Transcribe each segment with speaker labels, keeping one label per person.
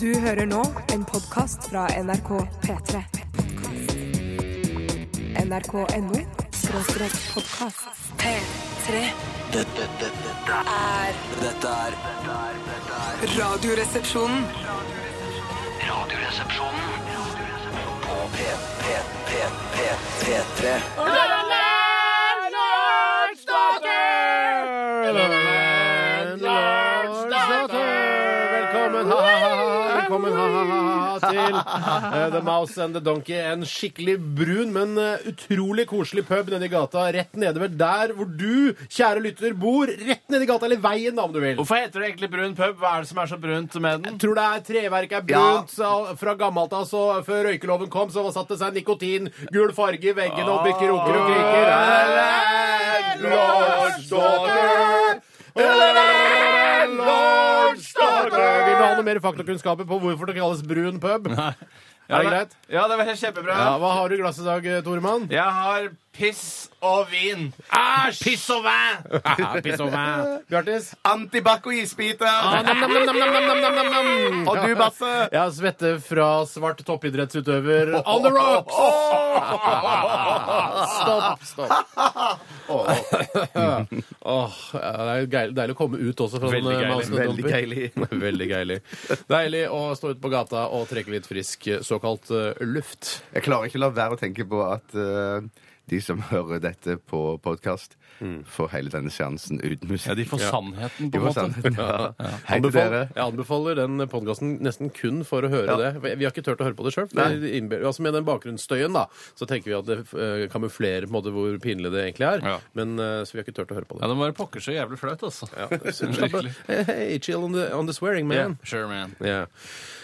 Speaker 1: Du hører nå en podkast fra NRK P3. NRK.no skråstrek podkast. P3.
Speaker 2: Dette, dette, dette,
Speaker 1: er
Speaker 2: er- dette er dette er- dette er
Speaker 1: Radioresepsjonen.
Speaker 2: Radioresepsjonen på P, P, P, P, P3.
Speaker 3: Velkommen, ha, ha, ha, ha, velkommen ha, ha, ha, ha, til eh, The Mouse and the Donkey. En skikkelig brun, men eh, utrolig koselig pub nedi gata. Rett nede ved der hvor du, kjære lytter, bor. Rett nedi gata, eller veien, da, om du vil.
Speaker 4: Hvorfor heter det egentlig brun pub? Hva er det som er så brunt med den?
Speaker 3: Tror det er treverket er brunt så fra gammelt av, så før røykeloven kom, så satte det seg nikotin, gul farge i veggene og bykker roker og kriker. Vil du ha noe mer faktakunnskaper på hvorfor det kalles brun pub? Er det greit?
Speaker 4: Ja, det var kjempebra.
Speaker 3: Ja, Hva har du i glasset i dag, Toremann?
Speaker 4: Jeg har piss og vin. Æsj! Piss og vin!
Speaker 3: Bjartis?
Speaker 5: Antibac og isbiter.
Speaker 3: Ah, nam, nam, nam, nam, nam, nam, nam, nam, nam.
Speaker 5: Og du, Basse.
Speaker 3: Ja, svette fra svart toppidrettsutøver on the rocks! Stopp, stopp. Åh, ja, det er jo geil- deilig å komme ut også fra
Speaker 4: Veldig
Speaker 3: sånne
Speaker 4: geilig,
Speaker 3: masende
Speaker 5: veldig
Speaker 3: dumper.
Speaker 5: geilig.
Speaker 3: Veldig geilig. Deilig å stå ute på gata og trekke litt frisk såkalt eh, luft.
Speaker 5: Jeg klarer ikke å la være å tenke på at eh, de som hører dette på podkast, får hele denne seansen uten musikk.
Speaker 4: Mm. Ja, de får sannheten,
Speaker 5: De
Speaker 4: på en
Speaker 5: får
Speaker 4: måte.
Speaker 5: sannheten, ja. Hei til dere.
Speaker 3: Anbefaler, jeg anbefaler den podkasten nesten kun for å høre det. Vi har ikke turt å høre på det sjøl. Altså med den bakgrunnsstøyen da, så tenker vi at det eh, kamuflerer på en måte hvor pinlig det egentlig er.
Speaker 4: Ja.
Speaker 3: Men eh, så vi har ikke turt å høre på
Speaker 4: Ja,
Speaker 3: det.
Speaker 4: det må være pokker så jævlig flaut, altså.
Speaker 3: Så slapp av.
Speaker 4: Virkelig.
Speaker 3: Hey, hey, chill on the, on the swearing,
Speaker 4: Yeah,
Speaker 3: man.
Speaker 4: sure, man.
Speaker 3: Ja.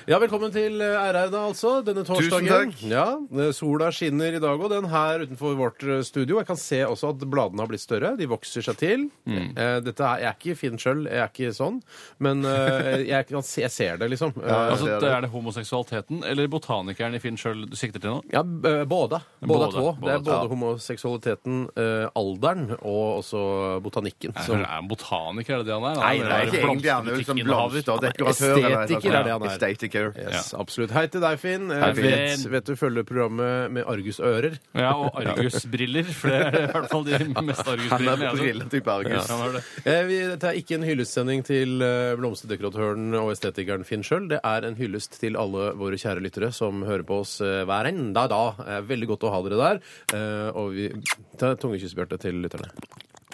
Speaker 3: ja, velkommen til eh, RR, da, altså. Denne torsdagen.
Speaker 5: takk.
Speaker 3: Ja, eh, Sola skinner i dag òg. Den her utenfor vårt eh, studio. Jeg kan se også at bladene har blitt større. De vokser seg til.
Speaker 4: Mm.
Speaker 3: Eh, Dette er, jeg er ikke Finn sjøl, jeg er ikke sånn, men eh, jeg, kan se, jeg ser det, liksom. Eh,
Speaker 4: Altså,
Speaker 5: det er
Speaker 4: det Er det homoseksualiteten eller botanikeren i Finn sjøl du sikter til nå?
Speaker 3: Ja, b- eh, både. Både
Speaker 4: Både,
Speaker 3: tå. Det er
Speaker 4: både
Speaker 3: både
Speaker 4: tå.
Speaker 3: homoseksualiteten, eh, alderen og også botanikken.
Speaker 4: Er
Speaker 3: som-
Speaker 4: er han botaniker, er det det han er?
Speaker 3: Nei,
Speaker 4: Han
Speaker 5: Det er liksom ikke egentlig han ut som
Speaker 4: blomsterbutikkinn-
Speaker 5: blomsterdekoratør. eller noe sånt.
Speaker 3: Estetiker er det han er.
Speaker 5: Estetiker.
Speaker 3: Yes, Absolutt. Hei til deg, Finn. Eh,
Speaker 4: Hei, Finn.
Speaker 3: vet, vet du følger programmet med argusører?
Speaker 4: Ja, og Argus-briller, for det er i hvert fall de mest
Speaker 5: Han er
Speaker 4: Argus-brillene. altså. jeg har sett.
Speaker 5: brilletype Argus.
Speaker 4: Ja, han er det.
Speaker 3: Eh, vi- Dette er ikke en hyllestsending til eh, blomsterdekoratøren og estetikeren Finn sjøl. Det er en hyllest til alle våre kjære lyttere som hører på oss eh, hver enda da. Eh, Veldig godt å ha dere der. Eh, Og vi Ta et tungekyss, Bjarte, til lytterne.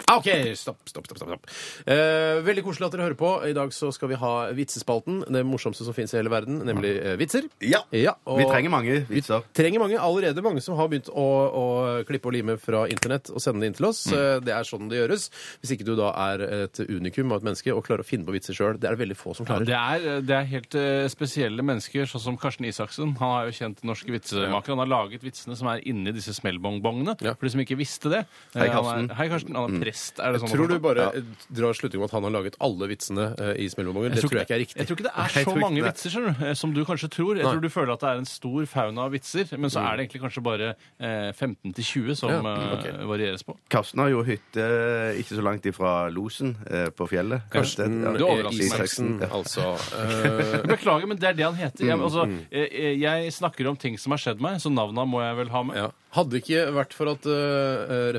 Speaker 3: Ah, OK, stopp, stopp, stopp. stopp, stopp. Eh, veldig koselig at dere hører på. I dag så skal vi ha vitsespalten. Det morsomste som fins i hele verden, nemlig eh, vitser.
Speaker 5: Ja.
Speaker 3: og
Speaker 5: Vi trenger mange vitser.
Speaker 3: trenger mange, allerede mange som har begynt å, å klippe og lime fra internett og sende det inn til oss.
Speaker 4: Mm.
Speaker 3: Eh, Det er sånn det gjøres. Hvis ikke du da er et unikum av et menneske og klarer å finne på vitser sjøl. Det er det veldig få som
Speaker 4: Ja,
Speaker 3: klarer.
Speaker 4: det, er, det er helt eh, spesielle mennesker, sånn som Karsten Isaksen. Han er jo kjent norsk vitsemaker. Han har laget vitsene som er inni disse smellbongbongene.
Speaker 3: Ja.
Speaker 4: For de som ikke visste det. Eh,
Speaker 5: Hei,
Speaker 4: han er-
Speaker 5: Karsten. Mm.
Speaker 4: Hei, Karsten. Han er prest, er det sånn? å
Speaker 3: Tror du
Speaker 4: forstå?
Speaker 3: bare eh, drar slutningen om at han har laget alle vitsene eh, i Smellbombongen? Det tror jeg ikke er riktig.
Speaker 4: Jeg tror ikke det er
Speaker 5: jeg
Speaker 4: så
Speaker 5: tror ikke
Speaker 4: mange
Speaker 5: det.
Speaker 4: vitser skjønner du, eh, som du kanskje tror. Jeg
Speaker 3: Nei.
Speaker 4: tror du føler at det er en stor fauna av vitser, men så er det egentlig kanskje bare eh, 15-20 som
Speaker 3: Ja,
Speaker 4: eh,
Speaker 3: ok.
Speaker 4: varieres på.
Speaker 5: Karsten har jo hytte eh, ikke så langt ifra Losen eh, på fjellet.
Speaker 4: Karsten,
Speaker 5: Det- ja,
Speaker 4: du overrasker meg.
Speaker 3: Isaksen,
Speaker 5: Ja.
Speaker 3: altså. eh,
Speaker 4: Beklager, men det er det han heter. Jeg, altså, eh, jeg snakker om ting som har skjedd meg, så navna må jeg vel ha med.
Speaker 3: Ja. Hadde ikke vært for at uh,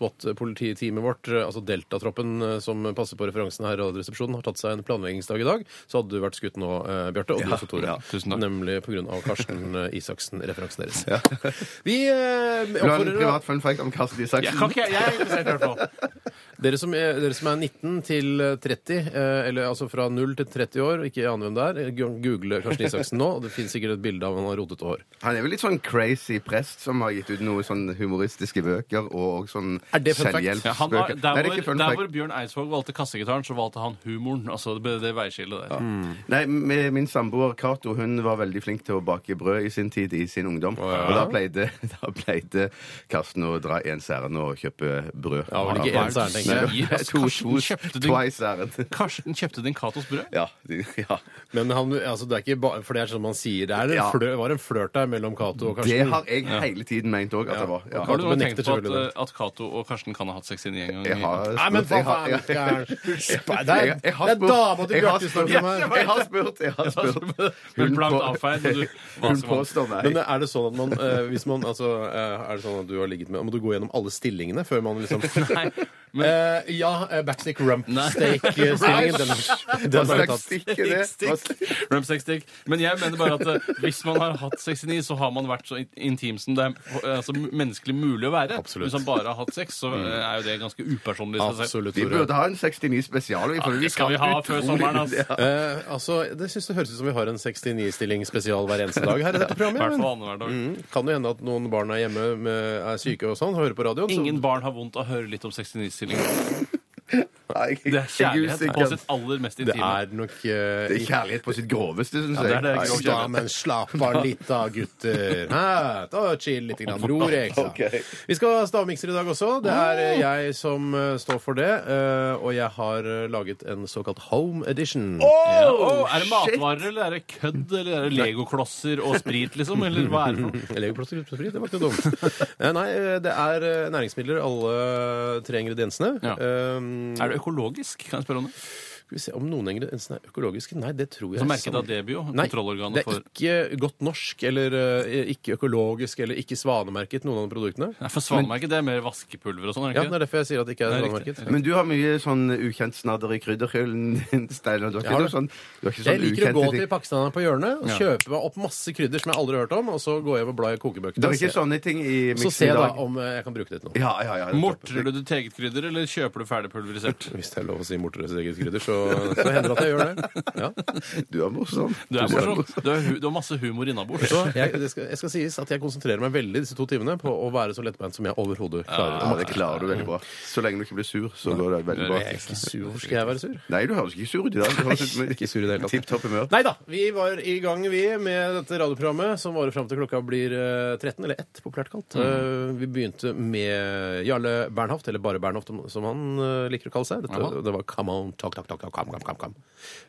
Speaker 3: referanse-SWAT-polititeamet vårt, eh, altså Deltatroppen eh, som passer på referansen her, i Radioresepsjonen, har tatt seg en planleggingsdag i dag, så hadde du vært skutt nå, eh, Bjarte, og du også, Tore.
Speaker 5: ja,
Speaker 4: tusen takk.
Speaker 3: Nemlig pga. Karsten eh, Isaksen-referansen deres. Vi eh,
Speaker 5: Vil du ha en
Speaker 3: oppfordrer da,
Speaker 5: privat fun fact om Karsten
Speaker 4: Jeg,
Speaker 5: Isaksen?
Speaker 4: kan ikke, jeg er interessert i hvert fall.
Speaker 3: dere som, er, dere som er 19 til eh, 30, eh, eller altså fra 0 til 30 år, ikke ane hvem det er, eh, google Karsten Isaksen nå, og det finnes sikkert et bilde av han har rotete hår.
Speaker 5: Han er vel litt sånn crazy prest som har gitt ut noen sånn humoristiske bøker og sånn
Speaker 3: Er det fun fact?
Speaker 4: Ja, han var,
Speaker 5: selvhjelpsbøker. Nei,
Speaker 4: der,
Speaker 5: det er ikke
Speaker 4: hvor,
Speaker 5: fun
Speaker 4: der
Speaker 5: fact.
Speaker 4: hvor Bjørn Eidsvåg valgte kassegitaren, så valgte han humoren. Altså det, det veiskillet der.
Speaker 5: Nei, med min samboer Cato hun var veldig flink til å bake brød i sin tid, i sin ungdom. Og da pleide, da pleide Karsten å dra ens ærend og kjøpe brød.
Speaker 3: Ja, vel ikke
Speaker 5: Ja,
Speaker 3: ens ærend, tenker
Speaker 4: jeg.
Speaker 5: Nei, To,
Speaker 4: Karsten
Speaker 5: to,
Speaker 4: kjøpte det.
Speaker 5: twice ærend.
Speaker 4: Karsten kjøpte din Katos brød.
Speaker 5: Ja, de- ja.
Speaker 3: Men han, altså, det er ikke bare, for det er sånn man sier, det er en
Speaker 5: Ja.
Speaker 3: flø, var en flørt der mellom Cato og Karsten.
Speaker 5: Det har jeg hele tiden ment òg at det var. Ja.
Speaker 4: Har du noen gang
Speaker 3: benekter
Speaker 4: tenkt på at,
Speaker 3: selvfølgelig
Speaker 4: at Cato og Karsten kan ha hatt sex inn i de en gang.
Speaker 5: Jeg har spurt,
Speaker 3: Nei, men hva
Speaker 5: jeg har-
Speaker 3: faen? Det er det er-
Speaker 5: Jeg- jeg har
Speaker 3: det er
Speaker 5: spurt-
Speaker 3: dama til
Speaker 5: jeg har
Speaker 3: Bjarte som
Speaker 5: spurt-
Speaker 3: snakker om her.
Speaker 5: Jeg har spurt, jeg har spurt.
Speaker 4: Men blankt
Speaker 5: på-
Speaker 4: avfeid. men du-
Speaker 5: Hun
Speaker 4: maser man.
Speaker 5: påstår
Speaker 3: Men
Speaker 5: meg.
Speaker 3: er det sånn at man, eh, hvis man altså, eh, Er det sånn at du har ligget med Må du gå gjennom alle stillingene før man liksom
Speaker 4: Nei,
Speaker 3: Eh, Ja, eh, backstick rump
Speaker 4: Nei.
Speaker 3: steak-stillingen. Den,
Speaker 5: Hva
Speaker 3: den har vi
Speaker 5: slags
Speaker 3: tatt.
Speaker 5: stikk er det? Hva slags-
Speaker 4: Rump sex dick. Men jeg mener bare at eh, hvis man har hatt 69, så har man vært så in- intim som det er eh, altså, menneskelig mulig å være.
Speaker 3: Absolutt.
Speaker 4: Hvis man bare har hatt sex, så eh, er jo det ganske upersonlig. i seg selv.
Speaker 3: Absolutt.
Speaker 5: Vi
Speaker 3: Tore.
Speaker 5: burde ha en 69 spesial. vi, for
Speaker 4: Ja, det skal vi
Speaker 5: kan
Speaker 4: ha før
Speaker 5: utrolig-
Speaker 4: sommeren, ass.
Speaker 5: Ja.
Speaker 3: Eh, altså, det synes det høres ut som vi har en 69-stilling spesial hver eneste dag her i dette
Speaker 4: I hvert
Speaker 3: programmet.
Speaker 4: fall
Speaker 3: Men
Speaker 4: annenhver dag.
Speaker 3: Mm, kan jo hende at noen barn er hjemme, med, er syke og sånn, og hører på radioen. så-
Speaker 4: Ingen barn har vondt av å høre litt om 69-stillingen.
Speaker 5: Nei, jeg-
Speaker 4: Det
Speaker 5: jeg
Speaker 4: er kjærlighet
Speaker 5: usikker.
Speaker 4: på sitt aller mest
Speaker 3: det
Speaker 4: intime.
Speaker 3: er nok eh,
Speaker 5: Det er kjærlighet på sitt groveste, syns
Speaker 4: det er
Speaker 5: jeg.
Speaker 4: det
Speaker 5: Nei,
Speaker 4: groveste.
Speaker 3: Ja, men slapp av litt da, gutter. Hæ? Da chill litt, grann, bror. Ikke sant?
Speaker 5: Ok.
Speaker 3: Vi skal ha stavmikser i dag også. Det er eh, jeg som eh, står for det. eh, Og jeg har eh, laget en såkalt home edition.
Speaker 4: Ja, åh, er det matvarer, eller er det kødd, eller er det legoklosser og sprit, liksom? Eller hva er det for noe?
Speaker 3: Legoplaster uten sprit, det var ikke noe dumt. Eh, Nei, eh, det er eh, næringsmidler, alle tre ingrediensene.
Speaker 4: Ja.
Speaker 3: Um,
Speaker 4: Er det økologisk? Kan jeg spørre om det?
Speaker 3: Skal vi se om noen ingrediensene er økologiske? Nei, det tror jeg
Speaker 4: Så merket
Speaker 3: sånn-
Speaker 4: av Debio,
Speaker 3: Nei,
Speaker 4: kontrollorganet for
Speaker 3: Det er ikke godt norsk, eller eh, ikke økologisk, eller ikke svanemerket, noen av de produktene.
Speaker 4: Nei, for svanemerket, det er mer vaskepulver og sånn, er
Speaker 3: Ja,
Speaker 4: det
Speaker 3: det
Speaker 4: ikke?
Speaker 3: er derfor jeg sier at det ikke er
Speaker 4: Nei, riktig.
Speaker 3: svanemerket.
Speaker 5: Men du har mye sånn ukjent snadder i krydderhyllen din, Steinar. Du har
Speaker 3: Jeg har
Speaker 5: ikke noe
Speaker 3: det.
Speaker 5: sånn, du har ikke
Speaker 3: Jeg
Speaker 5: sånn
Speaker 3: liker å
Speaker 5: ukjente
Speaker 3: gå
Speaker 5: ting.
Speaker 3: til pakistanerne på hjørnet og
Speaker 4: Ja.
Speaker 3: kjøpe meg opp masse krydder som jeg aldri har hørt om, og så går jeg og blar i kokebøkene.
Speaker 5: Det er
Speaker 3: og
Speaker 5: ikke
Speaker 3: ser-
Speaker 5: sånne ting i
Speaker 3: Så
Speaker 5: miksen
Speaker 3: ser
Speaker 5: i
Speaker 3: jeg da
Speaker 5: dag.
Speaker 3: om eh, jeg kan bruke det til noe.
Speaker 5: Ja, ja, ja.
Speaker 4: Mortrer du ditt eget krydder, eller kjøper du ferdig pulverisert?
Speaker 3: Hvis det er lov å si morteres eget krydder, så, så hender det at jeg gjør det. Ja.
Speaker 5: Du er morsom.
Speaker 4: Du er morsom. Du, er hu du har masse humor innabords.
Speaker 3: Så jeg, det skal, jeg skal sies at jeg konsentrerer meg veldig disse to timene på å være så lettbeint som jeg overhodet klarer.
Speaker 5: Ja, det klarer du veldig bra. Så lenge du ikke blir sur, så går det veldig
Speaker 4: Jeg er
Speaker 5: bra.
Speaker 3: Ikke sur. Hvorfor skal jeg være sur?
Speaker 5: Nei, du høres ikke sur ut i dag. Du høres ut med
Speaker 3: Ikke sur i det hele tatt.
Speaker 5: Tipp topp humør.
Speaker 3: Nei da, vi var i gang vi med dette radioprogrammet som varer fram til klokka blir eh, 13, eller 1 populært kalt.
Speaker 5: Mm.
Speaker 3: Eh, Vi begynte med Jarle Bernhoft, eller bare Bernhoft om- som han eh, liker å kalle seg. Dette,
Speaker 4: Jaha.
Speaker 3: det var Come On Talk Talk Talk, talk come, come, come, come.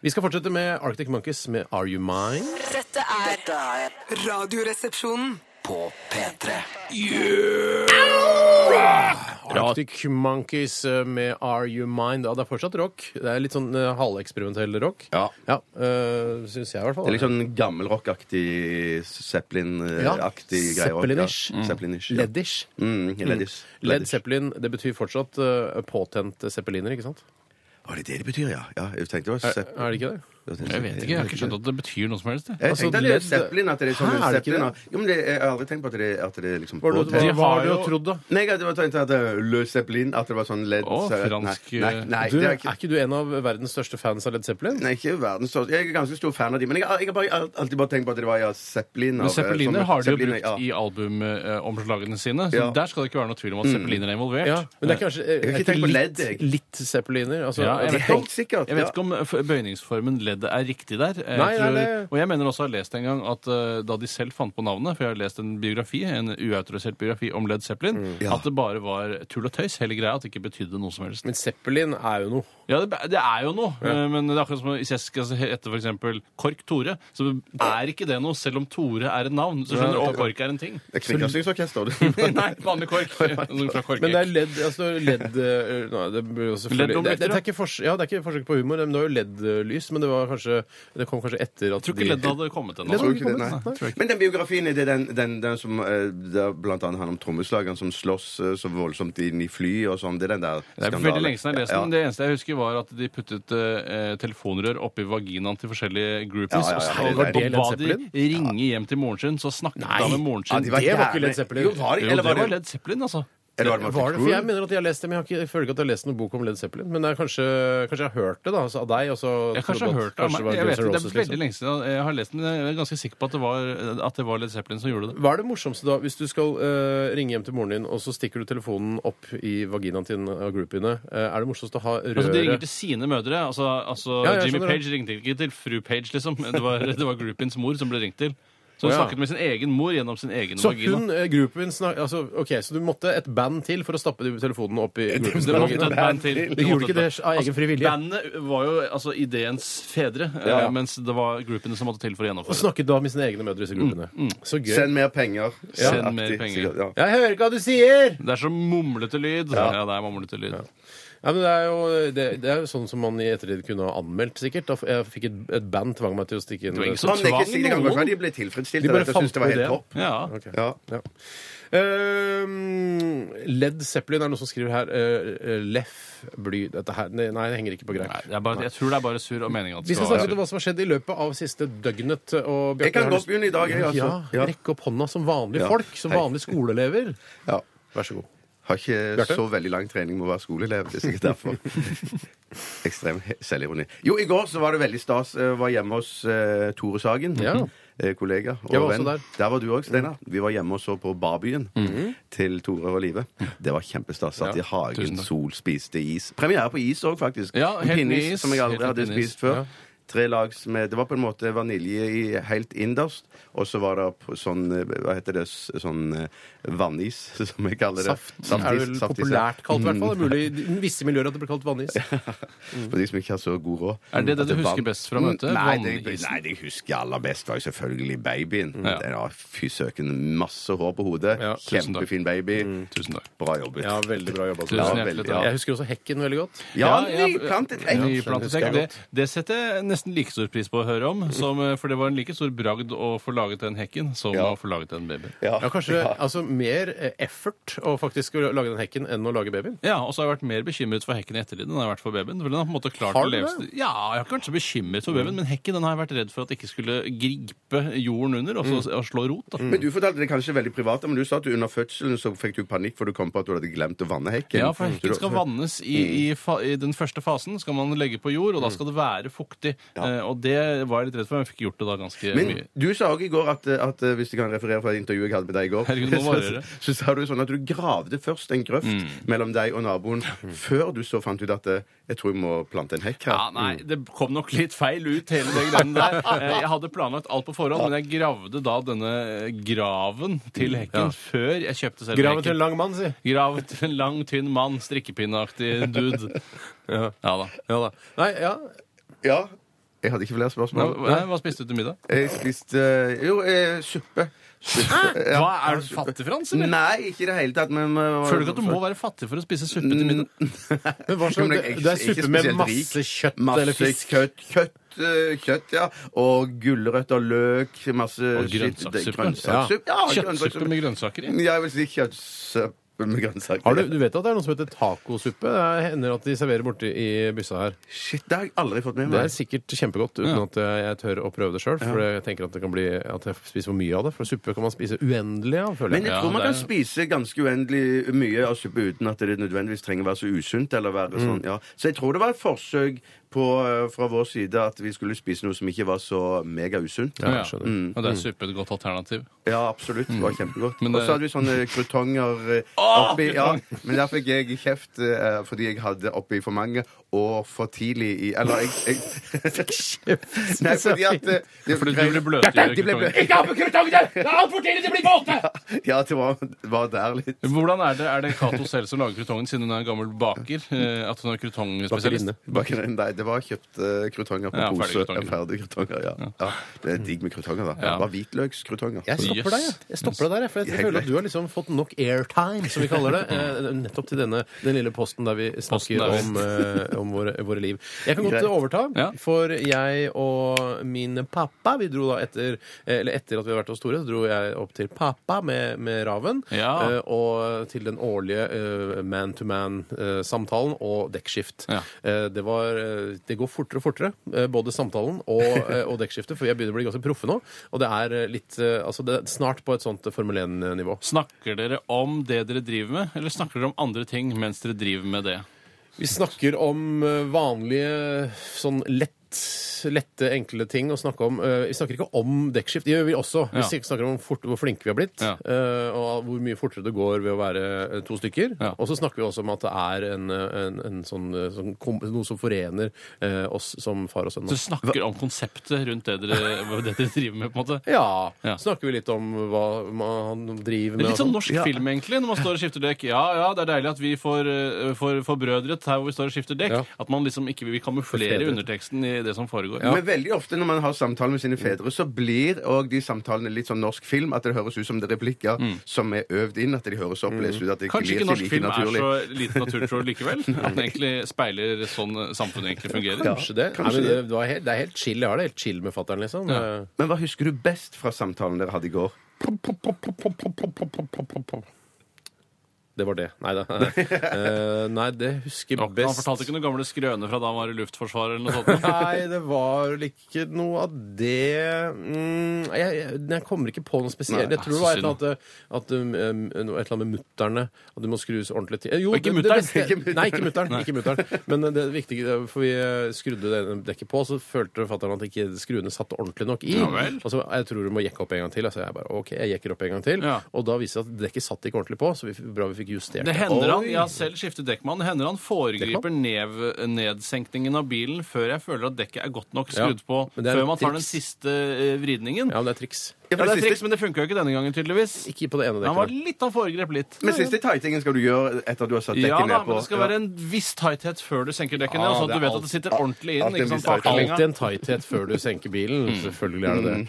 Speaker 3: Vi skal fortsette med Arctic Monkeys med Are You Mine.
Speaker 6: Dette er
Speaker 2: Dette er
Speaker 1: Radioresepsjonen.
Speaker 2: på P3.
Speaker 3: Arctic Monkeys eh, med Are You Mine. Ja, det er fortsatt rock. Det er litt sånn eh, halveksperimentell rock.
Speaker 5: Ja.
Speaker 3: ja eh, Syns jeg, i hvert fall.
Speaker 5: Det er litt sånn gammelrockaktig, Zeppelin-aktig
Speaker 3: Ja,
Speaker 5: greier. også.
Speaker 3: Zeppelin-ish.
Speaker 5: Ja. Zeppelin-ish. ja.
Speaker 3: Leddish.
Speaker 5: sånn- Mm, Leddish.
Speaker 3: Led Zeppelin, det betyr fortsatt eh, påtent zeppeliner, ikke sant?
Speaker 5: Å, det er det det betyr, ja. ja jeg tenkte det var
Speaker 3: Er det ikke det?
Speaker 4: Jeg vet ikke, jeg har ikke skjønt at det betyr noe som helst. jeg.
Speaker 5: Jeg
Speaker 3: Altså,
Speaker 5: tenkte
Speaker 3: ledd-
Speaker 5: Led Zeppelin at det er sånn
Speaker 3: Hæ, er det ikke
Speaker 5: Zeppelin, har- Jo, men det, Jeg har aldri tenkt på at det, at det er liksom
Speaker 3: Hva
Speaker 5: påtent.
Speaker 4: De har
Speaker 3: har du
Speaker 4: jo-
Speaker 3: trodd, da?
Speaker 5: Nei, jeg hadde tenkt at det var Le Zeppelin At det var sånn ledd
Speaker 4: Å,
Speaker 5: så-
Speaker 4: fransk, eh,
Speaker 5: Nei, nei, nei
Speaker 3: Du,
Speaker 5: det
Speaker 3: er
Speaker 5: er ikke
Speaker 3: ikke du en av verdens største fans av Led Zeppelin?
Speaker 5: Nei, ikke verdens største. Jeg er ganske stor fan av de, men jeg, har- jeg har bare, alt- alltid bare tenkt på at det var ja, Zeppelin. av- eh,
Speaker 4: Men zeppeliner
Speaker 5: sånne-
Speaker 4: har de jo
Speaker 5: Zeppeliner,
Speaker 4: brukt i albumomslagene sine, så
Speaker 5: Ja.
Speaker 4: der skal det ikke være noe tvil om at zeppeliner er involvert.
Speaker 3: Ja, men det er kanskje
Speaker 5: har
Speaker 3: eh,
Speaker 5: ikke
Speaker 3: er
Speaker 5: tenkt på
Speaker 3: litt,
Speaker 5: Led, jeg.
Speaker 3: litt zeppeliner? Altså,
Speaker 4: Ja, jeg
Speaker 5: Det
Speaker 4: vet
Speaker 5: er
Speaker 4: ikke
Speaker 5: helt sikkert.
Speaker 4: Jeg vet
Speaker 5: ja.
Speaker 4: ikke om eh, f- bøyningsformen leddet er riktig der. Eh, Jeg
Speaker 3: Nei, nei,
Speaker 4: tror,
Speaker 3: det-
Speaker 4: Og jeg mener også å ha lest en gang at eh, da de selv fant på navnet, for jeg har lest en biografi, en uautorisert biografi om Led Zeppelin,
Speaker 5: Ja.
Speaker 4: at det bare var tull og tøys, hele greia, at det ikke betydde noe som helst.
Speaker 3: Men zeppelin er jo noe.
Speaker 4: Ja, det, det er jo noe, eh, men det er akkurat som hvis jeg skal hete f.eks. Kork Tore, så er ikke det noe, selv om Tore er et navn. Så skjønner du, og Kork er en ting.
Speaker 5: Det er Kringkastingsorkester. du.
Speaker 4: Nei, vanlig kork. Noe fra
Speaker 3: Men det er
Speaker 4: korkek.
Speaker 3: ledd altså led, eh, nei, det blir jo selvfølgelig-
Speaker 4: Ledd om
Speaker 3: det, det, det,
Speaker 4: lykter,
Speaker 3: er ikke fors- ja, det er ikke forsøk på humor. Men det var jo LED-lys, men det, var kanskje, det kom kanskje etter at
Speaker 4: Jeg tror ikke leddet hadde kommet ennå.
Speaker 5: Tror Altså, ikke det, nei.
Speaker 4: Nei, tror jeg ikke.
Speaker 5: Men den biografien er det den, den, den som eh, det er blant annet handler om trommeslageren som slåss eh, så voldsomt inn i fly og sånn. Det er den der
Speaker 4: Det er veldig lenge siden jeg har lest den. Det eneste jeg husker, var at de puttet eh, telefonrør oppi vaginaen til forskjellige groupies.
Speaker 5: Ja, ja, ja,
Speaker 4: og,
Speaker 5: det er
Speaker 4: og,
Speaker 3: Led
Speaker 4: ba de
Speaker 3: Zeppelin?
Speaker 4: ringe hjem til moren sin, så snakket han med moren
Speaker 5: Ja,
Speaker 4: sin.
Speaker 5: de
Speaker 3: Det var ikke
Speaker 5: jævlig-
Speaker 3: Led Zeppelin.
Speaker 5: Jo, var de,
Speaker 4: jo,
Speaker 5: eller
Speaker 4: det
Speaker 5: var
Speaker 4: var
Speaker 5: det
Speaker 4: Led Zeppelin, altså.
Speaker 5: eller var det
Speaker 3: Var det, for
Speaker 5: Motley
Speaker 3: jeg mener at jeg har lest det, men jeg har ikke, jeg føler ikke at jeg har lest noen bok om Led Zeppelin. Men jeg har kanskje, kanskje jeg har hørt det da, altså, av deg. Og så
Speaker 4: Jeg kanskje
Speaker 3: trodde
Speaker 4: har
Speaker 3: at
Speaker 4: hørt det. av
Speaker 3: kanskje
Speaker 4: meg.
Speaker 3: var
Speaker 4: Jeg vet,
Speaker 3: Guns N'
Speaker 4: ikke, det
Speaker 3: Roses, liksom.
Speaker 4: er veldig lenge siden jeg har lest den. men Jeg er ganske sikker på at det var, at det var Led Zeppelin som gjorde det.
Speaker 3: Hva er det morsomste da, hvis du skal eh, ringe hjem til moren din, og så stikker du telefonen opp i vaginaen til en av groupiene? eh, er det morsomst å ha røret
Speaker 4: Altså, de ringer til sine mødre. Altså, altså
Speaker 3: Ja, jeg
Speaker 4: Jimmy
Speaker 3: skjønner det.
Speaker 4: Page ringte ikke til fru Page, liksom. Det var, det var groupiens mor som ble ringt til. Så
Speaker 3: Å,
Speaker 4: hun
Speaker 3: ja.
Speaker 4: snakket med sin egen mor gjennom sin egen
Speaker 3: Så
Speaker 4: vagina.
Speaker 3: hun, eh, Groupien snak- altså, ok, så du måtte et band til for å stappe de- telefonen opp i Groupiens
Speaker 4: Det måtte et
Speaker 3: vagina?
Speaker 4: band til. Altså,
Speaker 3: De gjorde ikke det av egen fri vilje.
Speaker 4: Bandet var jo altså ideens fedre, eh,
Speaker 3: Ja, ja.
Speaker 4: mens det var groupene som måtte til for å
Speaker 3: Og
Speaker 4: gjennomføre det.
Speaker 3: snakket da med sine egne mødre i disse gruppene.
Speaker 4: Mm,
Speaker 3: Så gøy.
Speaker 5: Send mer penger.
Speaker 4: Send
Speaker 5: aktig,
Speaker 4: mer penger.
Speaker 5: sikkert, ja.
Speaker 3: Jeg hører ikke hva du sier!
Speaker 4: Det er så mumlete lyd. Ja, det er mumlete lyd.
Speaker 3: Ja, men det er jo, det, det er jo sånn som man i ettertid kunne ha anmeldt, sikkert. Da f- jeg fikk et, et band tvang meg til å stikke inn.
Speaker 4: Det var
Speaker 5: Man
Speaker 4: ingen som
Speaker 5: er ikke
Speaker 4: tvang
Speaker 5: sikker, det kan godt være
Speaker 4: noen.
Speaker 5: de ble tilfredsstilt
Speaker 3: De
Speaker 5: av
Speaker 3: bare
Speaker 5: dette og
Speaker 3: fant
Speaker 5: syntes det var
Speaker 3: på
Speaker 5: helt
Speaker 3: ideen.
Speaker 5: topp.
Speaker 4: Ja.
Speaker 3: Ok.
Speaker 5: Ja.
Speaker 3: Ja. Eh, Led Zeppelin er noe som skriver her. eh, Leff bly Dette her Nei, nei, det henger ikke på greip.
Speaker 4: Nei, det er bare, jeg tror det er bare surr og meninga. at
Speaker 3: Vi
Speaker 4: det
Speaker 3: skal
Speaker 4: skal
Speaker 3: snakke
Speaker 4: være
Speaker 3: litt om
Speaker 4: surr.
Speaker 3: hva som har skjedd i løpet av siste døgnet. eh, Og Bjarte,
Speaker 5: Jeg kan
Speaker 3: har
Speaker 5: gå
Speaker 3: lyst-
Speaker 5: opp under i dag, jeg, altså.
Speaker 3: Ja,
Speaker 5: Ja.
Speaker 3: Rekk opp hånda som vanlige
Speaker 5: Ja.
Speaker 3: folk. Som
Speaker 5: Hei.
Speaker 3: vanlige skoleelever.
Speaker 5: Ja.
Speaker 3: Vær så god.
Speaker 5: Har ikke
Speaker 3: Bjarte?
Speaker 5: så veldig lang trening med å være skoleelev. Det er sikkert derfor. Ekstrem he- selvironi. Jo, i går så var det veldig stas. Jeg var hjemme hos eh, Tore Sagen.
Speaker 3: Ja.
Speaker 5: eh, Kollega og
Speaker 3: Jeg var også
Speaker 5: venn.
Speaker 3: der. Mhm.
Speaker 5: var du òg, Steinar. Vi var hjemme og så på Barbyen til Tore og Live. Det var kjempestas. Satt
Speaker 4: Ja,
Speaker 5: i hagen,
Speaker 4: tusen takk.
Speaker 5: sol, spiste is. Premiere på is òg, faktisk.
Speaker 4: Ja,
Speaker 5: En
Speaker 4: helt ny
Speaker 5: pinneis
Speaker 4: is.
Speaker 5: Som jeg aldri
Speaker 4: Helt ny
Speaker 5: hadde
Speaker 4: pinneis.
Speaker 5: spist før.
Speaker 4: Ja.
Speaker 5: Tre lags med Det var på en måte vanilje i, helt innerst, og så var det på sånn eh, Hva heter det? s- Sånn eh, vannis, som jeg kaller det.
Speaker 3: Saft er vel
Speaker 5: saftis, ja.
Speaker 3: populært kalt, i hvert fall. Det er mulig i visse miljøer at det blir kalt vannis.
Speaker 5: Mm. For de som ikke har så god råd.
Speaker 4: Er det det
Speaker 5: At
Speaker 4: du husker
Speaker 5: vann- Mm,
Speaker 4: best fra møtet?
Speaker 5: Nei, det,
Speaker 4: Vannisen?
Speaker 5: nei, det jeg husker aller best, var jo selvfølgelig babyen.
Speaker 4: Mm. Ja.
Speaker 5: Den har fy søken masse hår på hodet.
Speaker 4: Ja, tusen takk. Mm.
Speaker 5: Kjempefin baby.
Speaker 4: Tusen takk.
Speaker 5: Bra jobbet.
Speaker 3: Ja, veldig bra jobba.
Speaker 4: Tusen
Speaker 5: Ja,
Speaker 4: hjertelig
Speaker 5: veldig,
Speaker 4: takk.
Speaker 3: Jeg husker også hekken veldig godt.
Speaker 5: Ja,
Speaker 4: Ja, ja,
Speaker 5: nyplantet
Speaker 4: Ja,
Speaker 5: egg.
Speaker 4: Nyplantet egg. Det, det setter jeg nesten like stor pris på å høre om, som, eh, for det var en like stor bragd å få laget den hekken som
Speaker 5: Ja.
Speaker 4: å få laget en baby.
Speaker 5: Ja.
Speaker 3: Ja, kanskje altså mer eh, effort å faktisk lage den hekken enn å lage babyen.
Speaker 4: Ja, og så har jeg vært mer bekymret for hekken i ettertid enn jeg har vært for babyen. For den har på en måte klart
Speaker 3: Har
Speaker 4: å
Speaker 3: du
Speaker 4: leve
Speaker 3: det?
Speaker 4: st- Ja, jeg har ikke vært så bekymret for babyen, men hekken den har jeg vært redd for at ikke skulle gripe jorden under og, så, og slå rot. Da.
Speaker 5: Mm. Men Du fortalte det kanskje veldig privat, men du sa at du under fødselen så fikk du panikk, for du kom på at du hadde glemt å vanne hekken.
Speaker 4: Ja, for hekken skal vannes i, i, fa i den første fasen. Skal man legge på jord, og da skal det være fuktig. Eh, og det var jeg litt redd for, men jeg fikk gjort det da ganske
Speaker 5: Men
Speaker 4: mye.
Speaker 5: du sa også i går at, at eh, hvis du kan referere fra et intervju jeg hadde med deg i går,
Speaker 4: Herregud, nå varer
Speaker 5: så,
Speaker 4: det. Mm.
Speaker 5: så sa du sånn at du gravde først en grøft mellom deg og naboen, før du så fant ut at eh, jeg tror jeg må plante en hekk her. Mm.
Speaker 4: Ja, nei, Det kom nok litt feil ut, hele det greiene der. Eh, Jeg hadde planlagt alt på forhånd, men jeg gravde da denne eh, graven til hekken før jeg kjøpte selve
Speaker 3: Graven til en
Speaker 4: hekken.
Speaker 3: lang mann, si.
Speaker 4: Graven til en lang, tynn mann, strikkepinneaktig dude. Ja, da.
Speaker 3: Ja da. Nei, ja.
Speaker 5: Ja. Jeg hadde ikke flere
Speaker 4: Hva,
Speaker 5: spørsmål.
Speaker 4: hva- hva spiste du til middag?
Speaker 5: Jeg spiste eh, jo eh, suppe. Suppe, ja.
Speaker 4: Hva, Er du fattig, Frans? eller?
Speaker 5: Nei, ikke i det hele tatt. Men eh,
Speaker 4: Føler du ikke at du må være fattig for å spise suppe til middag?
Speaker 3: Men
Speaker 5: Jo,
Speaker 3: hva slags,
Speaker 5: men
Speaker 3: det,
Speaker 5: jeg-
Speaker 3: det er
Speaker 5: jeg er ikke
Speaker 3: suppe med
Speaker 5: spesielt
Speaker 3: masse
Speaker 5: rik.
Speaker 3: kjøtt
Speaker 5: masse
Speaker 3: eller fisk.
Speaker 5: Kjøtt, kjøtt, eh, kjøtt, ja. Og gulrøtter, løk, masse
Speaker 4: Og
Speaker 5: skitt- eh,
Speaker 4: grønnsakssuppe.
Speaker 5: grønnsakssuppe. Ja,
Speaker 4: Kjøttsuppe med grønnsaker i?
Speaker 5: grønnsakssuppe. Jeg vil si kjøttsuppe med grønnsaker.
Speaker 3: Har du, du vet at det er noe som heter tacosuppe? Det hender at de serverer borte i byssa her.
Speaker 5: Shit, det har jeg aldri fått med
Speaker 3: Det
Speaker 5: meg.
Speaker 3: er sikkert kjempegodt, uten
Speaker 4: Ja.
Speaker 3: at jeg jeg tør å prøve det sjøl. For jeg tenker at, det kan bli, at jeg spiser for mye av det. For suppe kan man spise uendelig av, føler
Speaker 5: Men
Speaker 3: jeg.
Speaker 5: jeg
Speaker 4: Ja,
Speaker 5: tror man
Speaker 4: det er-
Speaker 5: kan spise ganske uendelig mye av suppe uten at det nødvendigvis trenger å være så usunt. eller
Speaker 3: Mm.
Speaker 5: være sånn, ja. Så jeg tror det var et forsøk på, eh, fra vår side at vi skulle spise noe som ikke var så megausunt.
Speaker 4: Ja, ja.
Speaker 3: jeg skjønner.
Speaker 4: Og det er suppe et godt alternativ.
Speaker 5: Ja, absolutt. Det var kjempegodt.
Speaker 4: Men
Speaker 5: Og
Speaker 4: det-
Speaker 5: så hadde vi sånne krutonger eh, oppi. Ja, men der fikk jeg kjeft eh, fordi jeg hadde oppi for mange og for tidlig i Eller jeg, jeg Nei, fordi at eh, det,
Speaker 4: Fordi de blir bløte i
Speaker 5: De ble bløte.
Speaker 4: krutonger.
Speaker 5: Ikke ha på krutongene! Det er altfor tidlig! Det blir våte! Ja, det var, var der litt.
Speaker 4: Hvordan er det, er det Cato selv som lager krutongen, siden hun er en gammel baker? eh, At hun er krutongspesialist?
Speaker 3: Bakerinne.
Speaker 5: Bak, nei, det var kjøpt eh, krutonger på
Speaker 4: Ja, ferdig
Speaker 5: pose.
Speaker 4: krutonger.
Speaker 5: Ferdig krutonger. Ja. Ja, det er digg med krutonger, da.
Speaker 4: Ja.
Speaker 5: Det var hvitløkskrutonger.
Speaker 3: Jeg stopper
Speaker 4: Yes.
Speaker 3: deg, jeg. jeg. stopper deg der, jeg, For jeg
Speaker 5: er
Speaker 3: føler at
Speaker 5: greit.
Speaker 3: du har liksom fått nok airtime, som vi kaller det, eh, nettopp til denne, den lille posten der vi
Speaker 4: Posten
Speaker 3: snakker
Speaker 4: der vi-
Speaker 3: om, eh, om våre, våre liv. Jeg kan godt
Speaker 5: Greit.
Speaker 3: overta,
Speaker 4: Ja.
Speaker 3: for jeg og min pappa Vi dro da etter eh, Eller etter at vi hadde vært hos Tore, så dro jeg opp til pappa med, med Raven.
Speaker 4: Ja.
Speaker 3: eh, Og til den årlige eh, man-to-man-samtalen og dekkskift.
Speaker 4: Ja.
Speaker 3: Eh, Det var eh, Det går fortere og fortere, eh, både samtalen og, eh, og dekkskiftet, for jeg begynner å bli ganske proffe nå. Og det er eh, litt eh, Altså, det er snart på et sånt Formel 1-nivå.
Speaker 4: Snakker dere om det dere driver med, eller snakker dere om andre ting mens dere driver med det?
Speaker 3: Vi snakker om eh, vanlige sånn lett lette, enkle ting å snakke om. Eh, Vi snakker ikke om dekkskift. Det gjør vi også. Vi
Speaker 4: Ja.
Speaker 3: snak- snakker om fort, hvor flinke vi har blitt,
Speaker 4: Ja.
Speaker 3: eh, og hvor mye fortere det går ved å være eh, to stykker.
Speaker 4: Ja.
Speaker 3: Og så snakker vi også om at det er en, eh, en, en sånn, eh, sånn kom, noe som forener eh, oss som far og sønn.
Speaker 4: Så du snakker om konseptet rundt det dere, hva det dere driver med, på en måte.
Speaker 3: Ja.
Speaker 4: Ja.
Speaker 3: Snakker vi litt om hva man han driver med?
Speaker 4: Litt sånn
Speaker 3: og
Speaker 4: norsk film, egentlig, når man står og skifter dekk. Ja, ja, det er deilig at vi får, eh, får, får brødret her hvor vi står og skifter dekk.
Speaker 3: Ja.
Speaker 4: At man liksom ikke vil kamuflere
Speaker 3: Forfedret.
Speaker 4: underteksten i det som foregår.
Speaker 5: Men veldig ofte når man har samtaler med sine fedre, så blir og de samtalene litt sånn norsk film. At det høres ut som det er replikker som er øvd inn. At de høres opplest ut. At det
Speaker 4: Mm. Kanskje
Speaker 5: glir
Speaker 4: ikke
Speaker 5: til
Speaker 4: norsk
Speaker 5: like
Speaker 4: film er
Speaker 5: naturlig.
Speaker 4: så lite naturtro likevel? At den egentlig speiler sånn samfunnet egentlig fungerer?
Speaker 3: Kanskje det.
Speaker 5: kanskje
Speaker 3: Nei, men det, det, var helt, det er helt chill. Jeg har det helt chill med fatter'n, liksom. Eh,
Speaker 5: Men hva husker du best fra samtalen dere hadde i går?
Speaker 3: Det var det. Nei da. Eh, nei, det husker
Speaker 4: Ja,
Speaker 3: jeg
Speaker 4: Han
Speaker 3: best.
Speaker 4: fortalte ikke noen gamle skrøner fra da han var i Luftforsvaret eller noe sånt?
Speaker 3: Nei, det var vel ikke noe av det mm, jeg, jeg, jeg kommer ikke på noe spesielt.
Speaker 5: Nei,
Speaker 3: jeg tror det
Speaker 4: så
Speaker 3: var et eller annet, at, um, um, noe- et eller annet med mutterne. At du må skrus ordentlig til. Eh, Jo,
Speaker 4: Og ikke
Speaker 3: det- det
Speaker 4: mutteren.
Speaker 3: beste-
Speaker 5: Ikke mutteren.
Speaker 3: Nei, ikke mutteren. Ikke mutteren. Men eh, det viktige, det- for vi eh, skrudde det ene dekket på, så følte fatter'n at ikke skruene satt ordentlig nok i.
Speaker 4: Ja vel.
Speaker 3: Og så, jeg tror du må jekke opp en gang til. Altså, jeg bare, ok, jeg jekker opp en gang til.
Speaker 4: Ja.
Speaker 3: Og da viste det seg at dekket satt ikke ordentlig på, så vi, bra vi fikk justert
Speaker 4: Det hender han,
Speaker 3: Oi.
Speaker 4: Jeg har selv skiftet dekkmann. Det hender han foregriper nev, nedsenkningen av bilen før jeg føler at dekket er godt nok skrudd
Speaker 3: Ja,
Speaker 4: på.
Speaker 3: men det er
Speaker 4: Før man tar den
Speaker 3: triks.
Speaker 4: siste eh, vridningen.
Speaker 3: Ja, men det er triks.
Speaker 5: Ja,
Speaker 4: Ja,
Speaker 5: for det
Speaker 4: det er triks,
Speaker 5: siste-
Speaker 4: men det funka jo ikke denne gangen, tydeligvis.
Speaker 3: Ikke på det ene
Speaker 4: Han
Speaker 3: dekket.
Speaker 4: var litt, han foregrep litt.
Speaker 5: Men siste tightingen skal du gjøre etter du har satt
Speaker 4: Ja
Speaker 5: dekket
Speaker 4: da,
Speaker 5: ned på.
Speaker 4: men det skal være en viss tighthet før du senker dekket
Speaker 3: Ja,
Speaker 4: ned, sånn
Speaker 3: det
Speaker 4: at
Speaker 3: er
Speaker 4: du vet
Speaker 3: alt-
Speaker 4: at det sitter ordentlig inn.
Speaker 5: alt en
Speaker 4: ikke sant?
Speaker 5: viss tighthet.
Speaker 4: Taklinga.
Speaker 3: Alltid en tighthet før du senker bilen.
Speaker 5: Mm.
Speaker 3: Selvfølgelig er det det.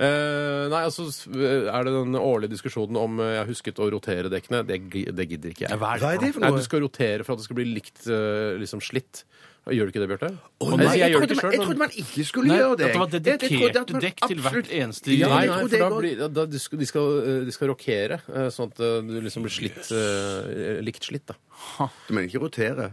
Speaker 3: Eh, nei, altså s- er det den årlige diskusjonen om eh, jeg har husket å rotere dekkene. Det, gi- det gidder ikke jeg.
Speaker 5: Hva er det for
Speaker 3: Nei,
Speaker 5: noe?
Speaker 3: du skal rotere for at det skal bli likt eh, liksom slitt. Gjør du ikke det, Bjarte?
Speaker 5: Å,
Speaker 3: Nei,
Speaker 5: nei, jeg,
Speaker 3: gjør
Speaker 5: trodde man,
Speaker 3: det ikke selv,
Speaker 5: jeg
Speaker 3: men-
Speaker 5: trodde man ikke skulle
Speaker 4: Nei,
Speaker 5: gjøre det.
Speaker 4: at det var
Speaker 5: Jeg- jeg trodde at man
Speaker 4: dedikerte dekk til hvert
Speaker 5: absolutt-
Speaker 4: eneste
Speaker 5: Ja,
Speaker 3: Nei,
Speaker 5: jeg
Speaker 3: nei,
Speaker 5: trodde
Speaker 3: for
Speaker 5: jeg
Speaker 3: da
Speaker 5: var-
Speaker 3: blir, da, de, skal, de, skal, eh, de skal rokere, eh, sånn at eh, du liksom blir slitt, eh, likt slitt. da.
Speaker 5: Men ikke rotere.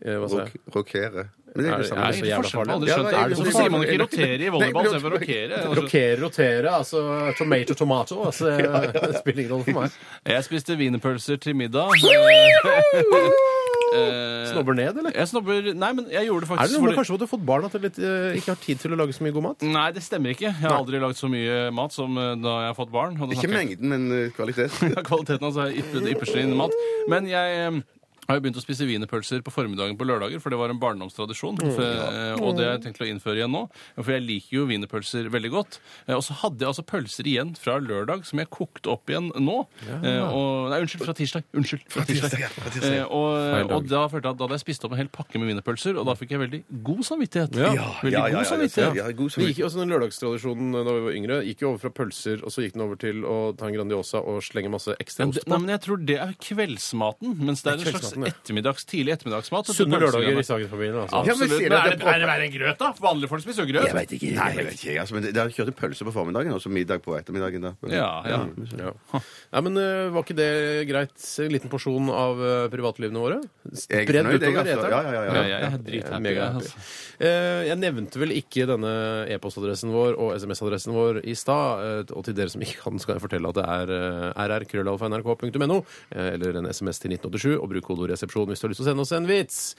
Speaker 3: Eh, Hva
Speaker 4: Altså-
Speaker 3: sa jeg?
Speaker 5: Rok- Rokere. Men det er
Speaker 3: Er
Speaker 5: det
Speaker 3: det- er
Speaker 5: samme.
Speaker 3: det så
Speaker 4: Hvilken
Speaker 3: jævla
Speaker 4: forskjell?
Speaker 3: farlig?
Speaker 4: Jeg har
Speaker 5: Ja, nei,
Speaker 4: aldri skjønt. Er det sånn så
Speaker 5: hvorfor
Speaker 4: sier man
Speaker 5: farlig?
Speaker 4: ikke rotere i volleyball
Speaker 5: Nei,
Speaker 4: istedenfor rokere? Altså,
Speaker 3: Rokere, rotere, altså tomato, tomato. altså, Det spiller ingen rolle for meg.
Speaker 4: Jeg spiste wienerpølser til middag. Eh,
Speaker 3: Snobber ned, eller?
Speaker 4: Jeg snobber Nei, men jeg gjorde det
Speaker 3: Er
Speaker 4: faktisk
Speaker 3: det noe med
Speaker 4: fordi-
Speaker 3: kanskje at du har fått barn at du litt, eh, ikke har tid til å lage så mye god
Speaker 5: Mm.
Speaker 3: mat?
Speaker 4: Nei, det stemmer ikke. Jeg har aldri lagd så mye mat som eh, da jeg har fått barn. og det
Speaker 5: Ikke
Speaker 4: snakker jeg
Speaker 5: mengden, men eh, kvalitet.
Speaker 4: Ja, kvaliteten altså er ypper- det ypperste innen mat. Men jeg eh, har jo begynt å spise wienerpølser på formiddagen på lørdager, for det var en barndomstradisjon.
Speaker 5: Mm.
Speaker 4: For, eh, Og det har jeg tenkt å innføre igjen nå. For jeg liker jo wienerpølser veldig godt. Eh, Og så hadde jeg altså pølser igjen fra lørdag som jeg kokte opp igjen nå. Eh, Og, nei, unnskyld, fra tirsdag. Unnskyld. Fra tirsdag. Eh, Og, og da følte jeg at da hadde jeg spist opp en hel pakke med wienerpølser, og da fikk jeg veldig god samvittighet. Veldig
Speaker 5: ja, ja, ja,
Speaker 4: god samvittighet.
Speaker 5: ja, god
Speaker 3: Det gikk
Speaker 5: samvittighet.
Speaker 3: jo også den lørdagstradisjonen eh, da vi var yngre, gikk jo over fra pølser, og så gikk den over til å ta en Grandiosa og slenge masse ekstra
Speaker 4: Men,
Speaker 3: ost
Speaker 4: det- nei,
Speaker 3: på.
Speaker 4: men jeg tror det er kveldsmaten, mens det er
Speaker 3: Det
Speaker 4: en
Speaker 3: er
Speaker 4: slags
Speaker 3: kveldsmaten, ja.
Speaker 4: ettermiddags, tidlig ettermiddagsmat. så
Speaker 3: Sunne
Speaker 4: pølser
Speaker 3: lørdager i
Speaker 4: igjen.
Speaker 3: Sagen-familien, altså.
Speaker 5: Ja, men
Speaker 4: Absolutt.
Speaker 5: sier
Speaker 4: Men
Speaker 5: dere
Speaker 4: er det,
Speaker 5: på-
Speaker 4: er det verre enn grøt, da? Vanlige folk spiser jo grøt.
Speaker 5: Jeg vet ikke. Nei, jeg vet ikke. Altså, men dere kjørte pølse på formiddagen, og så middag på ettermiddagen. da.
Speaker 4: Ja, ja.
Speaker 5: Mm.
Speaker 3: Ja. Nei, men eh, Var ikke det greit? En liten porsjon av eh, privatlivene våre?
Speaker 5: Jeg er
Speaker 3: Spredd
Speaker 5: fornøyd, jeg,
Speaker 3: utover
Speaker 5: altså.
Speaker 3: eteren?
Speaker 5: Ja, ja, ja,
Speaker 4: Ja,
Speaker 5: ja.
Speaker 4: jeg er
Speaker 3: Jeg,
Speaker 4: drithappy.
Speaker 3: mega
Speaker 4: jeg,
Speaker 3: happy.
Speaker 4: Altså.
Speaker 3: Eh, jeg nevnte vel ikke denne e-postadressen vår og SMS-adressen vår i stad. eh, Og til dere som ikke kan, skal jeg fortelle at det er eh, rrkrøllalfa.nrk.no, eh, eller en SMS til 1987, og bruk kodeord 'resepsjon' hvis du har lyst til å sende oss en vits.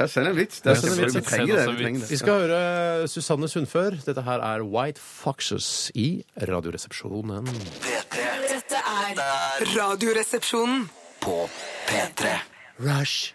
Speaker 5: Ja, send en vits. Det
Speaker 3: Ja,
Speaker 5: er
Speaker 3: send en
Speaker 5: selvfølgelig-
Speaker 3: vits,
Speaker 5: Vi
Speaker 3: ja.
Speaker 5: trenger det.
Speaker 4: Send oss en
Speaker 5: vi trenger
Speaker 4: vits.
Speaker 3: Vi
Speaker 5: det.
Speaker 3: skal høre Susanne Sundfør. Dette her er White Foxes i Radioresepsjonen.
Speaker 2: P3
Speaker 1: Dette er Radioresepsjonen.
Speaker 2: på P3
Speaker 3: Rush.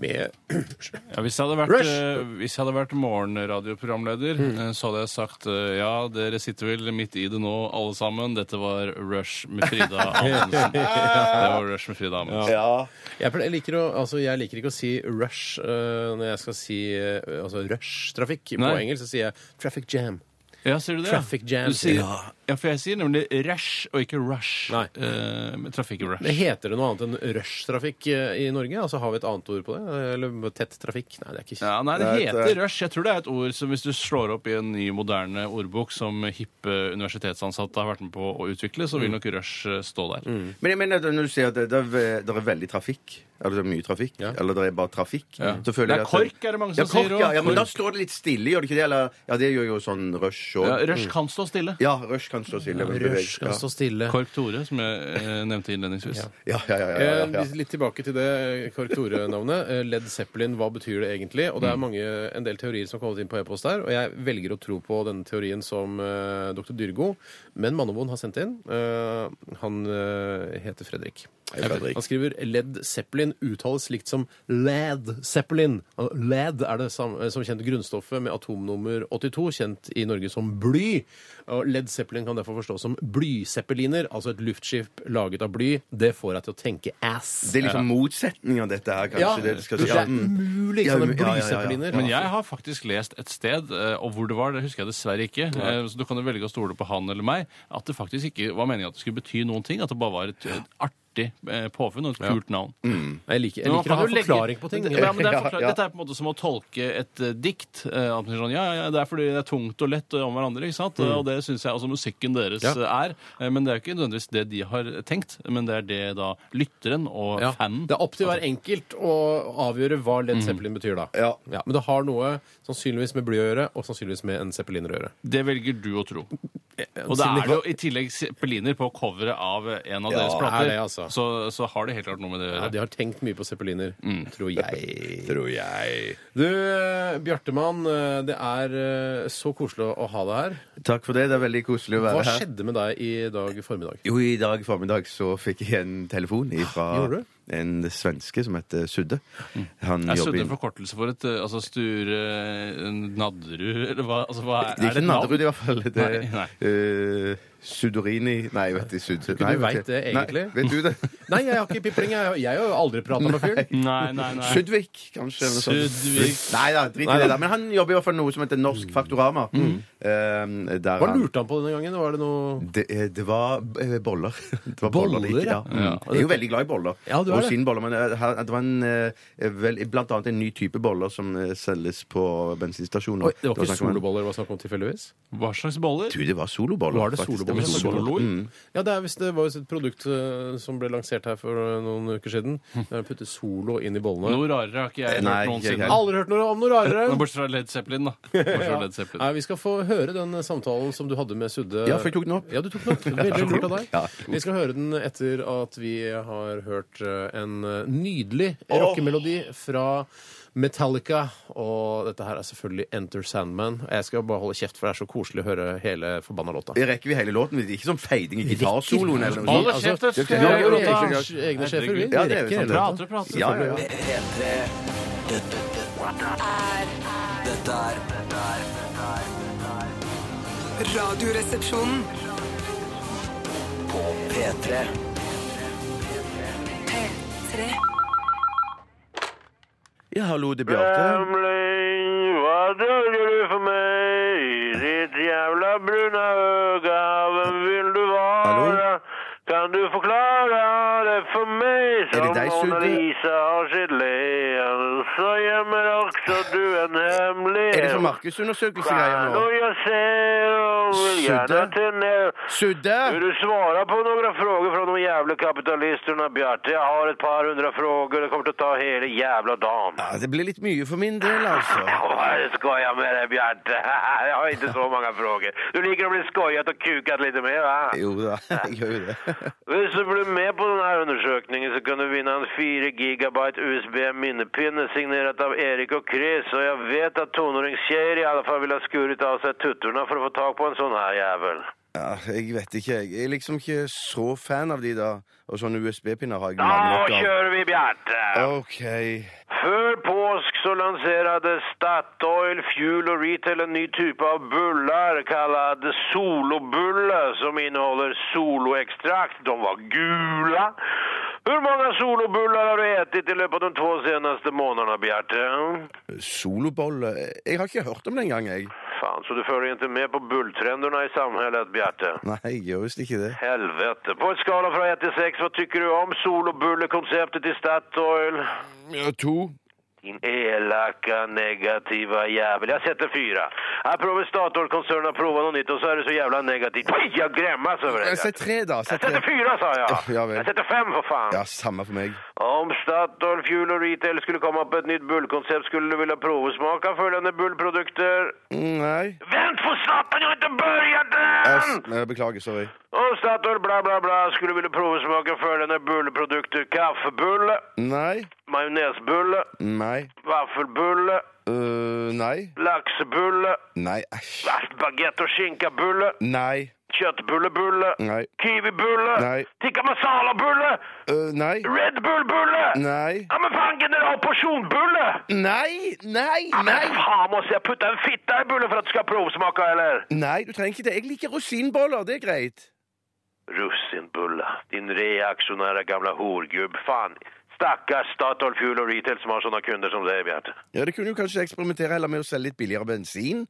Speaker 3: Med Unnskyld.
Speaker 4: Ja, hvis, jeg hadde vært,
Speaker 3: Rush.
Speaker 4: eh, hvis jeg hadde vært morgenradioprogramleder,
Speaker 5: Mm.
Speaker 4: eh, så hadde jeg sagt eh, ja, dere sitter vel midt i det nå, alle sammen. Dette var Rush med Frida Amundsen. Det var Rush med Frida Amundsen.
Speaker 3: Jeg, pleier, jeg, liker å, altså, jeg liker ikke å si rush eh, når jeg skal si eh, altså, rush-trafikk. På
Speaker 4: Nei.
Speaker 3: engelsk så sier jeg traffic jam.
Speaker 4: Ja, sier du det? ja?
Speaker 3: Traffic jam,
Speaker 4: Du sier,
Speaker 3: ja.
Speaker 4: ja, for jeg sier nemlig rush og ikke rush.
Speaker 3: Nei.
Speaker 4: Eh, men Trafikk-rush.
Speaker 3: Det heter det noe annet enn rushtrafikk eh, i Norge? Altså Har vi et annet ord på det? Eller tett trafikk? Nei, det er ikke
Speaker 4: Ja, nei, det
Speaker 5: Det er et, eh,
Speaker 4: heter rush. Jeg tror det er et ord som hvis du slår opp i en ny, moderne ordbok som hippe universitetsansatte har vært med på å utvikle,
Speaker 5: Mm.
Speaker 4: så vil nok rush eh, stå der.
Speaker 5: Men jeg mener, at når du sier at det, det, er ve- det er veldig trafikk, eller det er mye trafikk,
Speaker 3: Ja.
Speaker 5: eller det er bare trafikk
Speaker 4: Ja.
Speaker 5: så føler jeg
Speaker 4: Det er
Speaker 5: at
Speaker 4: KORK er det mange som
Speaker 5: ja, kork,
Speaker 4: sier også.
Speaker 5: Ja, ja, men da står det litt stille, gjør det ikke det? Eller, ja, det gjør jo sånn rush Rush òg.
Speaker 4: Ja, Rush kan stå stille.
Speaker 5: Ja, Rush kan stå stille. men beveg-
Speaker 3: Rush skal stå stille.
Speaker 4: Kork Tore, som jeg eh, nevnte innledningsvis.
Speaker 5: Ja, ja, ja, ja, ja, ja,
Speaker 3: Eh, litt- Litt tilbake til det Kork Tore-navnet. Eh, Led Zeppelin, hva betyr det egentlig? Og det er
Speaker 5: Mm.
Speaker 3: mange, en del teorier som har kommet inn på e-post der, og jeg velger å tro på denne teorien som eh, dr. Dyrgo, men Mannevold har sendt inn. Eh, han eh, heter Fredrik.
Speaker 5: Hei, Fredrik.
Speaker 3: Han skriver Led Zeppelin uttales slikt som Led Zeppelin. Og Led er det sam- som kjent grunnstoffet med atomnummer 82, kjent i Norge som bly. Og Led Zeppelin kan derfor forstås som blyzeppeliner, altså et luftskip laget av bly. Det får deg til å tenke ass.
Speaker 5: Det er liksom motsetninger, dette her, kanskje.
Speaker 3: Ja,
Speaker 5: det du skal si.
Speaker 3: det
Speaker 5: Ja,
Speaker 3: er
Speaker 5: mm.
Speaker 3: umulig,
Speaker 5: Ja, um-
Speaker 3: sånne
Speaker 5: ja, ja, ja.
Speaker 3: blyzeppeliner.
Speaker 4: Men jeg har faktisk lest et sted, eh, og hvor det var, det husker jeg dessverre ikke, eh, så du kan jo velge å stole på han eller meg, at det faktisk ikke var meningen at det skulle bety noen ting, at det bare var et, et artig eh, påfunn og et kult navn.
Speaker 5: Mm.
Speaker 3: Jeg liker, jeg
Speaker 4: Men
Speaker 3: liker
Speaker 4: man
Speaker 3: å
Speaker 4: kan
Speaker 3: ha
Speaker 4: jo legge-
Speaker 3: forklaring på ting.
Speaker 4: Ja, men det er
Speaker 5: Ja,
Speaker 4: forklar-
Speaker 5: ja.
Speaker 4: Dette er på en måte som å tolke et eh, dikt. eh, at man sier sånn, ja, ja, ja, Det er fordi det er tungt og lett og om hverandre. ikke sant? Og det syns jeg også musikken deres
Speaker 3: Mm. Ja.
Speaker 4: eh, er. Eh, Men det er jo ikke nødvendigvis det de har eh, tenkt, men det er det da lytteren og
Speaker 3: Ja.
Speaker 4: fanen
Speaker 3: Det er opp til hver enkelt å avgjøre hva Led Zeppelin betyr, da.
Speaker 5: Altså. Mm. Ja.
Speaker 3: men det har noe sannsynligvis med bly å gjøre, og sannsynligvis med en zeppeliner å gjøre.
Speaker 4: Det velger du å tro.
Speaker 3: Eh,
Speaker 4: Og da er det jo i tillegg zeppeliner på coveret av eh, en av
Speaker 3: det
Speaker 4: deres
Speaker 3: er
Speaker 4: plater.
Speaker 3: det, altså.
Speaker 4: så, så har det helt klart noe med det å
Speaker 3: Ja,
Speaker 4: gjøre.
Speaker 3: de har tenkt mye på zeppeliner, tror jeg.
Speaker 5: Mm. Tror jeg.
Speaker 3: Du, Bjartemann, eh, det er eh, så koselig å ha deg her.
Speaker 5: Takk for det. Det er veldig koselig å
Speaker 3: Hva
Speaker 5: være her.
Speaker 3: skjedde med deg i dag formiddag?
Speaker 5: Jo, i dag formiddag så fikk jeg en telefon fra
Speaker 3: Gjorde du?
Speaker 5: en svenske som heter Sudde. Han
Speaker 4: Jeg
Speaker 5: jobber
Speaker 4: trodde
Speaker 5: i-
Speaker 4: en forkortelse for et eh, altså Sture eh, Nadderud, eller hva? Altså, hva er,
Speaker 5: Det er
Speaker 4: et
Speaker 5: ikke
Speaker 4: navn?
Speaker 5: Nadderud, i hvert fall. Det er
Speaker 4: Nei,
Speaker 5: eh, Sudorini Nei, jeg vet ikke. Sud...
Speaker 3: du
Speaker 5: Nei,
Speaker 3: vet
Speaker 5: vet
Speaker 3: det
Speaker 5: ikke.
Speaker 3: egentlig?
Speaker 5: Nei, vet du det?
Speaker 3: Nei, jeg har ikke pipling. Jeg, jeg har jo aldri prata med fyren.
Speaker 4: Nei, nei, nei.
Speaker 5: Sudvik, kanskje. eller noe sånt.
Speaker 4: Sudvik.
Speaker 5: Nei da, drit i det. der Men han jobber i hvert fall noe som heter Norsk Faktorama. Eh, der
Speaker 3: Hva
Speaker 5: han-
Speaker 3: lurte han på denne gangen? Var det noe
Speaker 5: Det, eh, det var eh, boller. Det var
Speaker 3: Boller,
Speaker 5: boller, det gikk, ja.
Speaker 3: ja.
Speaker 5: Mm. Jeg er jo veldig glad i boller.
Speaker 3: Ja, du er det.
Speaker 5: Rosinboller. Men eh, her- det var en, eh, vel, blant annet en ny type boller som eh, selges på bensinstasjoner.
Speaker 3: Oi, Det var ikke
Speaker 5: snakk om en-
Speaker 3: soloboller det var snakk om tilfeldigvis?
Speaker 4: Hva slags boller?
Speaker 5: Du, det var soloboller.
Speaker 3: Var det
Speaker 5: faktisk.
Speaker 3: soloboller?
Speaker 5: var Mm.
Speaker 4: Soloboller?
Speaker 3: Ja, det, er visst, det var jo et produkt eh, som ble lansert her for eh, noen uker siden.
Speaker 5: Hm.
Speaker 3: Der de putter Solo inn i bollene.
Speaker 4: Noe rarere har ikke jeg
Speaker 5: Nei,
Speaker 4: hørt
Speaker 5: ikke jeg
Speaker 4: noensinne.
Speaker 5: heller.
Speaker 3: Aldri hørt noe om noe rarere!
Speaker 4: Bortsett fra Led Zeppelin, da. Bortsett fra Led Zeppelin.
Speaker 3: Nei, Vi skal få høre den samtalen som du hadde med Sudde.
Speaker 5: Ja, for jeg tok den opp.
Speaker 3: Ja, du tok den opp. Veldig lurt av deg.
Speaker 5: Ja.
Speaker 3: Vi skal høre den etter at vi har hørt eh, en nydelig rockemelodi fra Metallica. Og dette her er selvfølgelig Enter Sandman. Jeg skal bare holde kjeft, for det er så koselig å høre hele forbanna låta.
Speaker 5: Mm. Rekker vi hele låten? Det er ikke som feiding i gitarsoloen eller
Speaker 4: Hold
Speaker 5: noe
Speaker 4: da kjeft!
Speaker 3: altså,
Speaker 4: jeg
Speaker 5: vi
Speaker 4: skal
Speaker 5: har jo
Speaker 4: gjøre
Speaker 5: ikke-
Speaker 4: noe.
Speaker 3: Egne, egne sjefer, vi.
Speaker 4: Herregud.
Speaker 5: Ja, det er jo
Speaker 3: rekker
Speaker 5: sant,
Speaker 3: hele
Speaker 5: det.
Speaker 3: låta.
Speaker 4: Prater og prater.
Speaker 5: Ja, ja, ja.
Speaker 4: selvfølgelig.
Speaker 2: P3 Dette er Dette er
Speaker 1: Radioresepsjonen.
Speaker 2: På P3
Speaker 1: P3.
Speaker 5: Ja, hallo, det er Bjarte.
Speaker 6: Hva døger du for meg? Ditt jævla bruna øga, hvem vil du være? Kan du forklare det for meg?
Speaker 5: Er det
Speaker 6: Som
Speaker 5: deg,
Speaker 6: Mona
Speaker 5: Sudde?
Speaker 6: Lisa har sitt len, så gjemmer også du en hemmelighet.
Speaker 5: Er det sånn markedsundersøkelsegreier
Speaker 6: Fan,
Speaker 5: nå?
Speaker 6: og jeg ser og vil gjerne
Speaker 5: Sudde?
Speaker 6: til ned. Vill
Speaker 5: Sudde!
Speaker 6: du svara på några frågor från de jävla kapitalisterna, Bjarte? Jag har ett par hundra frågor. Det kommer att ta hela jävla dagen.
Speaker 5: Ja, det blir litt mye for min del, altså.
Speaker 6: Ja, jag skojar med dig, Bjarte. Jag har inte så många frågor. Du ligger och blir skojat og kukat lite mer, va?
Speaker 5: Jo da, jeg gjør jo det.
Speaker 6: Hvis du blir med på denne undersøkningen, så kan du vinne en 4 gigabyte USB-minnepinne signert av Erik og Chris. Og jeg vet at tonåringstjejer i alle fall vil ha skuret av seg tuttorna for å få tag på en sånn her jævel.
Speaker 5: Ja, jeg vet ikke, jeg. Jeg er liksom ikke så fan av de, da. Og sånne USB-pinner har jeg
Speaker 6: Da
Speaker 5: mange nok av.
Speaker 6: kjører vi, Bjarte!
Speaker 5: OK.
Speaker 6: Før påsk så lanserade Statoil Fuel og Retail en ny type av bullar kallad solobulle som innehåller soloekstrakt. De var gula. Hvor mange solobullar har du ätit i løpet av de två senaste månaderna, Bjarte?
Speaker 5: Solobolle Jeg har ikke hørt om det engang, jeg.
Speaker 6: Fan, så du följer inte med på bulltrenderna i samhället, Bjarte?
Speaker 5: Nei, jeg gjør visst ikke det.
Speaker 6: Helvete. På en skala fra 1 til 6, hva tycker du om solobullekonceptet i Statoil?
Speaker 5: Ja, to.
Speaker 6: Din elaka, negativa jävel. Jag sätter fyra. Här provar Statoil-koncernen att prova något nytt och så är det så jävla negativt. Fy, Jag grämmas över det.
Speaker 5: Jeg sier Eh, tre, da.
Speaker 6: Jag sätter fyra, sa jag.
Speaker 5: Ja, vel.
Speaker 6: Jag sätter fem, för fan.
Speaker 5: Ja, samme for meg.
Speaker 6: Om Statoil Fuel och Retail skulle komma på ett nytt bullkoncept skulle du vilja provsmaka följande bullprodukter.
Speaker 5: Mm, Nei.
Speaker 6: Vänt på satan, jag har inte börjat
Speaker 5: Jeg,
Speaker 6: än!
Speaker 5: s- jeg beklager. Sorry.
Speaker 6: Om Statoil bla bla bla skulle vilja provsmaka följande bullprodukter. Kaffebulle,
Speaker 5: Nei.
Speaker 6: majonnäsbulle,
Speaker 5: Nei.
Speaker 6: vaffelbulle,
Speaker 5: Øh, nei.
Speaker 6: laxbulle,
Speaker 5: Nei, æsj.
Speaker 6: baguette och skinkabulle,
Speaker 5: Nei.
Speaker 6: köttbullebulle,
Speaker 5: Nei.
Speaker 6: kiwibulle,
Speaker 5: Nej.
Speaker 6: tikka masala-bulle,
Speaker 5: Øh, nei.
Speaker 6: Red Bull-bulle!
Speaker 5: Nei.
Speaker 6: Ja, men fan general portionbulle!
Speaker 5: Nei! Nei!
Speaker 6: Ja, men
Speaker 5: Nei!
Speaker 6: faen, måste jag putta en fitta i bullen för att du ska provsmaka eller?
Speaker 5: Nei, du trenger ikke det. Jeg liker rosinboller. Det er greit.
Speaker 6: Russinbulle, din reaktionära gamla horgubb. Fan, stackars Statoil Fuel och Retail som har såna kunder som dig, Bjarte.
Speaker 5: Ja, Det kunne jo kanskje eksperimentere heller med å selge litt billigere bensin.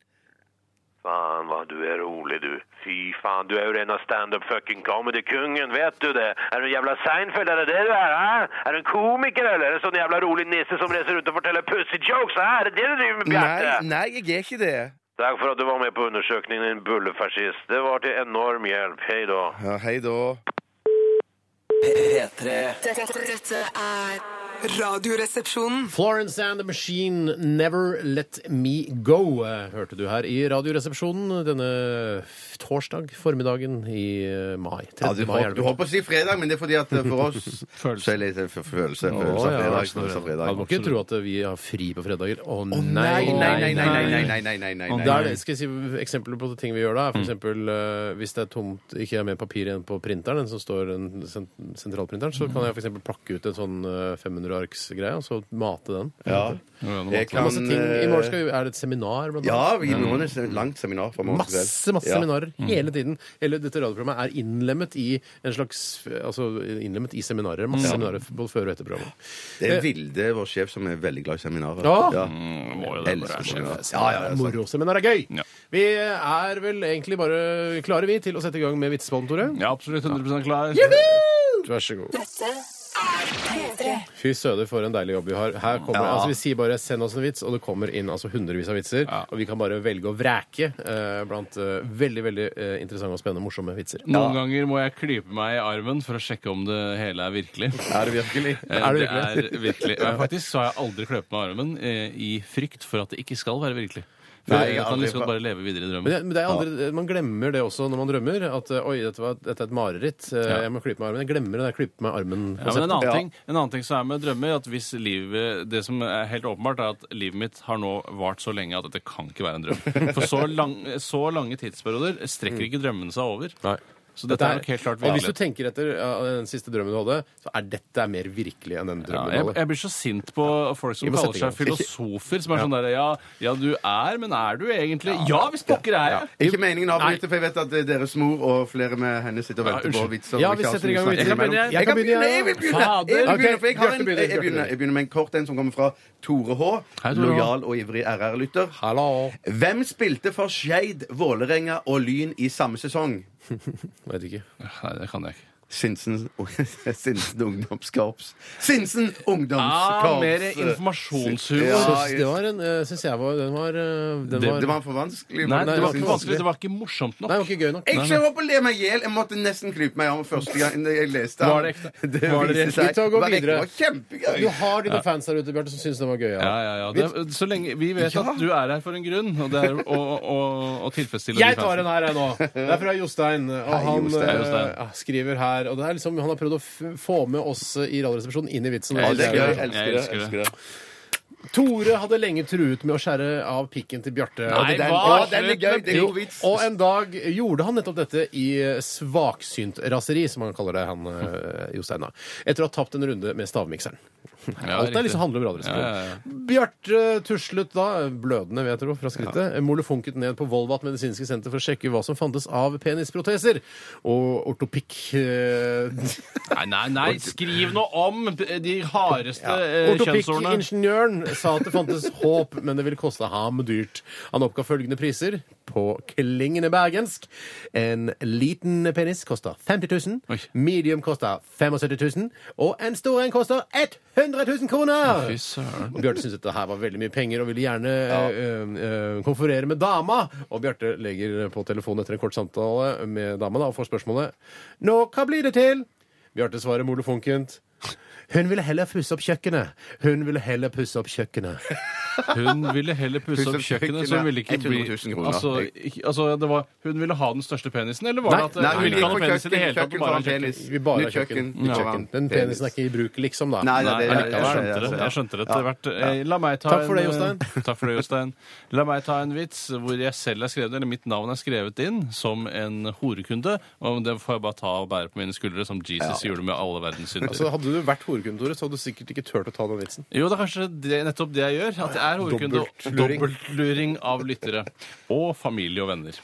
Speaker 6: Fan vad du är rolig du. Fy fan, du är ju rena stand-up fucking comedy-kungen, vet du det? Är du en jävla Seinfeld, är det det du är? Ha? Är du en komiker eller? Är du en sån jävla rolig nisse som reser ut och fortäller pussy-jokes? Ha? Är det det du driver med, Bjarte?
Speaker 5: Nei, nei, jeg er ikke det.
Speaker 6: Takk for at du var med på undersøkningen, din bullefascist. Det var til enorm hjelp. Hei da.
Speaker 5: Ja, Hei da.
Speaker 2: P3
Speaker 7: Dette, dette er
Speaker 1: Radioresepsjonen.
Speaker 3: Florence and the Machine, 'Never Let Me Go', eh, hørte du her i Radioresepsjonen denne f- torsdag formiddagen i eh, mai.
Speaker 5: Ja, du,
Speaker 3: 30. mai er
Speaker 5: håper, du
Speaker 3: det vel?
Speaker 5: holdt på å si fredag, men det er fordi at eh, for oss
Speaker 4: Følelse.
Speaker 5: så er det litt eh, f- følelse, følelse av
Speaker 3: Å, ja,
Speaker 5: fredag.
Speaker 3: absolutt.
Speaker 5: Følelse av
Speaker 3: Man
Speaker 5: fredag.
Speaker 3: må ikke tro at vi har fri på fredager. Å nei,
Speaker 5: Nei, nei, nei, nei, nei, nei, nei, nei, nei, nei,
Speaker 3: Det er det. Skal jeg si Eksempler på ting vi gjør da, er
Speaker 5: Mm.
Speaker 3: for eksempel eh, hvis det er tomt, ikke er mer papir igjen på printeren, den som står den sen- sentralprinteren, så kan jeg for eksempel plakke ut en sånn 500-arks-greie, og så mate den.
Speaker 5: Ja. Jeg kan
Speaker 3: Masse ting. I morgen
Speaker 5: eh,
Speaker 3: skal vi, er det et seminar, blant
Speaker 5: Ja, vi må ha et langt seminar fra morgen til kveld.
Speaker 3: Masse masse
Speaker 5: Ja. Mm.
Speaker 3: seminarer hele tiden. Hele dette radioprogrammet er innlemmet i en slags Altså innlemmet i seminarer.
Speaker 5: Mm.
Speaker 3: Masse seminarer både før og etter programmet.
Speaker 5: Det er Vilde, vår sjef, som er veldig glad i seminarer.
Speaker 3: Ja. Mm,
Speaker 4: må jo det
Speaker 5: Elsker
Speaker 4: være,
Speaker 5: seminarer.
Speaker 4: sjef.
Speaker 5: Ja, ja, ja, sant.
Speaker 3: Moro seminar er gøy!
Speaker 4: Ja.
Speaker 3: Vi er vel egentlig bare klare, vi, til å sette i gang med vitsespalten, Tore.
Speaker 4: Ja, absolutt 100 klar.
Speaker 3: Vær så god.
Speaker 7: Dette er P3.
Speaker 3: Fy søder, for en deilig jobb vi har. Her kommer,
Speaker 5: Ja.
Speaker 3: altså Vi sier bare 'send oss en vits', og det kommer inn altså hundrevis av vitser.
Speaker 4: Ja.
Speaker 3: Og vi kan bare velge å vrake eh, blant eh, veldig veldig eh, interessante og spennende morsomme vitser.
Speaker 4: Noen ganger må jeg klype meg i armen for å sjekke om det hele er virkelig.
Speaker 5: Er det virkelig?
Speaker 4: Eh,
Speaker 3: Er det
Speaker 4: Det er virkelig. Ja, faktisk så har jeg aldri kløpet meg i armen eh, i frykt for at det ikke skal være virkelig. For
Speaker 5: Nei,
Speaker 4: jeg,
Speaker 5: jeg har
Speaker 4: kan
Speaker 5: aldri-
Speaker 4: liksom godt bare leve videre i
Speaker 3: Men,
Speaker 4: drømmen.
Speaker 3: det, men det er aldri, Man glemmer det også når man drømmer. At eh, oi, dette, var, dette er et mareritt. eh,
Speaker 4: Ja.
Speaker 3: Jeg må klype meg i armen. Jeg glemmer det der klype meg i armen.
Speaker 4: Ja, men en
Speaker 5: Ja.
Speaker 4: annen, ting, en annen ting som er med drømmer, at hvis livet, det som er helt åpenbart, er at livet mitt har nå vart så lenge at dette kan ikke være en drøm. For så, lang, så lange tidsperioder strekker ikke drømmene seg over. Så dette er nok helt klart
Speaker 3: og hvis du
Speaker 4: virkelig.
Speaker 3: tenker etter ja, den siste drømmen du hadde, så er dette mer virkelig enn den
Speaker 4: Ja,
Speaker 3: drømmen
Speaker 4: jeg,
Speaker 3: du hadde.
Speaker 4: jeg blir så sint på folk som
Speaker 3: Vi må
Speaker 4: kaller
Speaker 3: sette i
Speaker 4: seg filosofer, som er sånn derre ja, ja, du er, men er du egentlig Ja, hvis pokker er jeg!
Speaker 5: Ikke meningen å avbryte, for jeg vet at eh, deres mor og flere med henne sitter og
Speaker 4: Ja,
Speaker 5: venter på
Speaker 4: unnskyld.
Speaker 5: vitser.
Speaker 3: Ja,
Speaker 5: og
Speaker 3: vi
Speaker 5: ikke har
Speaker 3: setter
Speaker 5: så
Speaker 3: i gang
Speaker 5: mye
Speaker 3: med
Speaker 5: å snakke
Speaker 3: vitser.
Speaker 5: imellom.
Speaker 3: Jeg kan
Speaker 5: Jeg kan
Speaker 3: begynne,
Speaker 5: begynne,
Speaker 3: ja.
Speaker 5: jeg vil begynne!
Speaker 3: Fader.
Speaker 5: Jeg, vil begynne,
Speaker 3: Ok,
Speaker 5: for jeg, har
Speaker 3: Bjarte
Speaker 5: en,
Speaker 3: begynner,
Speaker 5: jeg, jeg, begynner, jeg begynner med en kort en som kommer fra Tore H.
Speaker 4: Hei, Tore H.
Speaker 5: Lojal og ivrig RR-lytter.
Speaker 3: Hallo.
Speaker 5: Hvem spilte for Skeid, Vålerenga og Lyn i samme sesong?
Speaker 3: Jeg vet ikke.
Speaker 4: Nei, det kan jeg ikke.
Speaker 5: Sinsen, Sinsen ungdomskorps. Sinsen
Speaker 4: Ah,
Speaker 5: ungdomskorps!
Speaker 4: mer informasjonshumor.
Speaker 5: Ja,
Speaker 3: Så
Speaker 5: jeg-
Speaker 3: det var en eh, Syns jeg var Den var, eh, den
Speaker 5: det,
Speaker 3: var,
Speaker 5: det var for vanskelig.
Speaker 4: Nei, det var
Speaker 5: Sinsen-
Speaker 4: ikke vanskelig. Det var ikke morsomt
Speaker 3: Nei, det var
Speaker 4: nok.
Speaker 3: ikke gøy nok.
Speaker 5: Jeg skal opp og le meg i hjel. Jeg måtte nesten klype meg om første gang jeg leste den.
Speaker 4: Var det ekte? Var det
Speaker 5: viste
Speaker 4: rett?
Speaker 5: seg-
Speaker 3: Vi tar og går
Speaker 5: var ekte.
Speaker 3: videre.
Speaker 5: Det var kjempegøy.
Speaker 3: Du har dine fans der ute, Bjarte, som syns den var gøy.
Speaker 4: Ja, ja, ja. Det, er- så lenge vi vet at du er her for en grunn, og det er å, å, å tilfredsstille
Speaker 3: Jeg
Speaker 4: de
Speaker 3: tar
Speaker 4: fansen.
Speaker 3: en her, jeg nå. Det er fra Jostein. Og han
Speaker 5: Jostein.
Speaker 3: eh,
Speaker 4: Hei, Jostein.
Speaker 3: ja, skriver her Og det er liksom, Han har prøvd å f få med oss i Radioresepsjonen inn i vitsen.
Speaker 5: Ja, det er gøy.
Speaker 4: Jeg
Speaker 5: Jeg elsker det.
Speaker 4: elsker det.
Speaker 5: elsker det.
Speaker 3: Tore hadde lenge truet med å skjære av pikken til Bjarte.
Speaker 4: Nei,
Speaker 5: Den,
Speaker 4: hva?
Speaker 5: å, den er gøy. Det er god vits.
Speaker 3: Og en dag gjorde han nettopp dette i svaksynt raseri, som han kaller det, han eh, Jostein. da. Etter å ha tapt en runde med stavmikseren.
Speaker 4: Ja,
Speaker 3: Alt
Speaker 4: riktig.
Speaker 3: er liksom handler om radioresepsjon.
Speaker 4: Ja, ja, ja.
Speaker 3: Bjarte tuslet da, blødende vil jeg tro, fra skrittet, molefonket ned på Volvat medisinske senter for å sjekke hva som fantes av penisproteser. Og ortopikk eh,
Speaker 4: Nei, nei, nei, skriv noe om de hardeste eh, kjønnsordene.
Speaker 3: Ortopikk-ingeniøren sa at det fantes håp, men det ville koste ham dyrt. Han oppga følgende priser på klingende bergensk. En liten penis koster 50
Speaker 4: Oi.
Speaker 3: 000, medium koster 75 000, og en stor en koster 100 000 kroner!
Speaker 4: Fy søren.
Speaker 3: Bjarte syntes dette her var veldig mye penger og ville gjerne eh, eh, konferere med dama. Og Bjarte legger på telefonen etter en kort samtale med dama da, og får spørsmålet Nå, hva blir det til? Bjarte svarer molefonkent. Hun ville heller pusse opp kjøkkenet. Hun ville heller pusse opp kjøkkenet.
Speaker 4: Hun ville heller pusse opp kjøkkenet, så hun ville ikke bli
Speaker 5: 100 000 kroner.
Speaker 4: altså, ikke- altså, det var, Hun ville ha den største penisen, eller var det
Speaker 3: Nei,
Speaker 4: at eh,
Speaker 5: Nei,
Speaker 4: hun
Speaker 5: men
Speaker 4: ville ikke ha
Speaker 5: for
Speaker 4: noen penis i det hele tatt?
Speaker 5: kjøkken for
Speaker 4: Bare ha kjøkken?
Speaker 5: penis.
Speaker 3: Vi bare
Speaker 5: Nytt
Speaker 3: har kjøken.
Speaker 5: kjøkken.
Speaker 3: Nytt
Speaker 5: Ja.
Speaker 3: kjøkken. Den penisen er ikke i bruk, liksom, da.
Speaker 5: Nei, nei,
Speaker 4: Nei,
Speaker 5: det,
Speaker 4: jeg,
Speaker 5: jeg, jeg,
Speaker 4: skjønte
Speaker 5: skjønner
Speaker 4: det.
Speaker 5: det,
Speaker 4: Jeg skjønte det etter hvert. Eh, La meg ta
Speaker 3: Takk for
Speaker 4: en,
Speaker 3: det, Jostein.
Speaker 4: eh, Takk for det, Jostein. La meg ta en vits hvor jeg selv er skrevet, eller mitt navn er skrevet inn som en horekunde. Og det får jeg bare ta og bære på mine skuldre, som Jesus gjorde med alle verdens synder.
Speaker 3: Altså, hadde du vært horekunde, Tore, så hadde du sikkert ikke turt å ta den vitsen.
Speaker 4: Jo, det er kanskje det, nettopp det jeg gjør. At jeg er hovedkunde.
Speaker 3: Dobbeltluring.
Speaker 4: Dobbeltluring av lyttere. Og familie og venner.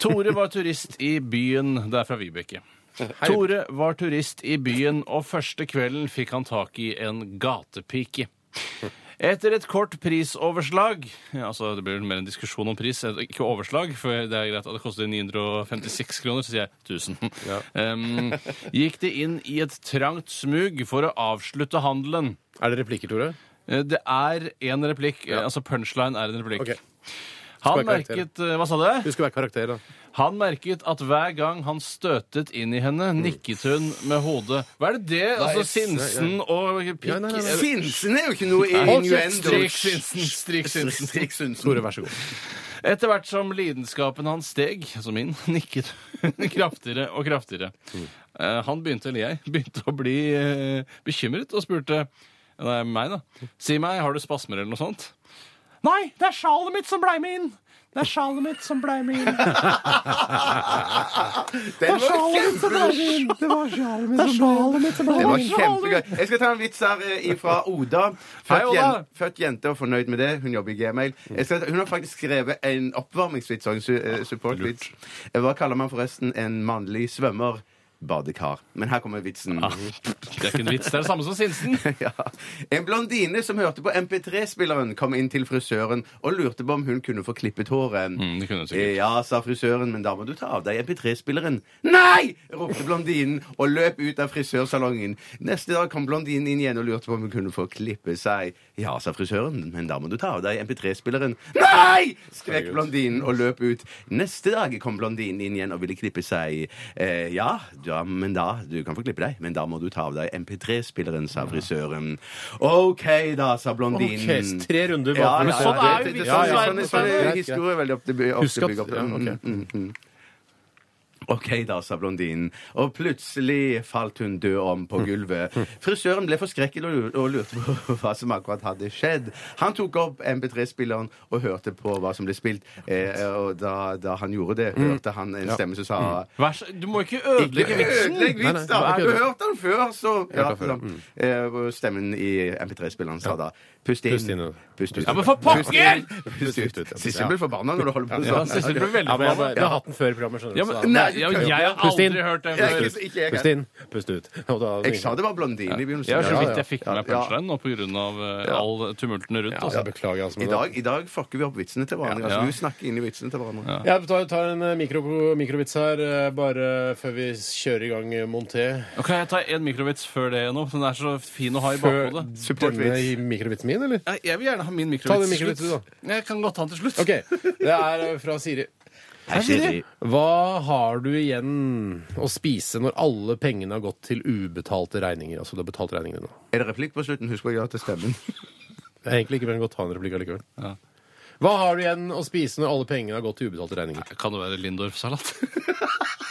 Speaker 4: Tore var turist i byen. Det er fra Vibeke. Tore var turist i byen, og første kvelden fikk han tak i en gatepike. Etter et kort prisoverslag ja, altså Det blir vel mer en diskusjon om pris, eh, ikke overslag, for det er greit at det koster 956 kroner, så sier jeg 1000. Um, gikk de inn i et trangt smug for å avslutte handelen.
Speaker 3: Er det replikker, Tore?
Speaker 4: Eh, Det er én replikk. eh, Altså punchline er en replikk.
Speaker 3: Ok.
Speaker 4: Han
Speaker 3: Skal være karakter.
Speaker 4: merket eh, Hva sa du?
Speaker 3: Du skal være karakter, da.
Speaker 4: Han merket at hver gang han støtet inn i henne,
Speaker 3: Mm.
Speaker 4: nikket hun med hodet. Hva er det det? Altså Sinsen og pikk
Speaker 3: Ja, nei, nei, nei.
Speaker 5: Sinsen er jo ikke noe i
Speaker 4: Hold kjeft,
Speaker 5: innuendo.
Speaker 4: Strik Sinsen. Strik Sinsen.
Speaker 5: Strik Sinsen.
Speaker 3: Tore, vær så god.
Speaker 4: Etter hvert som lidenskapen hans steg, altså min, nikket hun kraftigere og kraftigere. Eh, Han begynte, eller jeg, begynte å bli eh, bekymret og spurte Nei, meg, da. Si meg, har du spasmer eller noe sånt? Nei, det er sjalet mitt som blei med inn! Det er sjalet mitt som blei med inn. Det
Speaker 5: Den
Speaker 4: er
Speaker 5: var
Speaker 4: sjalet mitt som blei med inn. Det var sjalet mitt som blei med inn.
Speaker 5: Det var kjempegøy. Jeg skal ta en vits her eh, fra Oda. Født,
Speaker 4: Hei, Oda.
Speaker 5: jen- født jente og fornøyd med det. Hun jobber i Gmail. Jeg skal, ta- hun har faktisk skrevet en oppvarmingsvits og en su eh, supportvits. Eh, Hva kaller man forresten en mannlig svømmer? Badekar. Men her kommer vitsen.
Speaker 4: Det er ikke en vits. Det er det samme som Sinsen.
Speaker 5: Ja. En blondine som hørte på MP3-spilleren, kom inn til frisøren og lurte på om hun kunne få klippet håret.
Speaker 4: Mm, det kunne hun sikkert.
Speaker 5: Ja, sa frisøren, men da må du ta av deg MP3-spilleren. Nei! ropte blondinen og løp ut av frisørsalongen. Neste dag kom blondinen inn igjen og lurte på om hun kunne få klippe seg. Ja, sa frisøren, men da må du ta av deg MP3-spilleren. Nei! skrek blondinen og løp ut. Neste dag kom blondinen inn igjen og ville klippe seg. Eh, ja, ja, men da Du kan få klippe deg, men da må du ta av deg MP3-spilleren, sa frisøren. OK, da, sa blondinen.
Speaker 3: Ok, tre runder bak
Speaker 5: Ja,
Speaker 3: hverandre.
Speaker 5: men
Speaker 4: sånn er
Speaker 5: det-
Speaker 4: jo
Speaker 5: det-
Speaker 4: virkeligheten,
Speaker 5: sånn- sånn-
Speaker 4: Steiner.
Speaker 5: Sånn
Speaker 3: Greit,
Speaker 5: er
Speaker 3: greit.
Speaker 5: historie veldig ofte by- ofte
Speaker 3: Husk at-
Speaker 5: bygd opp.
Speaker 3: ja, ok.
Speaker 5: Mm, mm, mm. OK, da, sa blondinen, og plutselig falt hun død om på gulvet. Frisøren ble forskrekket og og lurte på hva som akkurat hadde skjedd. Han tok opp MP3-spilleren og hørte på hva som ble spilt, eh, og da, da han gjorde det, hørte han en stemme som sa
Speaker 4: Eh, Vær så, du må ikke ødelegge
Speaker 5: Ikke
Speaker 4: vitsen.
Speaker 5: ødelegg
Speaker 3: Nei, nei,
Speaker 5: vits, da!
Speaker 3: det er
Speaker 5: Du
Speaker 3: ikke det.
Speaker 5: hørte den før, så ja,
Speaker 3: den før,
Speaker 5: sånn. Eh, hvor Stemmen i MP3-spilleren sa da Pust
Speaker 3: Pust inn, ja.
Speaker 5: inn. Pust ut.
Speaker 4: Ja, men for pokker!
Speaker 5: Pust inn, Pust ut. Sissel blir forbanna når du holder på
Speaker 4: Ja,
Speaker 5: sånn.
Speaker 4: Sissel ble veldig
Speaker 3: Ja, men jeg,
Speaker 4: forbanna.
Speaker 3: bare- jeg har hatt den før i programmet, skjønner du.
Speaker 4: Ja,
Speaker 3: så
Speaker 4: men,
Speaker 3: da-
Speaker 4: nei, jeg, jeg har
Speaker 3: Pust inn.
Speaker 4: aldri hørt det
Speaker 5: Ja,
Speaker 4: før.
Speaker 5: ikke- ikke jeg
Speaker 3: Pust
Speaker 5: heller.
Speaker 3: inn, pust ut. Og da-
Speaker 5: Jeg sa det var blondine i begynnelsen.
Speaker 4: Jeg var så
Speaker 3: Ja,
Speaker 4: vidt
Speaker 3: ja.
Speaker 4: jeg fikk med
Speaker 5: Ja.
Speaker 4: meg punchline nå pga. eh, all tumulten rundt.
Speaker 3: Ja, altså,
Speaker 4: Altså.
Speaker 3: beklager, altså.
Speaker 5: I
Speaker 3: men da-
Speaker 5: dag, I dag fucker vi opp vitsene til hverandre.
Speaker 4: Ja.
Speaker 5: Altså, vi snakker inn i vitsene til hverandre.
Speaker 3: Jeg tar, tar en eh, mikro, mikrovits her, eh, bare før vi kjører i gang eh, Monté.
Speaker 4: Ok, jeg tar en mikrovits før det nå, for den er så fin å ha i
Speaker 3: Før
Speaker 4: bakhodet.
Speaker 3: denne i mikrovitsen min, eller?
Speaker 4: Nei, Jeg vil gjerne ha min
Speaker 3: Ta den
Speaker 4: mikrovits
Speaker 3: mikrovitsen
Speaker 4: til slutt. Jeg kan godt ta den til slutt.
Speaker 3: OK. Det er eh, fra Siri.
Speaker 5: Hei, Siri.
Speaker 3: Hva har du igjen å spise når alle pengene har gått til ubetalte regninger? Altså, du har betalt regningene nå.
Speaker 5: Er det replikk på slutten? Husk å gjøre til stemmen.
Speaker 3: Jeg er egentlig ikke veldig godt ta en replikk allikevel.
Speaker 4: Ja.
Speaker 3: Hva har du igjen å spise når alle pengene har gått til ubetalte regninger?
Speaker 4: Kan det være Lindorf-salat?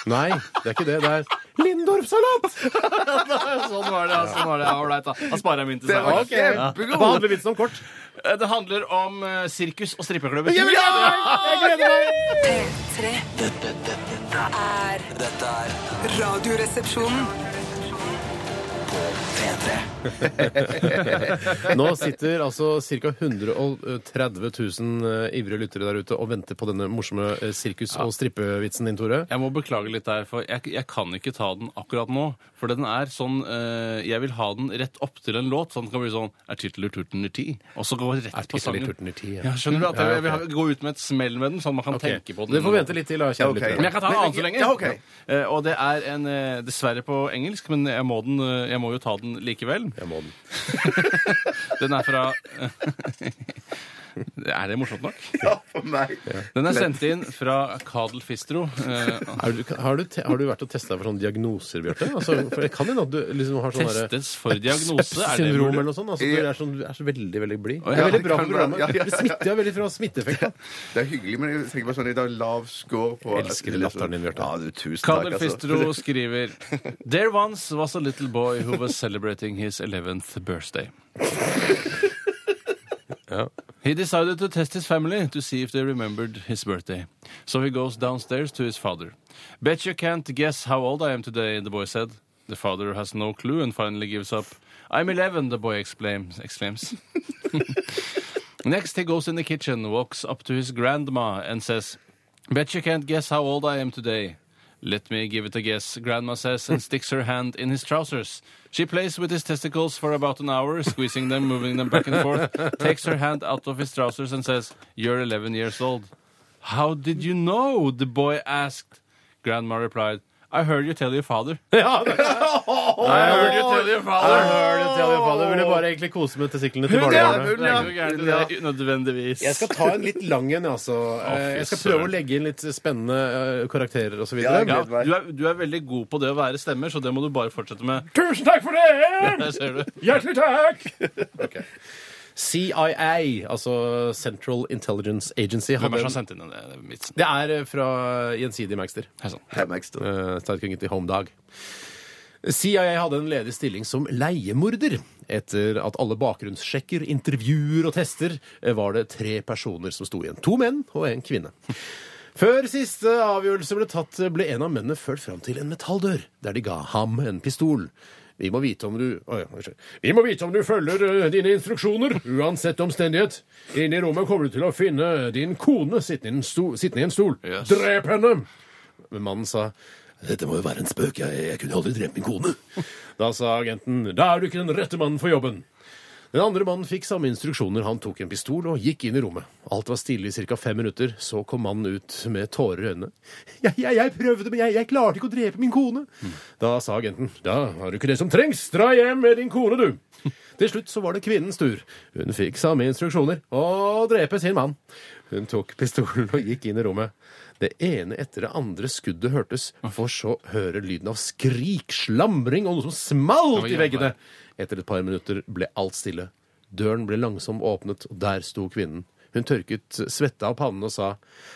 Speaker 3: Nei, det er ikke det. Det er Lindorf-salat!
Speaker 4: sånn var det, ja. sånn var det. Ja, Ålreit, da. Da sparer jeg min til
Speaker 5: Det var
Speaker 4: senere.
Speaker 5: kjempegod!
Speaker 3: Hva handler vitsen om kort?
Speaker 4: Eh, Det handler om eh, sirkus og strippeklubber.
Speaker 3: Jeg vil gjerne- jeg gleder meg!
Speaker 7: P3
Speaker 2: Dette, dette,
Speaker 7: er
Speaker 2: dette er
Speaker 7: Radioresepsjonen.
Speaker 2: P3.
Speaker 3: Nå sitter altså ca. 130 000 eh, ivrige lyttere der ute og venter på denne morsomme eh, sirkus- og strippevitsen din, Tore.
Speaker 4: Jeg må beklage litt der, for jeg, jeg kan ikke ta den akkurat nå. For den er sånn eh, Jeg vil ha den rett opp til en låt, så den kan bli sånn Er tittelen turtener ti? Og så gå rett på sangen.
Speaker 3: titler turtener ti, ja.
Speaker 4: ja. skjønner du? At jeg,
Speaker 3: Ja,
Speaker 4: jeg vil ha, gå ut med et smell med den, sånn at man kan
Speaker 3: Ok.
Speaker 4: tenke på den.
Speaker 3: Dere får vente litt til, da, kjære
Speaker 5: ok.
Speaker 3: lyttere.
Speaker 4: Men jeg kan ta en annen så lenge.
Speaker 5: ja, ok.
Speaker 4: Eh, og det er en eh, Dessverre på engelsk, men jeg må, den, eh, jeg må jo ta den likevel.
Speaker 3: Jeg må den.
Speaker 4: Den er fra Er det morsomt nok?
Speaker 5: Ja, for meg.
Speaker 4: Den er sendt inn fra Kadel Fistro. Eh,
Speaker 3: Er du, har, du te, har du vært og testa for sånne diagnoser, Bjarte? Altså, for det kan hende at du liksom har sånn derre-
Speaker 4: testes for diagnose. Er det
Speaker 3: Syndrom
Speaker 4: mulig?
Speaker 3: eller noe sånt. Altså, du, er sånn, du er så veldig veldig blid. Det
Speaker 5: ja,
Speaker 3: er veldig
Speaker 5: det
Speaker 3: bra
Speaker 5: kan
Speaker 3: for programmet.
Speaker 5: være. Ja, ja,
Speaker 3: Det smitter jo veldig fra smitteeffekten.
Speaker 5: Det er hyggelig, men jeg tenker bare sånn i dag lav score på
Speaker 3: Jeg elsker latteren din, Bjarte.
Speaker 5: Ja, du, tusen takk, altså.
Speaker 4: Kadel Fistro skriver There once was a little boy who was celebrating his 11th birthday. He decided to test his family to see if they remembered his birthday. So he goes downstairs to his father. Bet you can't guess how old I am today, the boy said. The father has no clue and finally gives up. I'm 11, the boy exclaims. exclaims. Next, he goes in the kitchen, walks up to his grandma, and says, Bet you can't guess how old I am today. Let me give it a guess, Grandma says, and sticks her hand in his trousers. She plays with his testicles for about an hour, squeezing them, moving them back and forth, takes her hand out of his trousers, and says, You're 11 years old. How did you know? the boy asked. Grandma replied, I heard you tell your father. I heard you tell your father.
Speaker 3: Du ville bare egentlig kose med testiklene til
Speaker 5: barnebarnet.
Speaker 3: barnebarnet.
Speaker 5: hun, ja.
Speaker 4: Ah. Det er ikke noe gærent i det, nødvendigvis.
Speaker 3: Jeg skal ta en litt lang en, altså. Eh, Jeg skal prøve å legge inn litt spennende eh, karakterer osv.
Speaker 5: Ja,
Speaker 4: Ja,
Speaker 5: ja.
Speaker 4: du, er, du er veldig god på det å være stemmer, så det må du bare fortsette med.
Speaker 3: Tusen takk for det!
Speaker 4: Der ser du.
Speaker 3: Hjertelig takk! CIA, altså Central Intelligence Agency,
Speaker 4: Hvem
Speaker 3: hadde
Speaker 4: er det som har
Speaker 3: en
Speaker 4: sendt inn den eh, vitsen?
Speaker 3: det er eh, fra Gjensidige Magster.
Speaker 4: Hei sånn. sann.
Speaker 5: Hemmekster.
Speaker 3: Eh, Sterkingen til Home Dag. CIA hadde en ledig stilling som leiemorder. Etter at alle bakgrunnssjekker, intervjuer og tester eh, var det tre personer som sto igjen. To menn og en kvinne. Før siste avgjørelse ble tatt, ble en av mennene ført fram til en metalldør, der de ga ham en pistol. Vi må vite om du Å, ja, unnskyld. Vi må vite om du følger eh, dine instruksjoner, uansett omstendighet. Inne i rommet kommer du til å finne din kone sittende i en stol. Sittende i en stol.
Speaker 4: Yes.
Speaker 3: Drep henne! Men mannen sa dette må jo være en spøk, jeg, jeg kunne aldri drept min kone. Da sa agenten da er du ikke den rette mannen for jobben. Den andre mannen fikk samme instruksjoner. Han tok en pistol og gikk inn i rommet. Alt var stille i ca. fem minutter. Så kom mannen ut med tårer i øynene. Jeg, jeg, jeg prøvde, men jeg, jeg klarte ikke å drepe min kone. Da sa agenten. Da har du ikke det som trengs. Dra hjem med din kone, du. Til slutt så var det kvinnens tur. Hun fikk samme instruksjoner. Å drepe sin mann. Hun tok pistolen og gikk inn i rommet. Det ene etter det andre skuddet hørtes, for så høre lyden av skrik, slamring og noe som smalt
Speaker 4: Oi,
Speaker 3: i
Speaker 4: oi, oi.
Speaker 3: veggene. Etter et par minutter ble alt stille. Døren ble langsomt åpnet, og der sto kvinnen. Hun tørket svette av pannen og sa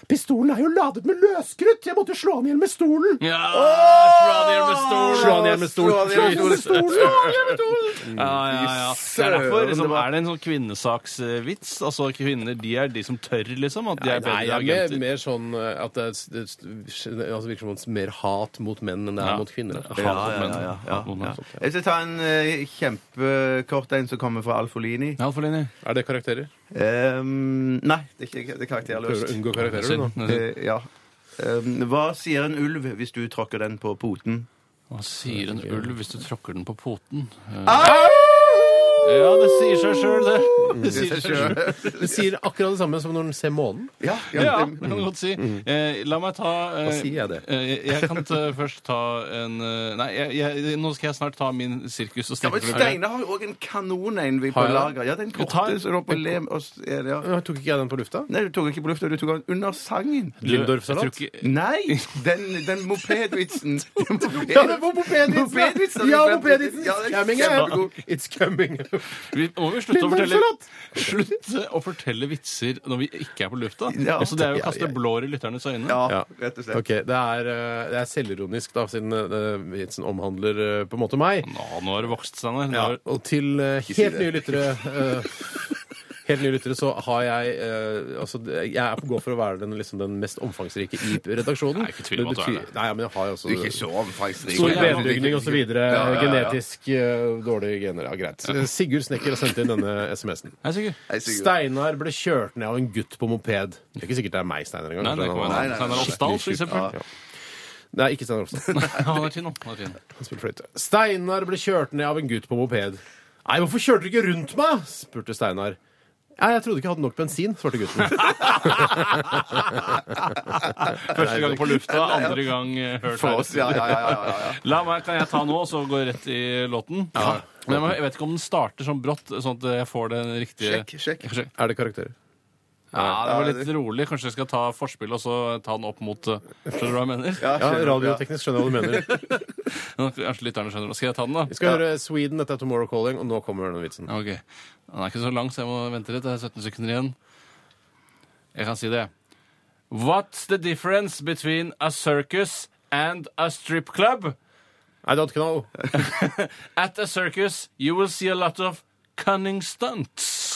Speaker 3: Pistolen er jo ladet med løskrutt! Jeg måtte slå han i hjel med stolen!
Speaker 4: Ja, slå han i hjel med stolen!
Speaker 3: Slå han i hjel med stolen!
Speaker 5: Slå han i hjel med stolen!
Speaker 4: Ja, ja, ja. Det er derfor
Speaker 5: Søren, det
Speaker 4: liksom,
Speaker 5: var-
Speaker 4: er det en sånn kvinnesaksvits. Altså, kvinner de er de som tør, liksom. At de er
Speaker 3: Nei,
Speaker 4: bedre
Speaker 3: det er mer,
Speaker 4: agenter.
Speaker 3: mer sånn eh, at det, er- det, det altså virker som om det er mer hat mot menn enn det er
Speaker 4: Ja.
Speaker 3: mot kvinner.
Speaker 4: Hat mot menn. Hat mot menn.
Speaker 5: Jeg skal ta en eh, kjempekort en som kommer fra Alfolini.
Speaker 4: Ja, for Linni.
Speaker 3: Er det karakterer?
Speaker 5: Um, nei, det er ikke det er
Speaker 3: Prøver å
Speaker 5: karakterløst.
Speaker 3: unngå karakterer du, nå.
Speaker 5: Eh, ja. Um, hva sier en ulv hvis du tråkker den på poten?
Speaker 4: Hva sier en ulv hvis du tråkker den på poten? Eh, Ja, det sier seg sjøl, det.
Speaker 3: Mm,
Speaker 4: Det sier seg selv.
Speaker 3: Det sier akkurat det samme som når den ser månen.
Speaker 5: Ja,
Speaker 4: Ja,
Speaker 5: ja.
Speaker 4: det kan du godt si. Eh, la meg ta eh,
Speaker 3: Da sier jeg det.
Speaker 4: Eh, jeg kan ta, først ta en eh, Nei, jeg, jeg, nå skal jeg snart ta min sirkus- og
Speaker 5: Ja, men
Speaker 4: strippeprogram.
Speaker 5: Steinar har jo òg en kanon en vi på
Speaker 3: Har jeg det?
Speaker 5: lager. Ja, den
Speaker 4: tar en-
Speaker 5: korte som lå på lem og s- er det, ja.
Speaker 3: Ja, Tok ikke jeg den på lufta?
Speaker 5: Nei, du tok den ikke på lufta, du tok den under sangen.
Speaker 4: Du, jeg tror
Speaker 3: Lindorf-salat?
Speaker 4: ikke-
Speaker 5: Nei! Den, den mopedvitsen.
Speaker 3: Ja, det var mopedvitsen! Ja, mopedvitsen!
Speaker 5: Ja, den er
Speaker 3: Coming
Speaker 5: kjempegod.
Speaker 3: up! It's coming up!
Speaker 4: Vi må jo slutte å fortelle
Speaker 3: Lindorf-salat!
Speaker 4: Slutte å fortelle vitser når vi ikke er på lufta.
Speaker 5: Ja.
Speaker 4: altså, det er jo å
Speaker 3: Ja,
Speaker 4: kaste
Speaker 3: ja, ja.
Speaker 4: blår i lytternes øyne.
Speaker 5: Ja, rett og slett.
Speaker 3: Ok, Det er, eh, det er selvironisk, da, siden eh, vitsen omhandler eh, på en måte meg.
Speaker 4: Nå, nå har det vokst, Steinar. Nå
Speaker 3: Ja,
Speaker 4: har-
Speaker 3: og til eh,
Speaker 5: si
Speaker 3: helt
Speaker 5: det.
Speaker 3: nye lyttere eh, helt nye lyttere, så har jeg eh, altså, det- Jeg er på gå for å være den, liksom, den mest omfangsrike i redaksjonen.
Speaker 4: Jeg er ikke i tvil om at du er
Speaker 3: betyr-
Speaker 4: det.
Speaker 3: Nei, men jeg har jo
Speaker 5: Du er ikke
Speaker 3: også
Speaker 5: så omfangsrik.
Speaker 3: Stor
Speaker 4: jævla
Speaker 3: benbygning osv.
Speaker 5: Ja, ja, ja.
Speaker 3: Genetisk eh, dårlige gener. Ja, greit. Sigurd Snekker har sendt inn denne SMS-en.
Speaker 4: Nei, sikkert.
Speaker 5: Nei, Sigurd.
Speaker 3: Steinar ble kjørt ned av en gutt på moped. Det er ikke sikkert det er meg, Steinar engang.
Speaker 4: Nei, det
Speaker 3: Kanskje
Speaker 4: kan
Speaker 3: han-
Speaker 5: Nei,
Speaker 4: være
Speaker 5: nei, nei.
Speaker 4: Steinar Oppdal, for eksempel.
Speaker 3: Nei, ikke Steinar Ofstad.
Speaker 4: Nei, Han er tynn, han. han er tynn.
Speaker 3: Han spiller fløyte. Steinar ble kjørt ned av en gutt på moped. Nei, hvorfor kjørte du ikke rundt meg? spurte Steinar. Nei, jeg trodde ikke jeg hadde nok bensin, svarte gutten.
Speaker 4: Første gang på lufta, andre gang eh, hørt
Speaker 5: For oss, ja, ja, ja, ja, ja, ja.
Speaker 4: La meg, Kan jeg ta nå, og så gå rett i låten? Men jeg, må, jeg vet ikke om den starter sånn brått, sånn at jeg får den riktige
Speaker 5: Sjekk, sjekk.
Speaker 3: Er det karakterer?
Speaker 4: Ja, Det var litt rolig. Kanskje jeg skal ta forspillet og så ta den opp mot eh, Skjønner du hva jeg mener?
Speaker 5: Ja,
Speaker 3: Ja,
Speaker 5: skjønner du, ja.
Speaker 3: radioteknisk skjønner jeg hva du mener.
Speaker 4: Kanskje lytterne skjønner. Skal jeg ta den, da?
Speaker 3: Vi skal høre Sweden, dette er Tomorrow Calling, og nå kommer denne vitsen.
Speaker 4: Ja, Ok. Den er ikke så lang, så jeg må vente litt. Det er 17 sekunder igjen. Jeg kan si det. What's the difference between a circus and a strip club?
Speaker 3: I don't know.
Speaker 4: At a circus you will see a lot of cunning stunts.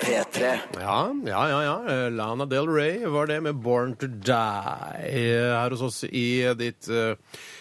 Speaker 2: P3
Speaker 3: Ja, ja, ja. ja. Eh, Lana Del Rey var det med 'Born to Die' eh, her hos oss i ditt eh,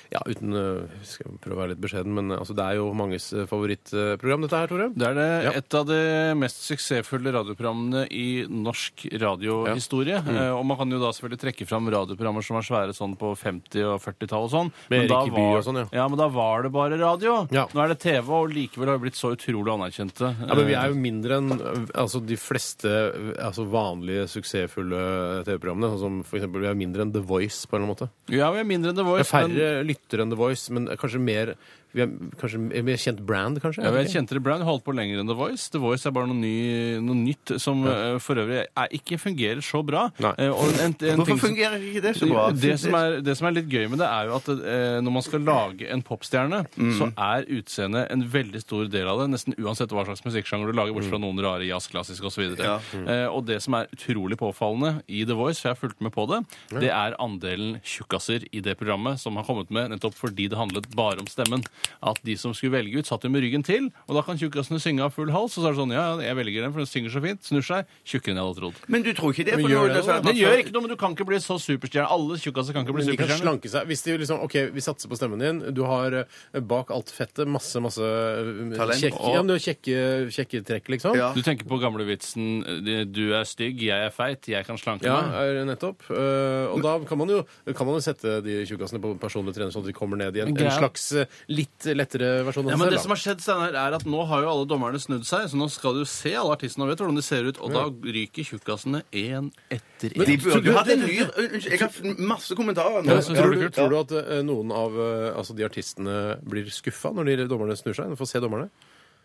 Speaker 3: Ja, uten eh, Skal jeg prøve å være litt beskjeden, men eh, altså, det er jo manges eh, favorittprogram, dette her, Tore.
Speaker 4: Det er det,
Speaker 3: Ja.
Speaker 4: et av de mest suksessfulle radioprogrammene i norsk radiohistorie.
Speaker 3: Mm.
Speaker 4: Eh, Og man kan jo da selvfølgelig trekke fram radioprogrammer som var svære sånn på 50- og 40-tall og sånn.
Speaker 3: Med
Speaker 4: da
Speaker 3: Erik i by
Speaker 4: var-
Speaker 3: og sånn, ja.
Speaker 4: ja. Men da var det bare radio.
Speaker 3: Ja.
Speaker 4: Nå er det TV, og likevel har vi blitt så utrolig anerkjente.
Speaker 3: Ja, men Vi er jo mindre enn eh, altså, de fleste eh, altså, vanlige suksessfulle TV-programmene. Sånn som for eksempel, Vi er mindre enn The Voice, på en eller annen måte.
Speaker 4: Eh, Ja, vi er mindre enn The Voice.
Speaker 3: Det er færre
Speaker 4: men-
Speaker 3: lyttere enn The Voice, men eh, kanskje mer Vi er kanskje er mer kjent brand, kanskje?
Speaker 4: Ja, vi er kjente det Brown holdt på lenger enn The Voice. The Voice er bare noe, ny, noe nytt som eh, for øvrig er, ikke fungerer så bra.
Speaker 3: Nei.
Speaker 4: Eh, og en, en, en
Speaker 5: Hvorfor
Speaker 4: ting som-
Speaker 5: fungerer ikke det så bra?
Speaker 4: Det som, er, det som er litt gøy med det, er jo at eh, når man skal lage en popstjerne,
Speaker 5: Mm.
Speaker 4: så er utseendet en veldig stor del av det, nesten uansett hva slags musikksjanger du lager, bortsett
Speaker 5: Mm.
Speaker 4: fra noen rare jazz, klassisk osv. Ja. Eh, og det som er utrolig påfallende i The Voice, for jeg har fulgt med på det, det er andelen tjukkaser i det programmet som har kommet med nettopp fordi det handlet bare om stemmen. At de som skulle velge ut, satt jo med ryggen til, og da kan tjukkasene synge av full hals, og så er det sånn ja, ja, jeg velger den, for den synger så fint, snur seg, tjukkere enn jeg hadde trodd.
Speaker 5: Men du tror ikke det?
Speaker 3: Men
Speaker 5: for
Speaker 3: gjør
Speaker 5: nå- nå
Speaker 3: det da?
Speaker 5: sa jeg at
Speaker 4: Det
Speaker 5: man
Speaker 4: gjør
Speaker 5: skal-
Speaker 4: ikke noe, men du kan ikke bli så superstjerne. Alle tjukkaser kan ikke bli
Speaker 3: Men de kan
Speaker 4: superstjerner.
Speaker 3: slanke seg. Hvis de liksom, ok, Vi satser på stemmen din. Du har eh, bak alt fettet masse masse eh,
Speaker 5: Talent.
Speaker 3: Kjekke, ja, men du har kjekke, kjekke trekk, liksom.
Speaker 5: Ja.
Speaker 4: Du tenker på gamlevitsen 'du er stygg, jeg er feit, jeg kan slanke
Speaker 3: Ja,
Speaker 4: meg'.
Speaker 3: er- nettopp. Eh, og da kan man jo, kan man jo sette de tjukkasene på personlig trener, sånn at de kommer ned i en, en
Speaker 4: Greia.
Speaker 3: slags eh, litt lettere versjon av
Speaker 4: Ja,
Speaker 3: seg
Speaker 4: men det
Speaker 3: selv,
Speaker 4: som har skjedd, Steinar, er at Nå har jo alle dommerne snudd seg, så nå skal du se alle artistene og vet hvordan de ser ut. Og da ryker tjukkasene én etter
Speaker 5: De
Speaker 4: én.
Speaker 5: burde jo hatt en ny Unnskyld, jeg har masse kommentarer nå.
Speaker 3: da.
Speaker 4: Ja,
Speaker 3: Men
Speaker 4: så
Speaker 3: tror,
Speaker 4: det
Speaker 3: du,
Speaker 4: blir kult.
Speaker 3: tror du at eh, noen av eh, altså de artistene blir skuffa når de dommerne snur seg? Når de får se dommerne?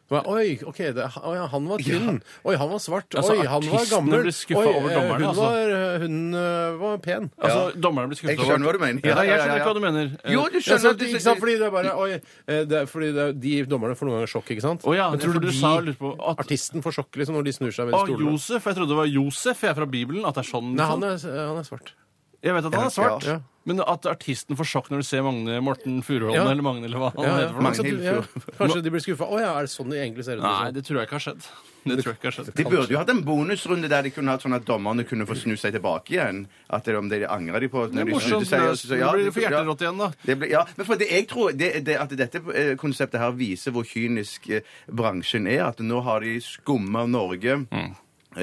Speaker 3: Så er, Oi, ok, det, er- oi, ja, han var tynn. Oi, han var svart.
Speaker 4: Altså,
Speaker 3: oi, han var
Speaker 4: artistene
Speaker 3: gammel.
Speaker 4: blir skuffa
Speaker 3: Oi,
Speaker 4: over
Speaker 3: eh,
Speaker 4: dommerne,
Speaker 3: hun,
Speaker 4: altså.
Speaker 3: var, hun eh, var pen.
Speaker 4: Altså, Dommerne blir skuffet
Speaker 5: Jeg skjønner hva du mener.
Speaker 4: Ja,
Speaker 5: Ja,
Speaker 4: jeg
Speaker 5: ja,
Speaker 4: skjønner
Speaker 5: ja,
Speaker 4: ikke
Speaker 5: ja.
Speaker 4: hva du mener. Eh,
Speaker 5: Jo, du
Speaker 3: Ja,
Speaker 5: skjønner
Speaker 3: sant, ikke sant,
Speaker 5: sånn-
Speaker 3: fordi det er bare oi, eh, det er fordi det er, De dommerne får noen ganger sjokk, ikke sant?
Speaker 4: Å ja,
Speaker 3: Men
Speaker 4: for du sa og lurte på at-
Speaker 3: artisten får sjokk liksom, når de snur seg ved
Speaker 4: Å,
Speaker 3: stolene?
Speaker 4: Josef. Jeg trodde det var Josef, jeg er fra Bibelen. At det er sånn.
Speaker 3: Nei,
Speaker 4: liksom.
Speaker 3: han er, han er svart.
Speaker 4: Jeg vet at han er svart.
Speaker 3: Ja.
Speaker 4: Men at artisten får sjokk når du ser Magne Morten Furuholm
Speaker 3: Ja.
Speaker 4: eller Magne eller hva han
Speaker 3: Ja, ja.
Speaker 4: heter. for noe.
Speaker 3: Så at du- ja.
Speaker 5: Magnhild
Speaker 3: Kanskje de blir skuffa. Å ja, er det sånn de egentlig ser ut?
Speaker 4: Nei,
Speaker 3: liksom?
Speaker 4: det tror jeg ikke har skjedd. Det tror jeg ikke har skjedd.
Speaker 5: De burde jo hatt en bonusrunde der de kunne hatt sånn at dommerne kunne få snu seg tilbake igjen. At det, om det angrer de på
Speaker 4: Det
Speaker 5: når
Speaker 4: er
Speaker 5: de snudde
Speaker 4: morsomt.
Speaker 5: seg. og så- så-
Speaker 4: Nå
Speaker 5: ja,
Speaker 4: blir det for
Speaker 5: ja.
Speaker 4: hjerterått igjen, da.
Speaker 5: Det ble, ja, men for det, jeg tror det, det, at dette eh, konseptet her viser hvor kynisk eh, bransjen er. At nå har de skumma Norge. eh,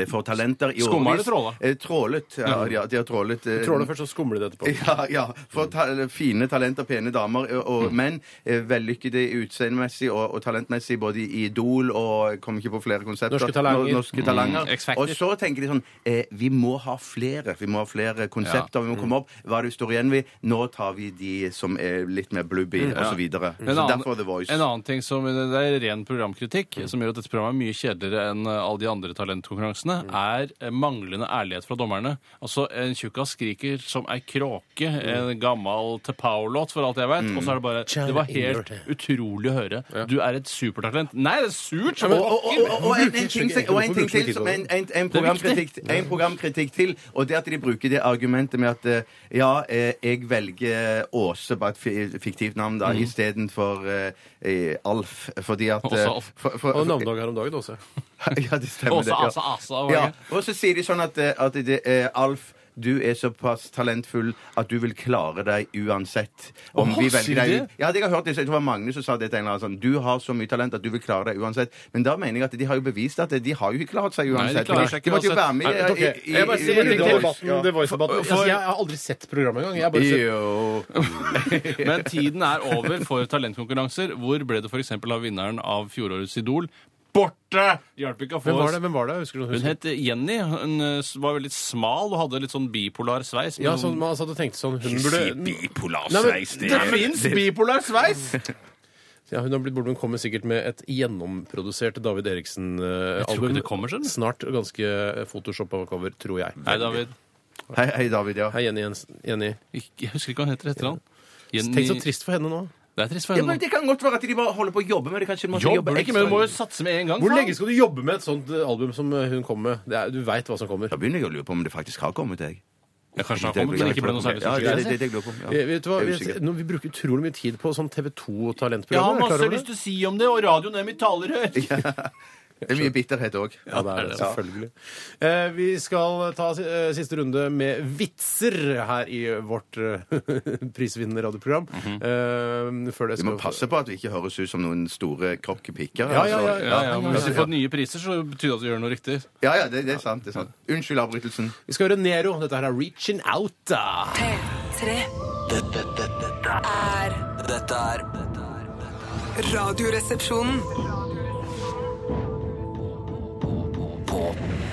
Speaker 5: For talenter i
Speaker 4: Skumma eller
Speaker 5: årevis.
Speaker 4: tråla?
Speaker 5: Eh, Trålet. Ja, de har- de har trålet. eh,
Speaker 3: Tråler først, så skumler de det etterpå.
Speaker 5: Ja, ja. For ta fine talenter, pene damer og,
Speaker 4: Mm.
Speaker 5: og menn. eh, Vellykkede utseendemessig og, og talentmessig både i Idol og jeg Kom ikke på flere konserter.
Speaker 3: Norske Talanger.
Speaker 5: Nor-
Speaker 4: Mm.
Speaker 5: Norske talanger.
Speaker 4: X-Factor.
Speaker 5: og så tenker de sånn eh, Vi må ha flere. Vi må ha flere konsepter. Vi må
Speaker 4: Mm.
Speaker 5: komme opp. Hva er det vi står igjen ved? Nå tar vi de som er litt mer blubby, og så videre.
Speaker 4: Mm. En
Speaker 5: Så
Speaker 4: annen-
Speaker 5: derfor The Voice.
Speaker 3: Mm.
Speaker 4: En annen ting som, Det er ren programkritikk som gjør at dette programmet er mye kjedeligere enn eh, alle de andre avgjørelsene
Speaker 3: Mm.
Speaker 4: er eh, manglende ærlighet fra dommerne. Altså, En tjukkas skriker som ei kråke,
Speaker 3: Mm.
Speaker 4: en gammel Te Pau-låt, for alt jeg veit, og så er det bare Det var helt utrolig å høre. Du er et supertalent. Nei, det er surt! som
Speaker 5: Og, og, og, og, og, en, en, ting, som- og en ting til som en,
Speaker 3: Hvorfor
Speaker 5: en, en, programkritikk, en programkritikk til, og det at de bruker det argumentet med at eh, ja, eh, jeg velger Åse, bare et fi- fiktivt navn, da, istedenfor eh, eh, Alf, fordi at
Speaker 4: Mm. Åse
Speaker 5: eh,
Speaker 4: Alf.
Speaker 5: for- for-
Speaker 3: Og navnedag her om dagen også.
Speaker 5: Ja, det stemmer.
Speaker 4: Åse, altså,
Speaker 5: det, ja.
Speaker 4: Asa, Asa, hva er
Speaker 5: ja.
Speaker 4: det?
Speaker 5: Og så sier de sånn at, eh, at det, eh, Alf du er såpass talentfull at du vil klare deg uansett.
Speaker 4: Åh, sier de?
Speaker 5: ut. Ja, det jeg har hørt det, så jeg tror det var Magnus som sa det til en eller annen sånn Du har så mye talent at du vil klare deg uensett. Men da mener jeg at de har jo bevist at de har jo ikke klart seg
Speaker 4: Nei, de
Speaker 5: uansett.
Speaker 4: klarer seg
Speaker 5: de
Speaker 4: ikke
Speaker 5: måtte jo
Speaker 4: uansett.
Speaker 5: være med
Speaker 3: Ok,
Speaker 5: i, i,
Speaker 3: Jeg bare sier en ting til debatten, The Voice-debatten. Altså, Jeg har aldri sett programmet engang. Jeg har bare sett
Speaker 5: Jo.
Speaker 4: Men tiden er over for talentkonkurranser. Hvor ble det f.eks. av vinneren av fjorårets Idol? Borte! Hjalp ikke å få
Speaker 3: Hvem var det? Hvem var det? Husker du noen
Speaker 4: Hun het Jenny. Hun eh, s- var veldig smal og hadde litt sånn bipolar sveis.
Speaker 3: Ja, sånn, man satt og tenkte sånn Hun burde
Speaker 5: bipolar
Speaker 3: Nei, men sveis,
Speaker 4: Det fins bipolar sveis!
Speaker 3: ja, Hun har blitt borte, hun kommer sikkert med et gjennomprodusert David
Speaker 4: Jeg tror
Speaker 3: Eriksen-album.
Speaker 4: ikke det kommer sånn.
Speaker 3: Snart og ganske photoshoppa cover, tror jeg.
Speaker 4: Nei, David.
Speaker 5: Hei, hei, David. Ja.
Speaker 3: Hei, Jenny Jensen. Jenny.
Speaker 4: Ikke- Jeg husker ikke hva hun heter etter han. Jenny
Speaker 3: Tenk så trist for henne nå.
Speaker 4: Det er trist for
Speaker 5: Ja, men
Speaker 4: henne. nå.
Speaker 5: det kan godt være at de bare holder på å jobbe med det. Kanskje de måtte
Speaker 4: Jobber
Speaker 5: jobbe
Speaker 4: ikke,
Speaker 5: ekstra.
Speaker 4: men hun må jo satse med en gang.
Speaker 3: Hvor
Speaker 4: faen.
Speaker 3: lenge skal du jobbe med et sånt eh, album som eh, hun kommer med? Det er, du veit hva som kommer.
Speaker 5: Da begynner jeg å lure på om det faktisk har kommet, jeg.
Speaker 4: Ja, kanskje han kommer, men ikke ble noe særlig
Speaker 5: Ja, det,
Speaker 4: suksess.
Speaker 5: det, det, det jeg lurer på.
Speaker 3: Vi, vet du hva?
Speaker 5: Jeg er
Speaker 3: Vi,
Speaker 5: usikker.
Speaker 3: nå, vi bruker utrolig mye tid på sånn TV2-talentprogram.
Speaker 4: Jeg har masse lyst til å si om det, og radioen er mitt talerør.
Speaker 5: Det er mye bitterhet òg.
Speaker 3: Ja, det er det, selvfølgelig. Eh, vi skal ta eh, siste runde med vitser her i vårt eh, prisvinnende radioprogram. eh, før
Speaker 5: Mhm. Vi
Speaker 3: det skal
Speaker 5: må passe på at vi ikke høres ut som noen store krokkpikker.
Speaker 3: Ja, ja, ja,
Speaker 5: altså.
Speaker 4: Ja, ja, men Hvis du får nye priser, så betyr det at du gjør noe riktig.
Speaker 5: ja, ja det, det er sant. det er sant. Unnskyld avbrytelsen.
Speaker 3: Vi skal høre Nero. Dette her er 'Reaching Out'. da.
Speaker 7: P3
Speaker 2: Dette, dette, dette
Speaker 7: er
Speaker 2: er Dette er dette er-
Speaker 7: Radioresepsjonen.
Speaker 2: På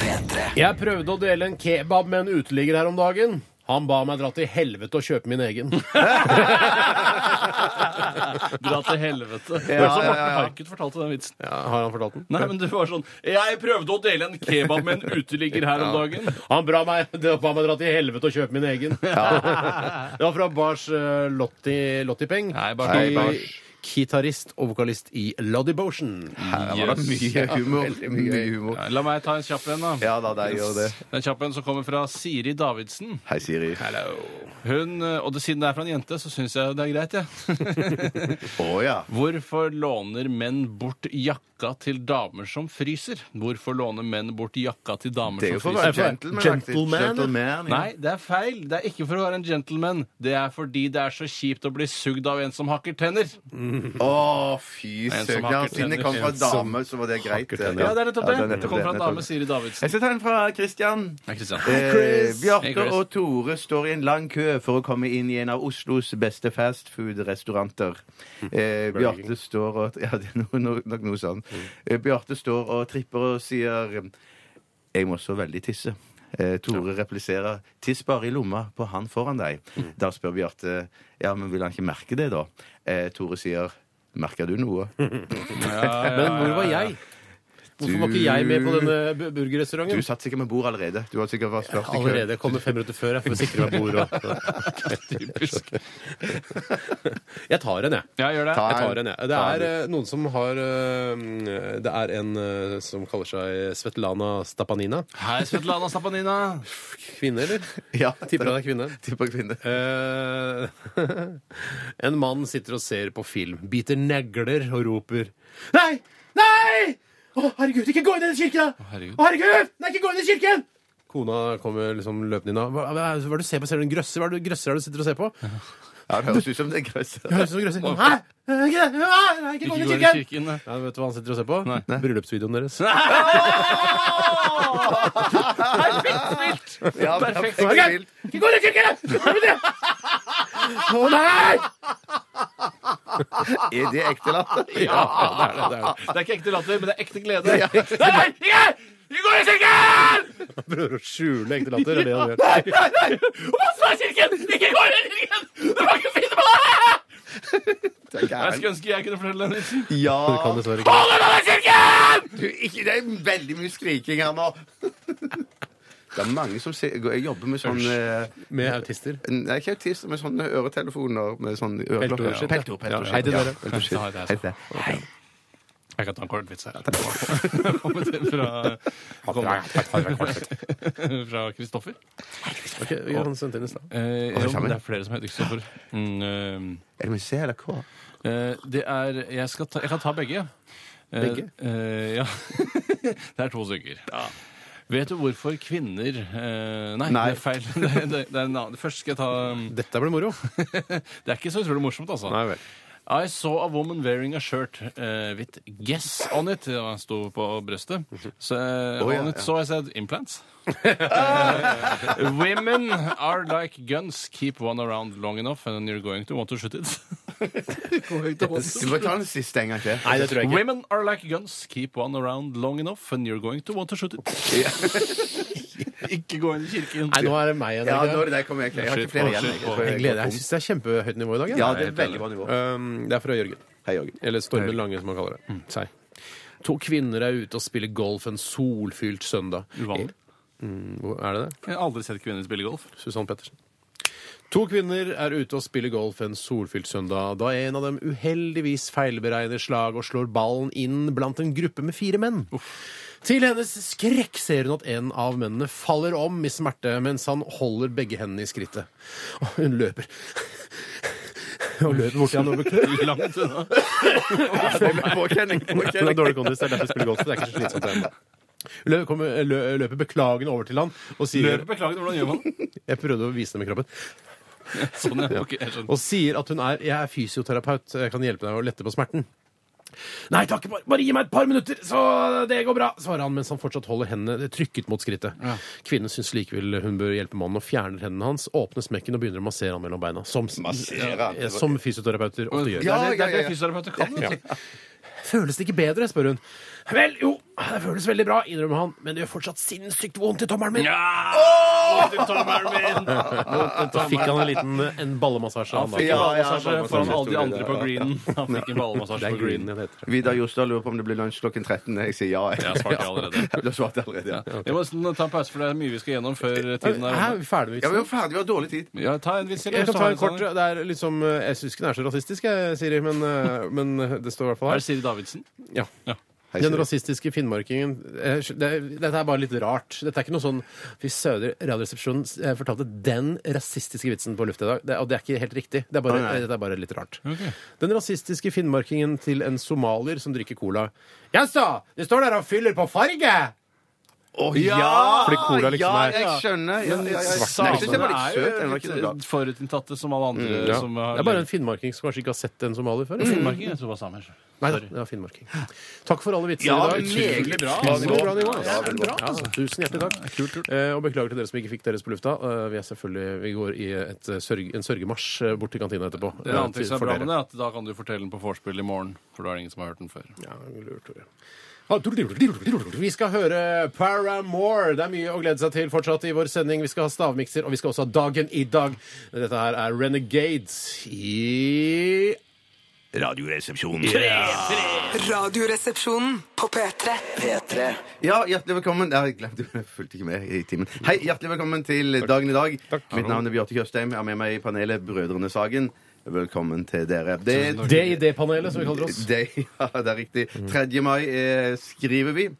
Speaker 2: P3
Speaker 3: Jeg prøvde å dele en kebab med en uteligger her om dagen. Han ba meg dra til helvete og kjøpe min egen.
Speaker 4: Dra til helvete. Det
Speaker 5: Ja,
Speaker 4: var som
Speaker 5: ja, ja,
Speaker 4: Morten
Speaker 5: ja.
Speaker 4: Harket fortalte den vitsen.
Speaker 3: Ja, har han fortalt den?
Speaker 4: Nei, men det var sånn Jeg prøvde å dele en kebab med en uteligger her om dagen.
Speaker 3: Han ba meg, ba meg dra til helvete og kjøpe min egen. det var fra Bars eh, Lotti, Lottipeng.
Speaker 4: Nei, Bars
Speaker 3: Ki-
Speaker 5: Lotti Bars.
Speaker 3: Gitarist og vokalist i Lodibotion.
Speaker 5: Her var det mye humor. mye humor.
Speaker 4: Ja, La meg ta en kjapp en, da.
Speaker 5: Ja da, da gjør det.
Speaker 4: Den kjappe en som kommer fra Siri Davidsen.
Speaker 5: Hei, Siri.
Speaker 4: Hun, eh, og det, siden det er fra en jente, så syns jeg det er greit, jeg.
Speaker 5: Å ja.
Speaker 4: Hvorfor låner menn bort jakka til damer som fryser? Hvorfor låner menn bort jakka til damer
Speaker 5: Det er jo
Speaker 4: som
Speaker 5: for å
Speaker 4: fryser?
Speaker 5: være gentleman.
Speaker 3: Gentleman, ja.
Speaker 5: gentleman ja.
Speaker 4: Nei, det er feil. Det er ikke for å være en gentleman. Det er fordi det er så kjipt å bli sugd av en som hakker tenner.
Speaker 5: Å, fy
Speaker 4: En som
Speaker 5: søren. Ja,
Speaker 4: hakker
Speaker 5: siden det
Speaker 4: tenner.
Speaker 5: kom fra
Speaker 4: En som
Speaker 5: dame, så var det greit.
Speaker 3: tenner.
Speaker 4: Ja, det er nettopp det.
Speaker 5: Ja,
Speaker 4: det, kommer fra en
Speaker 5: nettopp
Speaker 4: dame, Siri Davidsen.
Speaker 5: Jeg skal ta en fra Christian.
Speaker 4: Nei, Kristian.
Speaker 5: Eh,
Speaker 4: Hei,
Speaker 5: Bjarte
Speaker 4: Chris.
Speaker 5: og Tore står i en lang kø for å komme inn i en av Oslos beste fastfood-restauranter. Eh, Bjarte står og Ja, det er noe- noe- nok noe sånn. Eh, Bjarte står og tripper og sier Jeg må så veldig tisse. Eh, Tore repliserer Tiss bare i lomma på han foran deg. Da spør Bjarte Ja, men vil han ikke merke det, da? Eh, Tore sier Merker du noe?
Speaker 3: Men hvor var jeg? Hvorfor var ikke jeg med på denne bu-
Speaker 5: Du
Speaker 3: burgerrestauranten?
Speaker 5: satt sikkert med bord allerede. Du har sikkert vært først i køen.
Speaker 3: Allerede. Jeg kommer fem minutter før jeg for å sikre meg bord. Og...
Speaker 4: Typisk.
Speaker 3: Jeg tar en, jeg.
Speaker 4: Ja, gjør det.
Speaker 5: Ta-
Speaker 3: Jeg tar en, jeg. Det
Speaker 5: Ta
Speaker 3: er eh, noen som har eh, Det er en eh, som kaller seg Svetlana Stapanina.
Speaker 4: Hei, Svetlana Stapanina.
Speaker 3: Kvinne, eller?
Speaker 5: Ja,
Speaker 3: Tipper jeg det er kvinne.
Speaker 5: Tipper kvinne.
Speaker 3: Eh, en mann sitter og ser på film, biter negler og roper Nei! Nei! Å, herregud, ikke gå inn i den kirken! da!
Speaker 4: herregud.
Speaker 3: Å, herregud! Nei, ikke gå inn i kirken! Kona kommer liksom løpende inn. da. Hva, hva, er det- hva er det du ser på? Ser du en grøsser? Hva er det du- grøsser er det du sitter og ser på?
Speaker 5: Ja, det høres ut som det er grøsset.
Speaker 3: Høres ut som grøsser. Hæ? Eh, Ikke det! Nei, nei, ikke gå inn
Speaker 4: Ikke går
Speaker 3: i
Speaker 4: i
Speaker 3: kirken!
Speaker 4: kirken.
Speaker 3: Ja, vet du hva han sitter og ser på?
Speaker 4: Nei.
Speaker 3: Bryllupsvideoen deres.
Speaker 4: Perfekt spilt!
Speaker 5: Ja, perfekt
Speaker 4: Perfekt.
Speaker 5: spill.
Speaker 3: Ikke gå inn i kirken! Å nei!
Speaker 5: Er det ekte latter?
Speaker 4: Ja, det er det. Det er, det. det er ikke ekte latter, men det er ekte glede. Nei, nei, ikke! Vi går i kirken!
Speaker 3: Han prøver å skjule ekte latter. Det er det han gjør.
Speaker 4: Oslo-kirken! Ikke gå i kirken! Det var ikke fint på deg!
Speaker 5: Det er
Speaker 4: Jeg
Speaker 5: gærent.
Speaker 4: skulle ønske jeg kunne fortelle den vitsen.
Speaker 5: Ja.
Speaker 3: Kan dessverre ikke.
Speaker 4: Hold deg unna kirken!
Speaker 5: Du, ikke, det er veldig mye skriking her nå. Det er mange som ser, jeg jobber med sånn eh,
Speaker 3: Med autister.
Speaker 5: Nei, ikke autist, men sånne øretelefoner med sånn øreklokker.
Speaker 3: Peltor-skitt, ja.
Speaker 5: Peltor, peltor,
Speaker 3: Ja, hei til
Speaker 5: ja.
Speaker 3: dere.
Speaker 5: Peltor-skitt.
Speaker 4: Hei til deg,
Speaker 5: Hei til deg. Hei.
Speaker 4: Jeg kan ta en kort vits her. Kommet inn fra fra Kristoffer.
Speaker 3: Ok, ja, han sendte inn i stad.
Speaker 4: Eh,
Speaker 5: Alle
Speaker 4: jo,
Speaker 5: sammen?
Speaker 4: det er flere som heter Kristoffer. Mm,
Speaker 5: Er det med C eller K?
Speaker 4: eh, det er jeg, skal ta, jeg kan ta begge. Eh,
Speaker 3: Begge?
Speaker 4: eh, ja. det er to stykker. Vet du hvorfor kvinner eh, nei,
Speaker 5: Nei.
Speaker 4: det er feil. Det, er- det, det er en annen. Først skal jeg ta um,
Speaker 3: Dette ble moro.
Speaker 4: Det er ikke så utrolig morsomt, altså.
Speaker 3: Nei vel.
Speaker 4: I saw a woman wearing a shirt eh, with 'guess on it'. Det var- sto på brøstet. Så, eh,
Speaker 5: Å, ja,
Speaker 4: on it,
Speaker 5: ja.
Speaker 4: so I said 'implants'. Women are like guns. Keep one around long enough and you're going to want to shoot it.
Speaker 5: Du må ta den siste en gang til.
Speaker 3: Nei, det tror jeg ikke.
Speaker 4: Women are like guns. Keep one around long enough and you're going to want to shoot it. ikke gå inn i kirken.
Speaker 3: Nei, nå er det meg igjen.
Speaker 5: Ja,
Speaker 3: ikke?
Speaker 5: nå er det deg. Kom igjen. Jeg har ikke flere igjen. jeg.
Speaker 3: Jeg gleder Jeg syns det er kjempehøyt nivå i dag. jeg.
Speaker 5: Ja, det er veldig bra nivå.
Speaker 3: Um, det er fra Jørgen.
Speaker 5: Hei, Jørgen.
Speaker 3: Eller Stormen Lange, som han kaller det. Sei. To kvinner er ute og spiller golf en solfylt søndag. Eh,
Speaker 4: Uvanlig.
Speaker 3: Hvor- Er det det?
Speaker 4: Jeg har aldri sett kvinner spille golf.
Speaker 3: Susann Pettersen. To kvinner er ute og spiller golf en solfylt søndag, da en av dem uheldigvis feilberegner slag og slår ballen inn blant en gruppe med fire menn. Til hennes skrekk ser hun at en av mennene faller om i smerte mens han holder begge hendene i skrittet. Og hun løper. Og løper bort til han og beklager.
Speaker 4: Langt unna.
Speaker 5: Påkjenning.
Speaker 3: Hun har dårlig kondis, det er derfor hun spiller golf. Det er ikke så slitsomt. det. Lø- kommer- lø- Løper beklagende over til han og sier
Speaker 4: Løp, Beklager, hvordan gjør man det?
Speaker 3: Jeg prøvde å vise det med kroppen.
Speaker 4: Sånn, ja. Ok, jeg skjønner.
Speaker 3: og sier at hun er Jeg er fysioterapeut, jeg kan hjelpe deg å lette på smerten. Nei takk, bare, bare gi meg et par minutter, så det går bra, svarer han mens han fortsatt holder hendene trykket mot skrittet. Kvinnen syns likevel hun bør hjelpe mannen og fjerner hendene hans, åpner smekken og begynner å massere han mellom beina. Som,
Speaker 5: Massere han?
Speaker 3: eh, som fysioterapeuter ofte gjør.
Speaker 4: Det er det- det
Speaker 5: Ja,
Speaker 4: er
Speaker 5: ja, ja.
Speaker 4: det fysioterapeuter kan. vet du.
Speaker 3: Føles det ikke bedre, spør hun. Vel, jo, det føles veldig bra, innrømmer han, men det gjør fortsatt sinnssykt vondt i tommelen min.
Speaker 4: Ja! Du tommelen min!
Speaker 3: Da fikk han en liten eh, en ballemassasje.
Speaker 4: Han
Speaker 3: han da.
Speaker 4: fikk
Speaker 5: Ja, ja,
Speaker 4: ballemassasje
Speaker 5: ballemassasje.
Speaker 4: foran alle de andre på greenen. Han fikk en ballemassasje
Speaker 3: Det
Speaker 4: på
Speaker 3: er green,
Speaker 4: greenen.
Speaker 3: det heter.
Speaker 5: Vidar Jostad lurer på om det blir lunsj klokken 13. Jeg sier ja.
Speaker 4: Jeg har svart ja allerede.
Speaker 5: Du har svart allerede, ja.
Speaker 4: Vi må nesten ta en pause, for det er mye vi skal gjennom før tiden er
Speaker 3: Hæ,
Speaker 4: omme.
Speaker 3: vi er ferdig med
Speaker 5: Ja, vi var ferdig, vi har dårlig tid.
Speaker 4: Ja, ta en vits eller?
Speaker 3: Jeg kan
Speaker 4: så
Speaker 3: ta
Speaker 4: har
Speaker 3: en
Speaker 4: vi
Speaker 3: kort,
Speaker 4: sånn.
Speaker 3: det er liksom, eh, Jeg syns ikke den er så rasistisk, jeg, Siri, men, eh, men eh, det står i hvert fall
Speaker 4: Er det
Speaker 3: her.
Speaker 4: Siri Davidsen?
Speaker 3: Ja.
Speaker 4: Ja.
Speaker 5: Hei,
Speaker 3: Den
Speaker 5: Siri.
Speaker 3: rasistiske finnmarkingen eh, det er- Dette er bare litt rart. Dette er ikke noe sånn Fy søder, Radioresepsjonen eh, fortalte den rasistiske vitsen på lufta i dag. Det, og det er ikke helt riktig. Det er bare,
Speaker 5: Å, nei.
Speaker 3: eh, dette er bare litt rart. Den rasistiske finnmarkingen til en somalier som drikker cola. Jaså, du står der og fyller på farge!
Speaker 5: Å
Speaker 3: Fordi cola liksom
Speaker 5: ja,
Speaker 3: er-
Speaker 5: jeg skjønner. Ja, ja, ja, jeg
Speaker 4: Samene
Speaker 5: jeg synes den var litt søt. Den var
Speaker 4: er
Speaker 5: ikke så
Speaker 4: jo
Speaker 5: bra.
Speaker 4: forutinntatte som alle andre
Speaker 3: Ja.
Speaker 4: som har
Speaker 3: Det er bare en finnmarking som kanskje ikke har sett en somalier før.
Speaker 4: Finnmarking, jeg tror det var samer.
Speaker 3: Nei, det var finnmarking. Takk for alle vitser
Speaker 5: Ja,
Speaker 3: i dag.
Speaker 5: meget bra.
Speaker 3: Utrolig bra nivå.
Speaker 5: Ja, veldig bra.
Speaker 4: altså.
Speaker 3: Ja, tusen hjertelig takk. Eh, og beklager til dere som ikke fikk deres på lufta. Eh, vi er selvfølgelig, vi går i et eh, sørg, en sørgemarsj eh, bort til kantina etterpå.
Speaker 4: Det
Speaker 3: eh,
Speaker 4: er annet
Speaker 3: til-
Speaker 4: som er
Speaker 3: for
Speaker 4: bra
Speaker 3: dere.
Speaker 4: med det, er at da kan du fortelle den på vorspiel i morgen, for da er det ingen som har hørt den før.
Speaker 3: Ja, lurt, Tore. Ah, Vi skal høre Paramore. Det er mye å glede seg til fortsatt i vår sending. Vi skal ha stavmikser, og vi skal også ha Dagen i dag. Dette her er Renegades i
Speaker 5: Radioresepsjonen.
Speaker 7: Radioresepsjonen på P3.
Speaker 2: P3.
Speaker 5: Ja, hjertelig velkommen. Ja, Jeg glemte, jeg fulgte ikke med i timen. Hei, hjertelig velkommen til dagen i dag. Mitt navn er Bjarte Tjøstheim. Jeg har med meg i panelet Brødrene Sagen. Velkommen til dere. Det,
Speaker 3: Det i det panelet, som vi kaller oss.
Speaker 5: det, ja, det er riktig. 3. mai eh, skriver vi.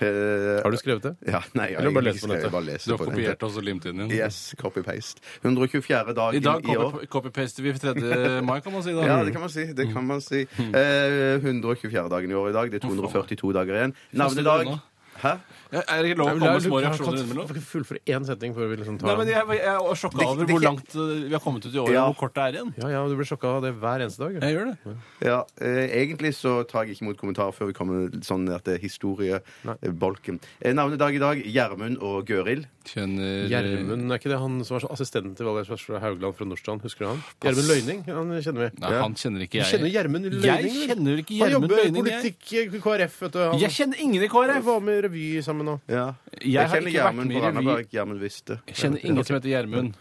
Speaker 5: Eh,
Speaker 3: Har du skrevet det?
Speaker 5: Ja, nei, jeg,
Speaker 3: Eller bare
Speaker 5: jeg,
Speaker 3: lese på nettet?
Speaker 5: bare lese
Speaker 4: Du har
Speaker 5: på
Speaker 4: kopiert oss og limt inn igjen.
Speaker 5: Yes, copy-paste. 124. dagen
Speaker 4: I dag
Speaker 5: i år.
Speaker 4: copy- copy-paster vi 3. mai, kan man si. da.
Speaker 5: Ja, det kan man si. Det kan man si.
Speaker 4: Mm.
Speaker 5: Eh, 124 dagen i år i dag. Det er 242 dager igjen. Navnedag.
Speaker 4: Hvordan
Speaker 5: Hæ?
Speaker 4: Ja, Er det ikke lov å komme med små reaksjoner innimellom?
Speaker 3: Kan fullføre én setning før vi liksom
Speaker 4: Nei,
Speaker 3: tar
Speaker 4: men
Speaker 3: den?
Speaker 4: jeg, jeg er sjokka over hvor langt eh, vi har kommet ut i året,
Speaker 5: Ja.
Speaker 4: og hvor kort det er igjen.
Speaker 3: Ja, ja, du blir sjokka av det hver eneste dag.
Speaker 4: Jeg gjør det.
Speaker 5: Ja, eh, egentlig så tar jeg ikke imot kommentarer før vi kommer sånn at det er historiebolken. Eh, navnedag i dag Gjermund og Gøril.
Speaker 4: Kjenner
Speaker 3: Gjermund, er ikke det han som var så- assistenten til Valgerd Svarstad Haugland fra Nordstrand? Husker du han? Gjermund Løyning, han kjenner vi.
Speaker 4: Nei, han kjenner
Speaker 3: Du
Speaker 4: ikke jeg.
Speaker 3: kjenner Gjermund Løyning?
Speaker 4: Jeg
Speaker 3: vel?
Speaker 4: kjenner ikke
Speaker 3: Han
Speaker 4: Gjermund
Speaker 3: jobber i
Speaker 4: Løyning. Jeg.
Speaker 3: politikk i KrF, vet du. Han
Speaker 4: jeg kjenner ingen i
Speaker 3: jeg
Speaker 4: KrF!
Speaker 3: var med i revy sammen nå.
Speaker 5: Ja. Jeg,
Speaker 4: Jeg har
Speaker 5: kjenner
Speaker 4: ikke vært med
Speaker 5: Gjermund
Speaker 4: i
Speaker 5: på
Speaker 4: revy.
Speaker 5: Randaberg. Gjermund visste.
Speaker 4: Jeg kjenner ingen som heter Gjermund.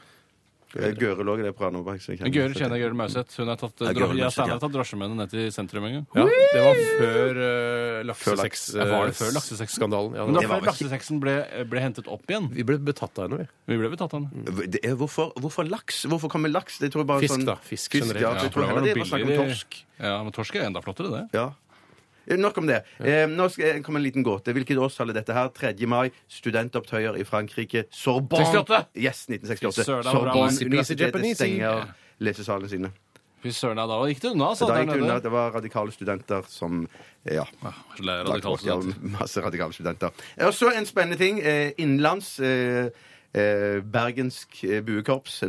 Speaker 5: Eh, Gøril òg er det på Randaberg. så jeg kjenner-
Speaker 4: Gøril kjenner Gøril Mauseth. Hun har tatt, eh,
Speaker 5: Ja, Gøril
Speaker 4: dro- jeg
Speaker 5: Mauseth,
Speaker 4: Steinar
Speaker 5: ja.
Speaker 4: har tatt drosje med henne ned til sentrum en gang.
Speaker 3: Ja, det var før uh, laksesex-
Speaker 5: Før laks-
Speaker 3: eh,
Speaker 4: Var det før laksesex?
Speaker 3: skandalen, ja,
Speaker 4: Men det
Speaker 3: det
Speaker 4: var
Speaker 3: var
Speaker 4: før laksesexen ble, ble hentet opp igjen.
Speaker 3: Vi ble betatt av henne, vi.
Speaker 4: Vi ble betatt av den.
Speaker 5: Det er, hvorfor, hvorfor laks? Hvorfor kommer laks? Det tror jeg bare
Speaker 3: Fisk,
Speaker 5: sånn,
Speaker 3: da. Fisk generelt.
Speaker 5: ja,
Speaker 3: Ja,
Speaker 5: så jeg tror
Speaker 4: for det var
Speaker 5: heller det
Speaker 4: noe
Speaker 5: var snakk om
Speaker 4: billigere.
Speaker 5: torsk.
Speaker 4: Ja, men torsk er enda flottere, det.
Speaker 5: Ja. Eh, Nok om det. Eh, nå skal jeg komme en liten gåte. Hvilket årstall er dette her? 3. mai. Studentopptøyer i Frankrike. Sorbonne.
Speaker 4: 68.
Speaker 5: Yes, 1968.
Speaker 4: Søren, det var bra.
Speaker 5: Sorbonne
Speaker 4: Easy peasy
Speaker 5: universitetet
Speaker 3: Japanese.
Speaker 5: stenger lesesalene sine.
Speaker 4: Fy søren, ja, da gikk det unna,
Speaker 5: Så da
Speaker 4: altså. Der
Speaker 5: gikk det unna
Speaker 4: nede.
Speaker 5: at det var radikale studenter som eh, Ja.
Speaker 4: Ah, så det er
Speaker 5: lagt
Speaker 4: radikalt
Speaker 5: bort av
Speaker 4: studenter.
Speaker 5: masse radikale studenter. Og så en spennende ting. Eh, innenlands. Eh, eh, bergensk eh, buekorps.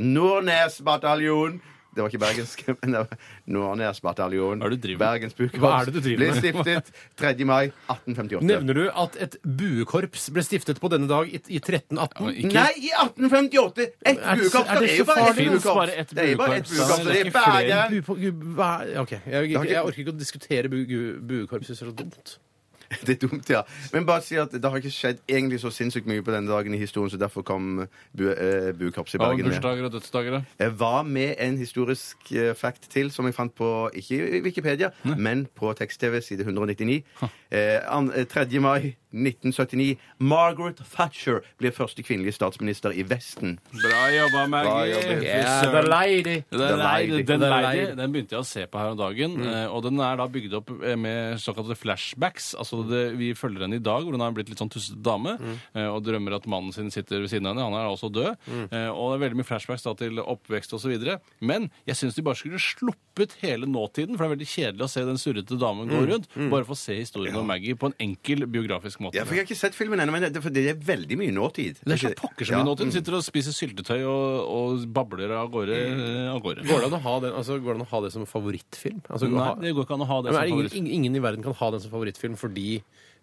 Speaker 5: Nordnesbataljon. Det var ikke bergensk, men det var Nordnesbataljon.
Speaker 4: Hva er det du driver med?
Speaker 5: Bergens buekorps.
Speaker 3: Hva er det du driver
Speaker 5: Ble
Speaker 3: med?
Speaker 5: stiftet 3. mai 1858.
Speaker 3: Nevner du at et buekorps ble stiftet på denne dag i, i 1318?
Speaker 4: men ikke-
Speaker 5: Nei, i 1858! Ett
Speaker 3: Er det-
Speaker 5: buekorps!
Speaker 3: er det
Speaker 5: Det er
Speaker 3: så
Speaker 5: jo bare ett
Speaker 3: farlig?
Speaker 4: Finnes
Speaker 5: buekorps.
Speaker 4: bare ett
Speaker 5: Det er jo bare ett
Speaker 4: buekorps.
Speaker 5: buekorps.
Speaker 4: Det
Speaker 5: Det
Speaker 4: er
Speaker 5: er
Speaker 4: ikke flere enn
Speaker 5: Bergen!
Speaker 3: Bu- bu- bu- hva- OK. Jeg,
Speaker 5: har
Speaker 3: jeg,
Speaker 5: ikke-
Speaker 3: jeg orker ikke å diskutere bu- gu- buekorps. Jeg synes det er så dumt.
Speaker 5: Det er dumt, ja. Men bare si at det har ikke skjedd egentlig så sinnssykt mye på denne dagen i historien, så derfor kom bu eh, buekorpset i
Speaker 4: Ja, men
Speaker 5: Bergen med.
Speaker 4: bursdager og dødsdager, da.
Speaker 5: Jeg var med en historisk eh, fact til som jeg fant på ikke i Wikipedia, men på tekst-TV, side 199. Eh, an- eh, 3. mai 1979. Margaret Thatcher blir første kvinnelige statsminister i Vesten.
Speaker 4: Bra jobba, Maggie.
Speaker 5: Bra jobba.
Speaker 4: Fy
Speaker 3: Yeah,
Speaker 4: søren.
Speaker 3: the lady.
Speaker 4: Den, er,
Speaker 5: Lady.
Speaker 4: den,
Speaker 3: Den er
Speaker 4: Lady,
Speaker 3: Lady.
Speaker 4: den begynte jeg å se på her om dagen. eh, Og den er da bygd opp eh, med såkalte flashbacks. Altså det, Vi følger henne i dag, hvor hun har blitt litt sånn tussete dame. eh, Og drømmer at mannen sin sitter ved siden av henne. Han er også død. eh, Og det er veldig mye flashbacks da til oppvekst osv. Men jeg syns de bare skulle sluppet hele nåtiden, for det er veldig kjedelig å se den surrete damen gå rundt. Bare få se historien om Maggie på en enkel biografisk måte.
Speaker 5: Ja, for Jeg har ikke sett filmen ennå, men det, for det er veldig mye nåtid.
Speaker 4: Det er så pokker så mye
Speaker 5: Ja. Mm.
Speaker 4: nåtid. Hun Sitter og spiser syltetøy og, og babler av gårde. eh, Av gårde.
Speaker 3: Går det, an å ha den, altså, går det an å ha det som favorittfilm? Altså,
Speaker 4: Nei,
Speaker 3: ha-
Speaker 4: det går ikke an å ha det
Speaker 3: Ja, men er
Speaker 4: som
Speaker 3: det
Speaker 4: favoritt.
Speaker 3: ingen, ingen, ingen i verden kan ha den som favorittfilm fordi,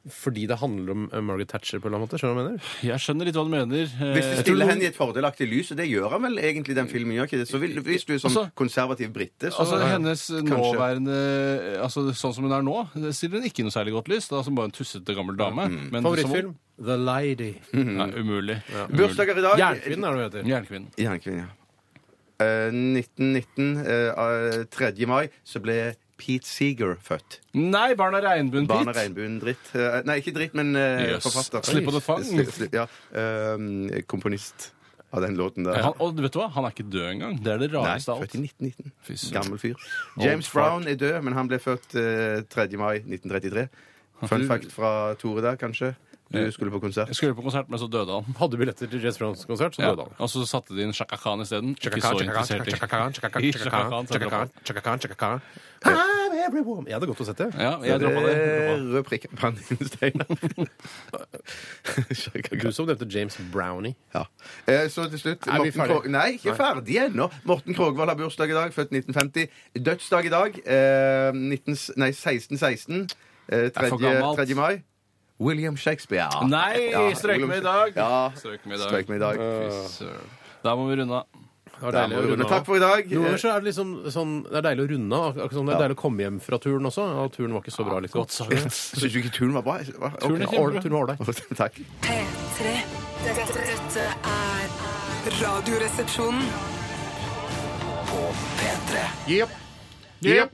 Speaker 3: fordi det handler om eh, Margaret Thatcher på en eller annen måte. Skjønner du hva jeg mener?
Speaker 4: Jeg skjønner litt hva du mener.
Speaker 5: Hvis du
Speaker 4: Eh,
Speaker 5: stiller henne i et fordelaktig lys, og det gjør han vel egentlig, den filmen gjør ikke det, så vil, hvis du er som
Speaker 4: Altså-
Speaker 5: konservativ brite, så
Speaker 4: Altså Hennes
Speaker 5: Kanskje.
Speaker 4: nåværende altså Sånn som hun er nå, det stiller hun ikke i noe særlig godt lys. Det er altså bare en tussete gammel dame.
Speaker 5: Mm.
Speaker 4: Men
Speaker 3: Favorittfilm? The Lady.
Speaker 5: Mm-hmm.
Speaker 4: Som, nei, umulig. umulig.
Speaker 5: Bursdager i dag.
Speaker 3: Jernkvinnen er det hun heter.
Speaker 4: Jernkvinnen.
Speaker 5: Jernkvinnen, ja. Eh, 1919, eh, eh, 3. mai, så ble Pete Seeger født.
Speaker 4: Nei, Barna Regnbuen
Speaker 5: Barn av
Speaker 4: Pitt!
Speaker 5: regnbuen dritt. Eh, nei, ikke dritt, men eh,
Speaker 4: Jøss.
Speaker 5: forfatter.
Speaker 4: Slipp på det fang.
Speaker 5: Sli- sli- Ja, eh, komponist av den låten der.
Speaker 4: Han, og vet du hva? Han er ikke død engang. Det er det
Speaker 5: Nei,
Speaker 4: rareste av
Speaker 5: født i
Speaker 4: alt.
Speaker 5: 1919.
Speaker 4: Fy søren.
Speaker 5: Gammel fyr. James Brown er død, men han ble født eh, 3. mai 1933. Fun fact fra Tore der, kanskje. Du skulle på konsert.
Speaker 4: Hm. Jeg skulle på konsert, men så døde han.
Speaker 3: Hadde billetter til Jess Browns konsert, så
Speaker 4: Ja.
Speaker 3: døde han.
Speaker 4: Og så satte de inn Shaka Khan isteden. Ikke så interessert i
Speaker 3: Jeg hadde godt å sett det.
Speaker 4: Ja, jeg droppa det. Jeg droppa det.
Speaker 5: Rød prikk Eh, på han Steinar. Sjekka
Speaker 3: Du som nevnte James Brownie.
Speaker 5: Ja. Eh, Så til slutt
Speaker 3: Er vi
Speaker 5: Morten
Speaker 3: ferdige?
Speaker 5: Krog... Nei, ikke ferdig ennå. Morten Krogvold har bursdag i dag, født 1950. Dødsdag i dag. Eh, 19, nei, 1616. Eh,
Speaker 4: er for
Speaker 5: 3.
Speaker 4: gammelt.
Speaker 5: 3. mai. William Shakespeare.
Speaker 4: Nei,
Speaker 5: Ja,
Speaker 4: strøk
Speaker 5: William
Speaker 4: med i dag!
Speaker 5: Ja.
Speaker 4: Strøk med i dag. Eh,
Speaker 5: Strøk med i dag.
Speaker 4: Fy søren. Da må vi runde av.
Speaker 3: Det var
Speaker 5: Da må
Speaker 3: deilig
Speaker 5: vi
Speaker 3: å
Speaker 5: runde.
Speaker 3: runde av.
Speaker 5: Takk for i dag.
Speaker 3: Noen ganger
Speaker 5: Eh,
Speaker 3: så er det liksom sånn, det er deilig å runde av. akkurat som Det er deilig å komme hjem fra turen også. Og turen var ikke så bra. Liksom.
Speaker 4: Godt sagt.
Speaker 5: Syns du ikke turen var bra? Hva? Ok.
Speaker 4: Turen er
Speaker 3: Ja, ål- turen var ålreit.
Speaker 5: Takk.
Speaker 7: P3. Dette, dette er Radioresepsjonen.
Speaker 3: Jepp. Jepp.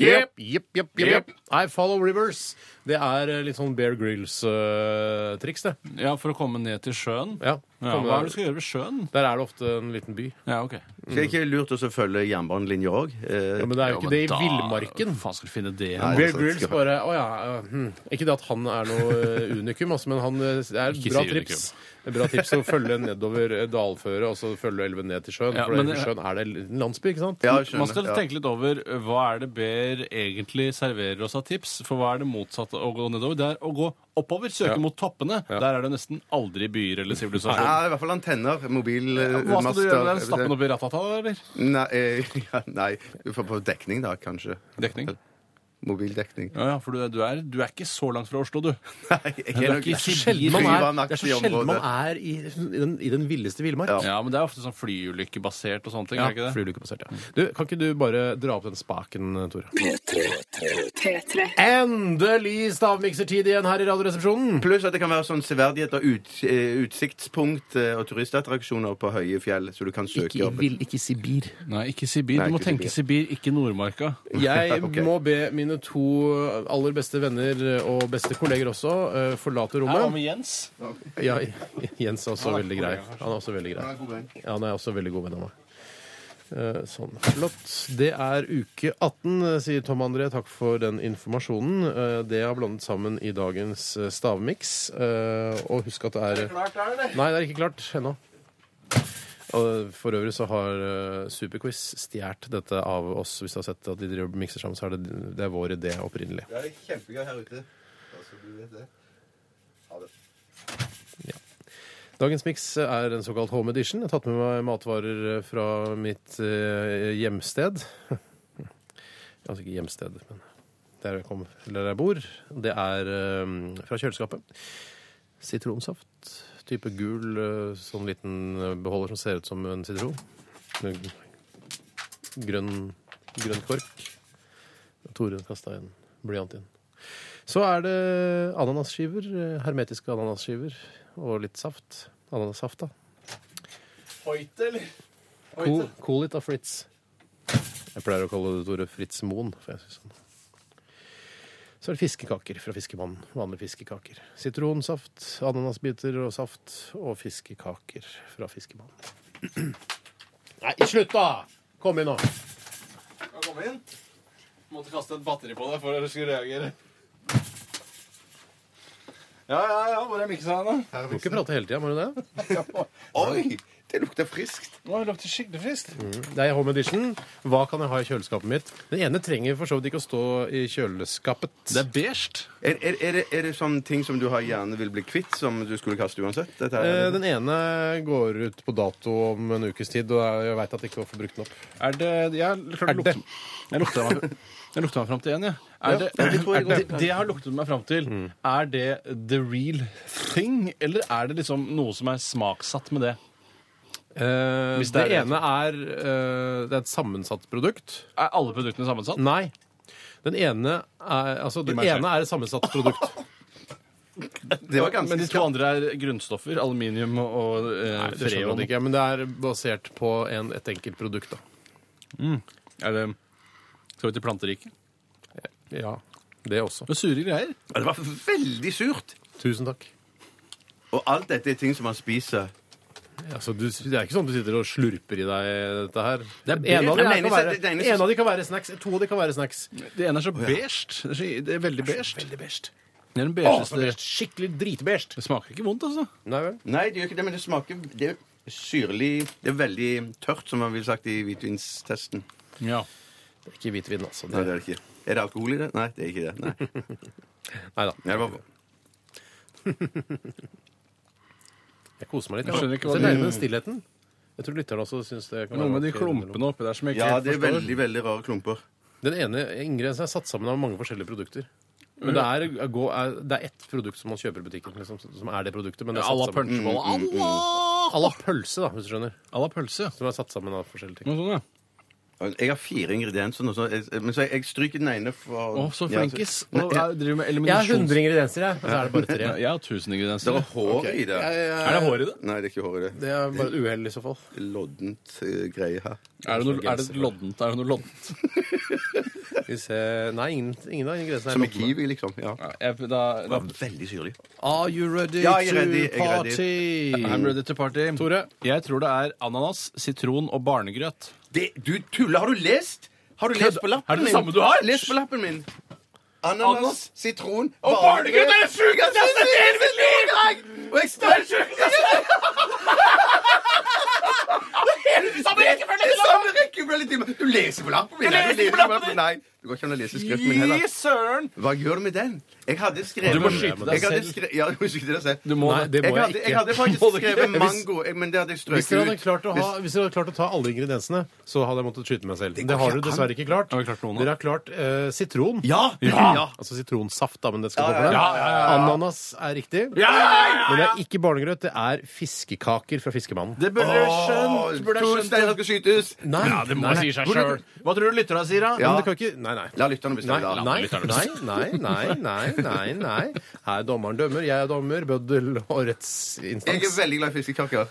Speaker 3: Jepp, jepp, jepp, jepp. I follow rivers. Det er eh, litt sånn Bear Grills-triks, det.
Speaker 4: Ja, for å komme ned til sjøen.
Speaker 3: Ja,
Speaker 4: Ja,
Speaker 3: komme der.
Speaker 4: hva er det du skal gjøre ved sjøen?
Speaker 3: Der er det ofte en liten by.
Speaker 4: Ja, ok.
Speaker 5: Skal jeg ikke lurt å følge Eh, jernbanelinja òg?
Speaker 3: Ja, men det er jo
Speaker 4: men
Speaker 3: ikke det i
Speaker 4: da-
Speaker 3: villmarken.
Speaker 4: Faen skal du finne det
Speaker 5: Nei.
Speaker 4: her?
Speaker 3: Bear
Speaker 5: altså,
Speaker 3: Grylls
Speaker 5: skal-
Speaker 3: bare Å ja. eh, hm. Ikke det at han er noe eh, unikum, altså, men han eh, det er
Speaker 4: Ikke
Speaker 3: bra
Speaker 4: si
Speaker 3: tips. Det er Bra tips å følge nedover eh, dalføret og så følge elven ned til sjøen.
Speaker 4: Ja,
Speaker 3: for
Speaker 4: men
Speaker 3: elven
Speaker 4: det-
Speaker 3: sjøen er det en liten landsby, ikke sant?
Speaker 5: Ja, jeg skjønner.
Speaker 4: Man skal
Speaker 5: Ja.
Speaker 4: tenke litt over eh, hva er det Bear egentlig serverer oss av tips. For hva er det motsatte å gå nedover? Det er å gå oppover, søke
Speaker 3: Ja.
Speaker 4: mot toppene. Der er det nesten aldri byer eller sivilisasjon.
Speaker 5: Ja, I hvert fall antenner. Mobilmaster.
Speaker 4: Hva skal du gjøre med den? Stappe den opp i ratata, eller?
Speaker 5: Nei, eh, ja, nei, du får på dekning, da, kanskje.
Speaker 4: Dekning.
Speaker 5: Mobildekning.
Speaker 4: Ja, ja, for du, er- du, er, du er ikke så langt fra Oslo, du.
Speaker 5: Nei, jeg
Speaker 4: er
Speaker 5: er nok
Speaker 4: ikke
Speaker 5: ikke
Speaker 4: sjelden
Speaker 3: Man er,
Speaker 5: fyvanaktig
Speaker 3: det er så sjelden man
Speaker 5: område.
Speaker 3: er i, i, den, i den villeste villmark.
Speaker 5: Ja.
Speaker 4: Ja, men det er ofte sånn flyulykkebasert og sånne ting.
Speaker 3: Ja,
Speaker 4: er det ikke det?
Speaker 3: flyulykkebasert, ja.
Speaker 4: Mm.
Speaker 3: Du, kan ikke du bare dra opp den spaken, Tore?
Speaker 7: P3.
Speaker 3: Endelig stavmiksertid igjen her i Radioresepsjonen!
Speaker 5: Pluss at det kan være sånn severdighet og ut, eh, utsiktspunkt eh, og turistattraksjoner på høye fjell, så du kan søke
Speaker 3: Ikke,
Speaker 5: om
Speaker 3: vil, ikke Sibir.
Speaker 4: Nei, ikke Sibir.
Speaker 5: Nei,
Speaker 4: Du må
Speaker 5: ikke
Speaker 4: tenke Sibir, ikke Nordmarka.
Speaker 3: Jeg
Speaker 5: Ok.
Speaker 3: må be mine mine to aller beste venner og beste kolleger også eh, forlater
Speaker 4: Hva
Speaker 3: rommet.
Speaker 4: med Jens?
Speaker 3: Ja, Jens er også veldig grei. Han er også veldig grei. Ja, han er også veldig god venn av meg. Eh, Sånn, flott. Det er uke 18, sier Tom André. Takk for den informasjonen. Eh, Det har blandet sammen i dagens eh, stavmiks. Eh, Og husk at det er Nei, det er ikke klart ennå. Og For øvrig så har eh, Superquiz stjålet dette av oss. Hvis du har sett at de driver og mikser sammen, så er det, det er vår idé opprinnelig.
Speaker 5: Det er kjempegøy her ute. Altså, du vet det. Ha det.
Speaker 3: Dagens miks er en såkalt home edition. Jeg har tatt med meg matvarer eh, fra mitt eh, hjemsted. Altså ikke hjemsted, men der jeg, kom, eller der jeg bor. Det er eh, fra kjøleskapet. Sitronsaft. Type gul, eh, sånn liten beholder som ser ut som en sitron. Med Grønn, grønn kork. Tore kasta en blyant inn. Så er det ananasskiver. eh, Hermetiske ananasskiver. Og litt saft. Ananassaft, da.
Speaker 4: Hoit, eller?
Speaker 3: Cool, cool it av Fritz. Jeg pleier å kalle det ordet Fritz Moen. For jeg synes han. Så er det fiskekaker fra Fiskemannen. Vanlige fiskekaker. Sitronsaft, ananasbiter og saft. Og fiskekaker fra Fiskemannen. Nei, slutt, da! Kom inn nå.
Speaker 4: Kan jeg komme inn? Måtte kaste et batteri på deg for at du skulle reagere. Ja, ja, ja. Bare miksa den, da.
Speaker 3: Du må ikke prate hele tida, må du det?
Speaker 5: Oi! Det lukter friskt.
Speaker 4: Nå lukter skikkelig frist.
Speaker 3: Mm. Det er Home Edition. Hva kan jeg ha i kjøleskapet mitt? Den ene trenger for så vidt ikke å stå i kjøleskapet.
Speaker 4: Det er beige.
Speaker 5: Er, er, er, det, er det sånne ting som du har gjerne vil bli kvitt, som du skulle kaste uansett? Dette
Speaker 3: Eh,
Speaker 5: her,
Speaker 3: Den ene går ut på dato om en ukes tid, og jeg veit at jeg ikke får brukt den opp.
Speaker 4: Er det Jeg klarte
Speaker 3: Er
Speaker 4: å
Speaker 3: det?
Speaker 4: lukte Jeg lukta meg, jeg lukta meg fram til en, jeg. Er det,
Speaker 5: det tror jeg
Speaker 4: er det,
Speaker 5: godt.
Speaker 4: det jeg har luktet meg fram til, er det the real thing, eller er det liksom noe som er smaksatt med det?
Speaker 3: Eh,
Speaker 4: Hvis
Speaker 3: det
Speaker 4: det er det.
Speaker 3: ene er eh, Det er et sammensatt produkt.
Speaker 4: Er alle produktene sammensatt?
Speaker 3: Nei. Den ene er, altså, den
Speaker 4: meg en
Speaker 3: ene er et sammensatt produkt.
Speaker 5: det var ganske
Speaker 4: Men de to andre er grunnstoffer. Aluminium og eh,
Speaker 3: Nei, det skjønner
Speaker 4: freon.
Speaker 3: jeg ikke, men det er basert på en, et enkelt produkt, da.
Speaker 4: Er det Skal vi til planteriket?
Speaker 3: Ja, det også.
Speaker 4: Det er sure greier.
Speaker 5: Ja, Det var veldig surt.
Speaker 3: Tusen takk.
Speaker 5: Og alt dette er ting som man spiser.
Speaker 3: Altså, du, det er ikke sånn du sitter og slurper i deg dette her.
Speaker 4: Det er
Speaker 3: en, av de
Speaker 5: beige.
Speaker 3: her kan være,
Speaker 5: Det er den eneste-
Speaker 3: en av de kan være snacks. To av de kan være snacks.
Speaker 4: Det ene er så beige. Det er, så, det er veldig beige.
Speaker 3: Veldig beige.
Speaker 4: Det er den
Speaker 3: Å,
Speaker 4: beigeste
Speaker 3: så beige. Skikkelig dritbeige.
Speaker 4: Det smaker ikke vondt, altså.
Speaker 3: Nei vel.
Speaker 5: Nei, det gjør ikke det, men det smaker Det er syrlig Det er veldig tørt, som man ville sagt i hvitvinstesten.
Speaker 4: Ja.
Speaker 3: Det er ikke hvitvin, altså.
Speaker 5: Nei,
Speaker 3: Det,
Speaker 5: det er det ikke. Er det alkohol i det? Nei, det er ikke det. Nei.
Speaker 3: nei da.
Speaker 5: Nei, det var...
Speaker 3: Jeg koser meg litt.
Speaker 4: Jeg skjønner ikke hva
Speaker 3: Så
Speaker 4: du-
Speaker 3: deilig med den stillheten. Jeg tror lytterne også syns det kan
Speaker 4: Noe med de
Speaker 3: ok, eller noe.
Speaker 4: klumpene oppi der som jeg
Speaker 5: Ja,
Speaker 4: ikke helt
Speaker 5: det er
Speaker 4: forstår.
Speaker 5: veldig, veldig rare klumper.
Speaker 3: Den ene ingrediensen er satt sammen av mange forskjellige produkter. Men det er, er gå- er, det er ett produkt som man kjøper i butikken, liksom, som er det produktet. Men det er
Speaker 4: À la
Speaker 3: satt sammen.
Speaker 4: punchbowl.
Speaker 3: À la pølse, da, hvis du skjønner.
Speaker 4: À la pølse.
Speaker 3: Som er satt sammen av forskjellige ting.
Speaker 4: Noe sånt, ja.
Speaker 5: Jeg har fire ingredienser nå, så jeg, men så jeg, jeg stryker den ene for
Speaker 4: Å, så
Speaker 5: Ja,
Speaker 4: flinkis. Nå er- driver med
Speaker 3: altså, Mm. Jeg har
Speaker 4: eliminasjon.
Speaker 3: 100 ingredienser, jeg. Og så er det bare tre.
Speaker 4: Ja, Jeg har tusen
Speaker 5: Det
Speaker 4: ingredienser.
Speaker 5: er hår i det.
Speaker 4: Er det hår i det?
Speaker 5: Nei, det er ikke hår i det.
Speaker 3: Det er bare et uhell, i så fall.
Speaker 5: Loddent eh, greie her.
Speaker 4: Er det noe, er det loddent? Er det noe loddent?
Speaker 3: Skal vi se Nei, ingen, ingen av ingrediensene er
Speaker 5: Som i
Speaker 3: loddende.
Speaker 5: kiwi, liksom. Ja.
Speaker 4: Ja, jeg- da-
Speaker 5: Det
Speaker 4: da-
Speaker 5: var veldig syrlig.
Speaker 3: Are you ready
Speaker 5: Ja, jeg er ready, jeg
Speaker 3: to
Speaker 5: er ready.
Speaker 3: party?
Speaker 4: I'm ready to party.
Speaker 3: Tore?
Speaker 4: Jeg tror det er ananas, sitron og barnegrøt.
Speaker 5: Det, du tuller! Har du lest? Har du lest på lappen min?
Speaker 4: Er det det samme du har?
Speaker 5: Les på lappen min. Ananas,
Speaker 4: Ananas,
Speaker 5: sitron
Speaker 4: og barnegrøt er det sjukeste jeg har sett i hele mitt liv!
Speaker 5: Og jeg står Det er samme rekkefølge til meg! Du leser på lappen min! Nei, du leser på lappen min. Nei, du går ikke an å lese skriften min
Speaker 4: Gi
Speaker 5: heller.
Speaker 4: søren!
Speaker 5: Hva gjør du med den? Jeg hadde skrevet
Speaker 4: Du må skyte deg
Speaker 5: Jeg hadde
Speaker 4: selv.
Speaker 5: skre- Ja, du må skyte deg selv.
Speaker 4: Du må
Speaker 3: Nei, det må
Speaker 5: Jeg
Speaker 3: jeg,
Speaker 5: hadde,
Speaker 3: ikke.
Speaker 5: jeg hadde
Speaker 4: Må
Speaker 5: faktisk
Speaker 4: du ikke?
Speaker 5: skrevet
Speaker 4: Hvis-
Speaker 5: mango, jeg- men det hadde jeg
Speaker 3: Hvis
Speaker 5: strøket
Speaker 3: dere, hadde
Speaker 5: ut.
Speaker 3: klart å ha,
Speaker 5: Hvis-
Speaker 3: hvis dere hadde klart å ta alle ingrediensene, så hadde jeg måttet skyte meg selv. Det, har
Speaker 5: ikke
Speaker 3: dere dessverre ikke klart.
Speaker 4: Har vi klart noen, da?
Speaker 3: dere har klart eh, sitron.
Speaker 5: Ja!
Speaker 4: Ja.
Speaker 3: Altså sitronsaft, da, men det skal
Speaker 5: Ja,
Speaker 3: gå for det.
Speaker 4: ja, ja, ja, ja.
Speaker 3: Ananas er riktig. Men det er ikke barnegrøt, det er fiskekaker fra Fiskemannen.
Speaker 4: Det burde jeg skjønt. Burde jeg
Speaker 5: To
Speaker 4: skjønt.
Speaker 5: steiner skal skytes!
Speaker 3: Nei,
Speaker 4: Ja, det må
Speaker 3: nei,
Speaker 4: si seg
Speaker 3: Hvor-
Speaker 4: sjøl. Hva tror du lytterne sier, da?
Speaker 5: Ja.
Speaker 3: Men det kan ikke Nei, nei.
Speaker 5: La lytterne bestemme.
Speaker 3: Nei,
Speaker 5: da.
Speaker 3: nei, nei, nei, nei, nei, nei, nei. Her dommeren dømmer, jeg er dommer, bøddel og
Speaker 5: Jeg er
Speaker 3: rettsinstans.
Speaker 5: veldig glad i fiskekaker.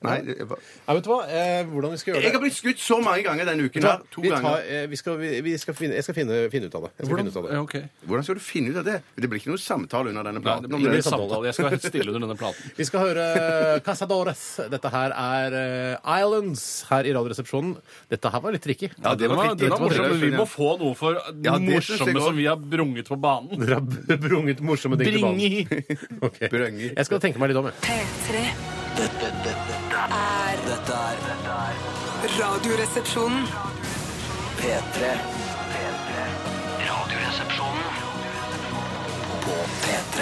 Speaker 5: Nei, det var-
Speaker 3: Nei, vet du hva? Eh, hvordan vi skal gjøre det
Speaker 5: jeg har blitt skutt så mange ganger denne uken her. To
Speaker 3: vi tar,
Speaker 5: ganger.
Speaker 3: eh, vi skal, vi, vi skal finne, Jeg skal finne, finne ut av det. Jeg skal finne ut av det.
Speaker 4: Ja, ok.
Speaker 5: Hvordan skal du finne ut av det? Det blir ikke noe samtale under denne
Speaker 4: Nei,
Speaker 5: platen.
Speaker 4: det
Speaker 5: om
Speaker 4: blir
Speaker 5: det.
Speaker 4: ingen samtale. Jeg skal være helt stille under denne platen.
Speaker 3: Vi skal høre eh, Casadores. Dette her er eh, Islands her i Radioresepsjonen. Dette her var litt tricky.
Speaker 5: Ja, det var tricky.
Speaker 4: Den er- den er
Speaker 5: Det var
Speaker 4: morsom, men
Speaker 5: tricky.
Speaker 4: vi må få noe for
Speaker 5: Ja, det synes jeg
Speaker 4: morsomme
Speaker 5: også.
Speaker 4: som vi har brunget på banen.
Speaker 3: Dere har brunget morsomme ting til banen.
Speaker 4: Bringi!
Speaker 3: Ok.
Speaker 5: Brungi.
Speaker 3: Jeg skal tenke meg litt om, jeg.
Speaker 7: P3
Speaker 2: Dette, dette, dette er- dette er dette er
Speaker 7: Radioresepsjonen
Speaker 2: P3. P3. Radioresepsjonen på P3.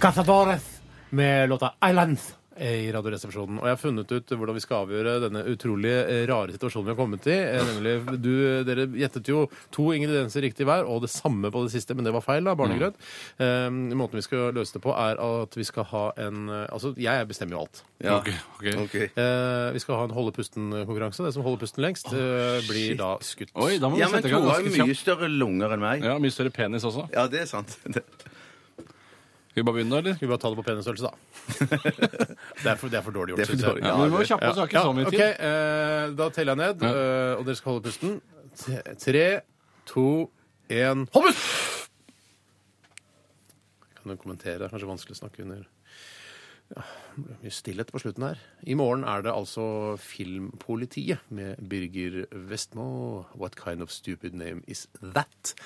Speaker 3: Casadores med låta Islands Eh, i Radioresepsjonen. Og jeg har funnet ut hvordan vi skal avgjøre denne utrolig eh, rare situasjonen vi har kommet i. Eh, Nemlig, du, dere gjettet jo to ingredienser riktig hver, og det samme på det siste, men det var feil, da. Barnegrøt. Eh, måten vi skal løse det på, er at vi skal ha en eh, Altså, jeg bestemmer jo alt.
Speaker 5: Ja.
Speaker 4: Ok, ok.
Speaker 5: Ok.
Speaker 3: Eh, vi skal ha en holde pusten-konkurranse. Den som holder pusten lengst, eh, blir da skutt.
Speaker 4: Oi, da må vi
Speaker 5: Ja, men
Speaker 4: sette i gang
Speaker 5: Tore har
Speaker 4: ganske
Speaker 5: mye
Speaker 4: kjapt.
Speaker 5: større lunger enn meg.
Speaker 4: Ja, Mye større penis også.
Speaker 5: Ja, det er sant. Det-
Speaker 4: Skal vi bare begynne, da, eller?
Speaker 3: Skal vi bare ta det på penisstørrelse, da? det, er for, det er for dårlig gjort,
Speaker 5: Det er for
Speaker 3: synes
Speaker 5: dårlig.
Speaker 3: jeg.
Speaker 4: Ja, men vi må jo kjappe oss, vi har ikke så mye
Speaker 3: ok,
Speaker 4: tid.
Speaker 3: eh, da teller jeg ned, eh, og dere skal holde pusten. T tre, to, én Hold pust! Kan du kommentere? Det er kanskje vanskelig å snakke under ja, det ble Mye stillhet på slutten her. I morgen er det altså Filmpolitiet med Birger Vestmo. What kind of stupid name is that?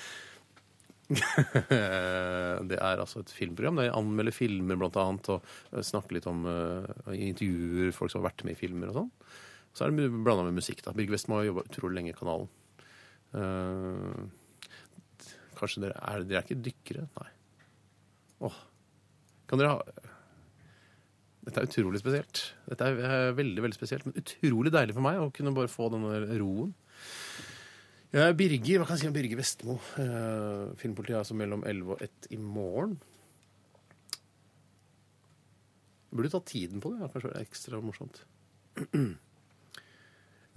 Speaker 3: Eh, Det er altså et filmprogram der jeg anmelder filmer blant annet, og eh, snakker litt om eh, og intervjuer folk som har vært med i filmer og sånn. Så er det blanda med musikk, da. Birger Westmo har jobba utrolig lenge i kanalen. Eh, kanskje dere er Dere er ikke dykkere? Nei. Åh. Kan dere ha Dette er utrolig spesielt. Dette er eh, veldig, veldig spesielt, men utrolig deilig for meg å kunne bare få denne roen. Ja, Birger, hva kan jeg si om Birger Vestmo? Eh, filmpolitiet er altså mellom 11 og 1 i morgen. Jeg burde ta tiden på det. Det kanskje være ekstra morsomt.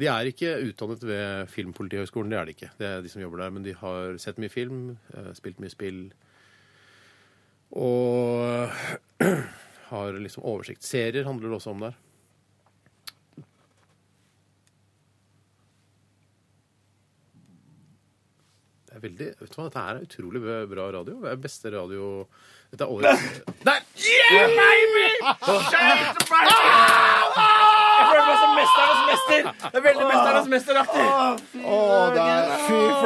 Speaker 3: De er ikke utdannet ved Filmpolitihøgskolen, det er de ikke. Det er de som jobber der, Men de har sett mye film, eh, spilt mye spill og har liksom oversikt. Serier handler det også om der. Det er veldig, vet du hva, Dette her er utrolig bra- bra radio. Det er beste radio Dette er årets Der! Yeah, baby! Shades of Pride! Jeg føler meg som Mesternes mester! Det er veldig Mesternes mesteraktig! Å,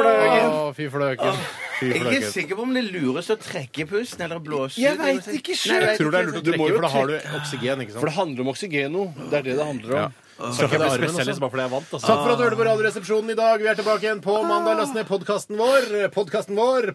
Speaker 3: der. Fy fløken. Ah.
Speaker 5: Jeg
Speaker 3: Fy
Speaker 5: er
Speaker 3: fløken.
Speaker 5: ikke sikker på om det lures å trekke pusten eller blåse ut.
Speaker 8: Jeg vet ikke selv.
Speaker 5: Nei, jeg
Speaker 3: Jeg
Speaker 5: vet
Speaker 3: tror det er
Speaker 5: ikke.
Speaker 3: lurt å
Speaker 8: Du må
Speaker 3: trekke,
Speaker 8: jo
Speaker 3: for da har du oksygen. ikke sant?
Speaker 8: For det handler om oksygeno. Det er det det handler om.
Speaker 3: Skal ikke bli spesialist
Speaker 8: bare fordi jeg vant, altså.
Speaker 3: Takk for at du hørte på Radioresepsjonen i dag. Vi er tilbake igjen på mandag. Last ned podkasten vår. Podkasten vår,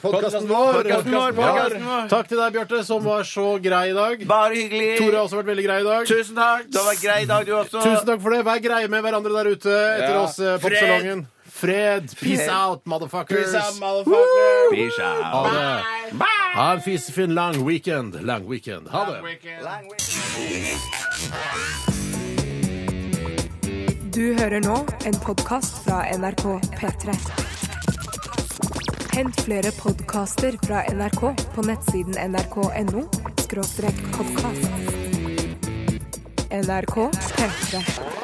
Speaker 5: Podcasten
Speaker 3: podkasten vår.
Speaker 5: vår,
Speaker 3: podcasten vår.
Speaker 5: podcasten vår.
Speaker 3: Takk til deg, Bjarte, som var så grei i dag.
Speaker 5: Bare hyggelig.
Speaker 3: Tore har også vært veldig grei i dag.
Speaker 5: Tusen takk. Det var en grei dag, du også.
Speaker 3: Tusen takk for det. Vær greie med hverandre der ute etter oss eh, popsalongen. Fred. Peace
Speaker 5: Fred.
Speaker 3: out, motherfuckers.
Speaker 5: Peace out.
Speaker 3: Ha det. Ha en fisefin lang weekend. Lang weekend. Ha det.
Speaker 1: Du hører nå en podkast fra NRK P3. Hent flere podkaster fra NRK på nettsiden nrk.no podkast. NRK P3.